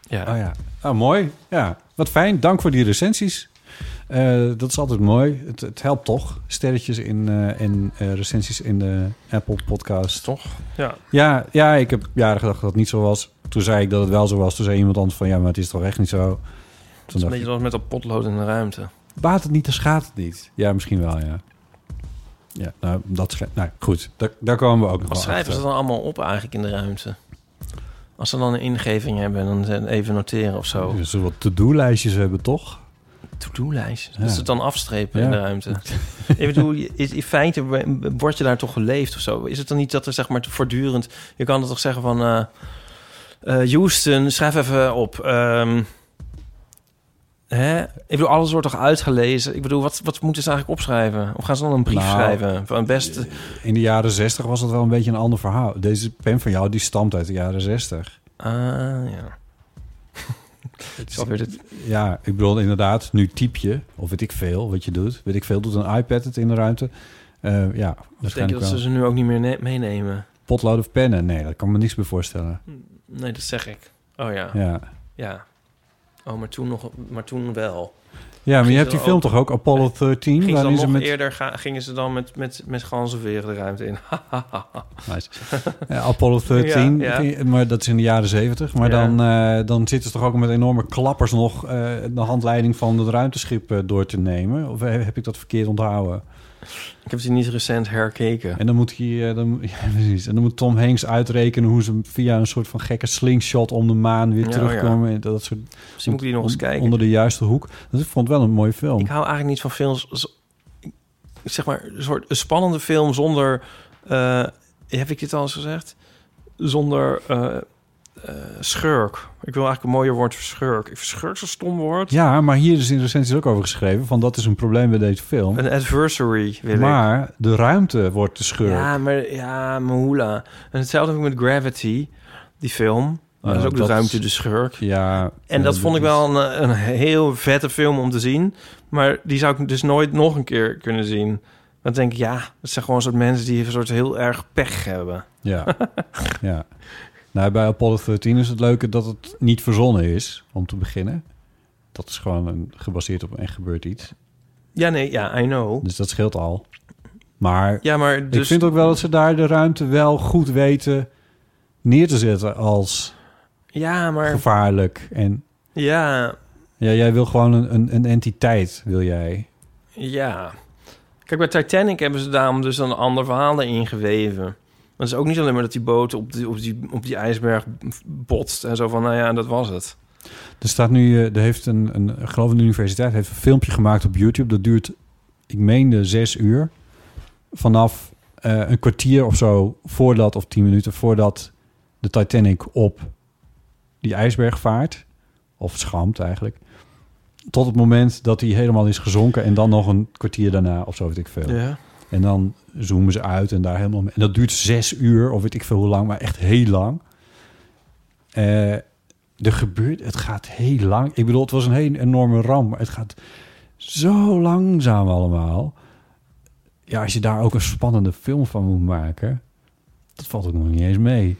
Ja.
Oh ja. Oh, mooi. Ja, wat fijn. Dank voor die recensies. Eh, dat is altijd mooi. Het, het helpt toch? Sterretjes in, eh, en eh, recensies in de Apple podcast.
Toch? Ja.
Ja, ja, ik heb jaren gedacht dat het niet zo was. Toen zei ik dat het wel zo was. Toen zei iemand anders van... ja, maar het is toch echt niet zo?
Het is
Toen
een
dacht
beetje
ik,
zoals met dat potlood in de ruimte.
baat het niet, dan schaadt het niet. Ja, misschien wel, ja. Ja, nou, dat scha- Nou, goed. Daar, daar komen we ook nog
Wat
wel
schrijven ze
achter.
dan allemaal op eigenlijk in de ruimte? Als ze dan een ingeving hebben, dan zijn- even noteren of zo.
Ze zullen wat to-do-lijstjes hebben, toch?
To-do-lijst.
Ja.
Dat ze het dan afstrepen in
Ja.
de ruimte. Ik bedoel, je- is, in feite word je daar toch geleefd of zo? Is het dan niet dat er zeg maar voortdurend... Je kan het toch zeggen van... eh, eh, Houston, schrijf even op. ehm, hè? Ik bedoel, alles wordt toch uitgelezen? Ik bedoel, wat, wat moeten ze eigenlijk opschrijven? Of gaan ze dan een brief
Nou, eh,
schrijven? Van best...
In de jaren zestig was dat wel een beetje een ander verhaal. Deze pen van jou, die stamt uit de jaren zestig.
Ah, ja. Het is alweer dit-
Ja, ik bedoel inderdaad, nu typ je, of weet ik veel wat je doet. Weet ik veel, doet een iPad het in de ruimte? Eh, ja,
Ik denk je
waarschijnlijk
dat ze
wel.
ze nu ook niet meer ne- meenemen?
Potlood of pennen? Nee, daar kan ik me niks bij voorstellen.
Nee, dat zeg ik. Oh ja.
Ja.
Ja. Oh, maar toen, nog, maar toen wel.
Ja, maar je
Gingen
hebt
ze
die film toch ook, Apollo 13?
Gingen ze dan
Waarin ze
nog
met,
eerder ga- gingen ze dan met, met, met ganzenveren de ruimte in.
Nice. Ja, Apollo 13,
Ja, ja.
maar dat is in de jaren 70. Maar
Ja.
dan, eh, dan zitten ze toch ook met enorme klappers nog eh, de handleiding van het ruimteschip eh, door te nemen? Of eh, heb ik dat verkeerd onthouden?
Ik heb ze niet recent herkeken.
En dan moet, hij, eh, dan, ja, precies. En dan moet Tom Hanks uitrekenen hoe ze via een soort van gekke slingshot om de maan weer
Ja,
terugkomen. En Dat soort,
Misschien moet ik die nog eens kijken.
Onder de juiste hoek. Dat ik vond wel een mooie film.
Ik hou eigenlijk niet van films. z- Zeg maar, een soort een spannende film zonder. eh, heb ik dit al eens gezegd? Zonder eh, eh, schurk. Ik wil eigenlijk een mooier woord voor schurk. Ik vind schurk zo'n stom woord.
Ja, maar hier is in de recensies ook over geschreven. Van dat is een probleem bij deze film.
Een adversary wil ik.
maar de ruimte wordt te schurk.
Ja, maar ja, Mahula. En hetzelfde heb ik met Gravity, die film.
Ja,
dat is ook de
Nou, dat
ruimte
is-
de schurk.
Ja.
En dat
eh,
vond ik
is-
wel een, een heel vette film om te zien. Maar die zou ik dus nooit nog een keer kunnen zien. Want dan denk ik, ja, het zijn gewoon een soort mensen die een soort heel erg pech hebben.
Ja. ja. Nou, bij Apollo 13 is het leuke dat het niet verzonnen is, om te beginnen. Dat is gewoon een, gebaseerd op en gebeurt iets.
Ja, nee, ja, I know.
Dus dat scheelt al. Maar,
Ja, maar
ik
dus-
vind ook wel dat ze daar de ruimte wel goed weten neer te zetten als
Ja, maar...
gevaarlijk. En
Ja,
ja, jij wil gewoon een, een, een entiteit, wil jij.
ja. Kijk, bij Titanic hebben ze daarom dus een ander verhaal erin geweven. Maar het is ook niet alleen maar dat die boot op die, op die, op die ijsberg botst en zo van, nou ja, dat was het.
Er staat nu, eh, er heeft een, een ik geloof een universiteit heeft een filmpje gemaakt op YouTube. Dat duurt, ik meende zes uur. Vanaf eh, een kwartier of zo voordat, of tien minuten voordat de Titanic op die ijsberg vaart. Of schampt eigenlijk. Tot het moment dat hij helemaal is gezonken. En dan nog een kwartier daarna of zo weet ik veel.
Ja.
En dan zoomen ze uit en daar helemaal mee. En dat duurt zes uur of weet ik veel hoe lang. Maar echt heel lang. Eh, er gebeurt, het gaat heel lang. Ik bedoel, het was een hele enorme ramp, maar het gaat zo langzaam allemaal. Ja, als je daar ook een spannende film van moet maken, dat valt ook nog niet eens mee.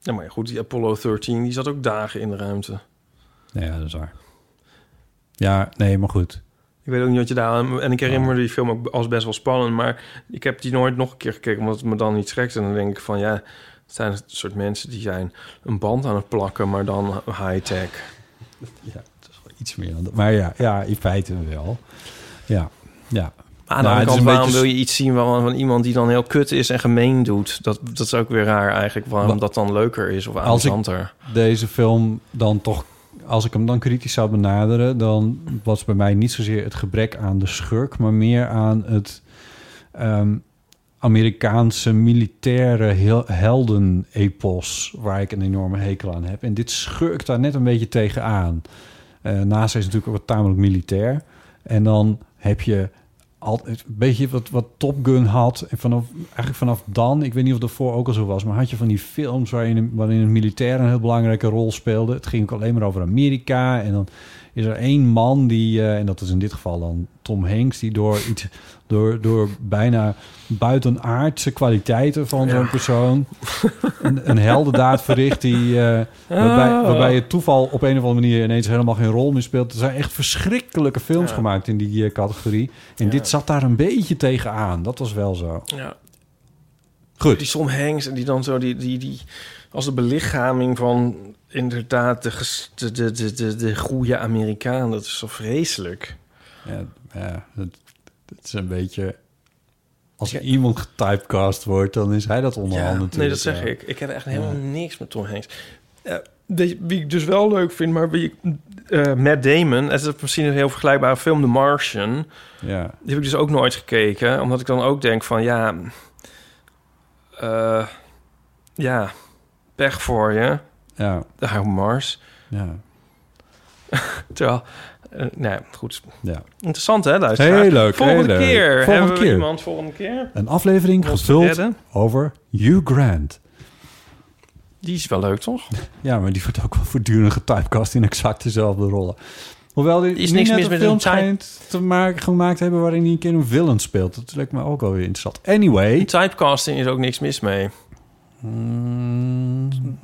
Ja, maar ja, goed, die Apollo 13, die zat ook dagen in de ruimte.
Nou ja, dat is waar. Ja, nee, maar goed.
Ik weet ook niet wat je daar... En ik herinner me die film ook als best wel spannend... maar ik heb die nooit nog een keer gekeken... omdat het me dan niet schrikt. En dan denk ik van, ja... Het zijn het soort mensen die zijn een band aan het plakken... maar dan high-tech.
Ja, dat is wel iets meer dan dat. Maar ja, ja in feite wel. Ja, ja.
Aan
Nou,
de
het
andere
is
kant,
een
waarom
beetje-
wil je iets zien van, van iemand die dan heel kut is en gemeen doet? Dat, dat is ook weer raar eigenlijk, waarom dat dan leuker is of
als ik
amusanter.
deze film dan toch, als ik hem dan kritisch zou benaderen, dan was bij mij niet zozeer het gebrek aan de schurk, maar meer aan het ehm, Amerikaanse militaire hel- heldenepos, waar ik een enorme hekel aan heb. En dit schurkt daar net een beetje tegenaan. Eh naast is natuurlijk ook wat tamelijk militair. En dan heb je altijd een beetje wat, wat Top Gun had. En vanaf, eigenlijk vanaf dan, ik weet niet of dat voor ook al zo was, maar had je van die films waarin, waarin het militair een heel belangrijke rol speelde. Het ging ook alleen maar over Amerika. En dan is er één man die, eh, en dat is in dit geval dan Tom Hanks, die door iets, door, door bijna buitenaardse kwaliteiten van zo'n persoon een, een heldendaad verricht die, eh,
Oh.
waarbij, waarbij het toeval op een of andere manier ineens helemaal geen rol meer speelt. Er zijn echt verschrikkelijke films
Ja.
gemaakt in die eh, categorie. En
Ja.
dit zat daar een beetje tegenaan. Dat was wel zo.
Ja.
Goed.
Die Tom Hanks en die dan zo die, die, die als de belichaming van inderdaad de, ges- de, de, de, de, de goede Amerikaan. Dat is zo vreselijk.
Ja, ja dat, dat is een beetje... Als er iemand getypecast wordt, dan is hij dat onderhand natuurlijk.
nee, dat zeg
ja.
ik. Ik heb echt
Ja.
helemaal niks met Tom Hanks. Eh, die- wie ik dus wel leuk vind, maar wie ik... eh Matt Damon, het is misschien een heel vergelijkbare film, The Martian.
Ja.
Die heb ik dus ook nooit gekeken, omdat ik dan ook denk van ja... eh, ja, pech voor je.
Ja.
Daar op Mars.
Ja.
Terwijl, eh, nou ja, goed.
Ja.
Interessant hè, luisteraar?
Heel leuk.
Volgende
heel leuk.
keer
Volgende
hebben we
keer.
iemand volgende keer.
Een aflevering
Om ons te
gevuld
redden.
over Hugh Grant.
Die is wel leuk, toch?
Ja, maar die wordt ook wel voortdurend getypecast in exact dezelfde rollen. Hoewel die
Er is
nu
niks
net
mis
een
met
film
een type.
schijnt te maken, gemaakt hebben waarin hij een keer een villain speelt. Dat lijkt me ook wel weer interessant. Anyway.
Mm. Typecasting is ook niks mis mee.
Mm.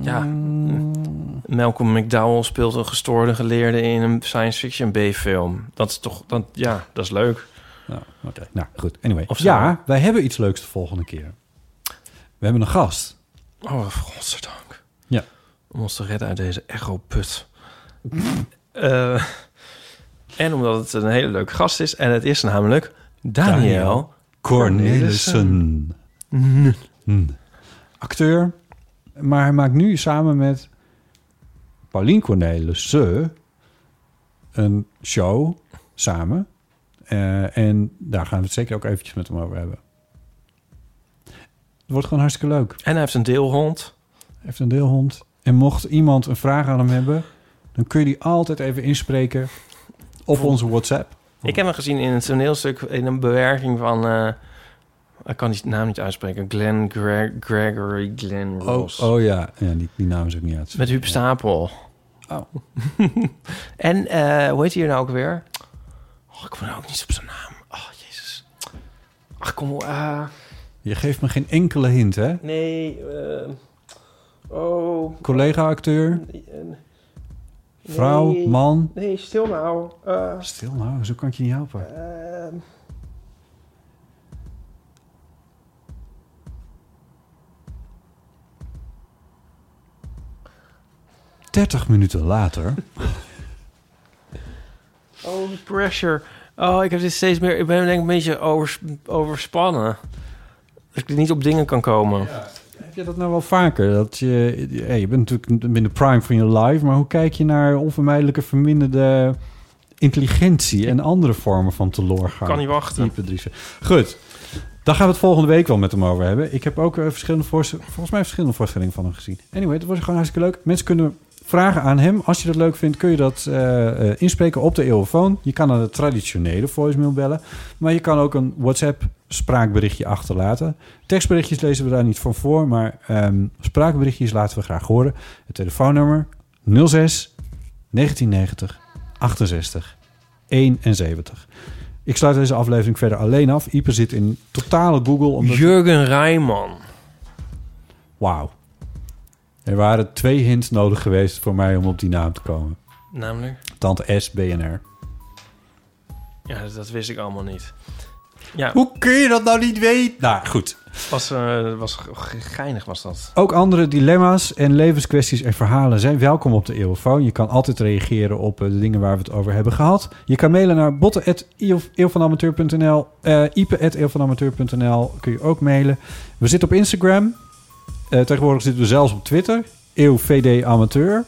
Ja. Malcolm McDowell speelt een gestoorde geleerde in een science fiction B-film. Dat is toch, dat, ja, dat is leuk.
Oké, nou goed. Anyway.
Of zo.
ja, wij hebben iets leuks de volgende keer. We hebben een gast.
Oh, godzijdank.
Ja.
Om ons te redden uit deze echo-put. Eh, en omdat het een hele leuke gast is. En het is namelijk Daniel,
Daniel Cornelissen. Hmm. Acteur. Maar hij maakt nu samen met Paulien Cornelissen een show samen. Eh, en daar gaan we het zeker ook eventjes met hem over hebben. Het wordt gewoon hartstikke leuk.
En hij heeft een deelhond.
Hij heeft een deelhond. En mocht iemand een vraag aan hem hebben... dan kun je die altijd even inspreken op onze WhatsApp.
Ik heb hem gezien in een toneelstuk in een bewerking van... eh, ik kan die naam niet uitspreken. Glenn Gre- Gregory Glenn
Oh,
Ross.
oh ja, ja die, die naam is ook niet uit.
Met Huub Stapel.
Oh.
en eh, hoe heet hij hier nou ook weer? Oh, ik kom nou ook niet op zijn naam. Oh, jezus. Ach, kom op. eh,
Je geeft me geen enkele hint, hè?
nee. eh, oh.
Collega-acteur, vrouw,
Nee.
man.
Nee, stil nou. Eh,
Stil nou, zo kan ik je niet helpen.
ehm.
Dertig minuten later.
Oh, pressure. Oh, ik heb dit steeds meer. Ik ben denk ik een beetje overs- overspannen. Dat ik niet op dingen kan komen.
Heb je dat nou wel vaker? Dat je, ja, je bent natuurlijk in de prime van je life, maar hoe kijk je naar onvermijdelijke verminderde intelligentie en andere vormen van teloorgang?
Kan niet wachten.
Type drie- Goed, daar gaan we het volgende week wel met hem over hebben. Ik heb ook eh, verschillende voorst- volgens mij verschillende voorstellingen van hem gezien. Anyway, het wordt gewoon hartstikke leuk. Mensen kunnen vragen aan hem. Als je dat leuk vindt, kun je dat eh, eh, inspreken op de eeuwenfoon. Je kan naar de traditionele voicemail bellen. Maar je kan ook een WhatsApp spraakberichtje achterlaten. Tekstberichtjes lezen we daar niet van voor. Maar ehm, spraakberichtjes laten we graag horen. Het telefoonnummer 06 1990 68 71. Ik sluit deze aflevering verder alleen af. Ieper zit in totale Google. Omdat...
Jurgen Rijman.
Wauw. Er waren twee hints nodig geweest voor mij om op die naam te komen.
Namelijk?
Tante S, BNR.
Ja, dat, dat wist ik allemaal niet. Ja,
Hoe kun je dat nou niet weten? Nou, goed.
was, eh, was ge- ge- geinig was dat.
Ook andere dilemma's en levenskwesties en verhalen zijn welkom op de Eeuwfoon. Je kan altijd reageren op eh, de dingen waar we het over hebben gehad. Je kan mailen naar botten.eeuwvanamateur.nl eh ipe.eeuwvanamateur.nl kun je ook mailen. We zitten op Instagram. Eh, tegenwoordig zitten we zelfs op Twitter. EeuwVD Amateur.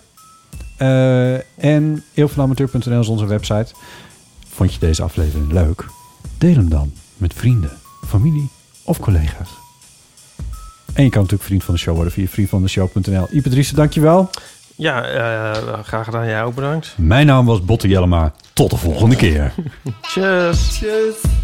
Eh, en eeuwvanamateur.nl is onze website. Vond je deze aflevering leuk? Deel hem dan met vrienden, familie of collega's. En je kan natuurlijk vriend van de show worden via vriendvandeshow.nl. Ipe Driessen, dankjewel.
Ja, eh, graag gedaan. Jij ook bedankt.
Mijn naam was Botte Jellema. Tot de volgende keer.
Tjus.
Tjus.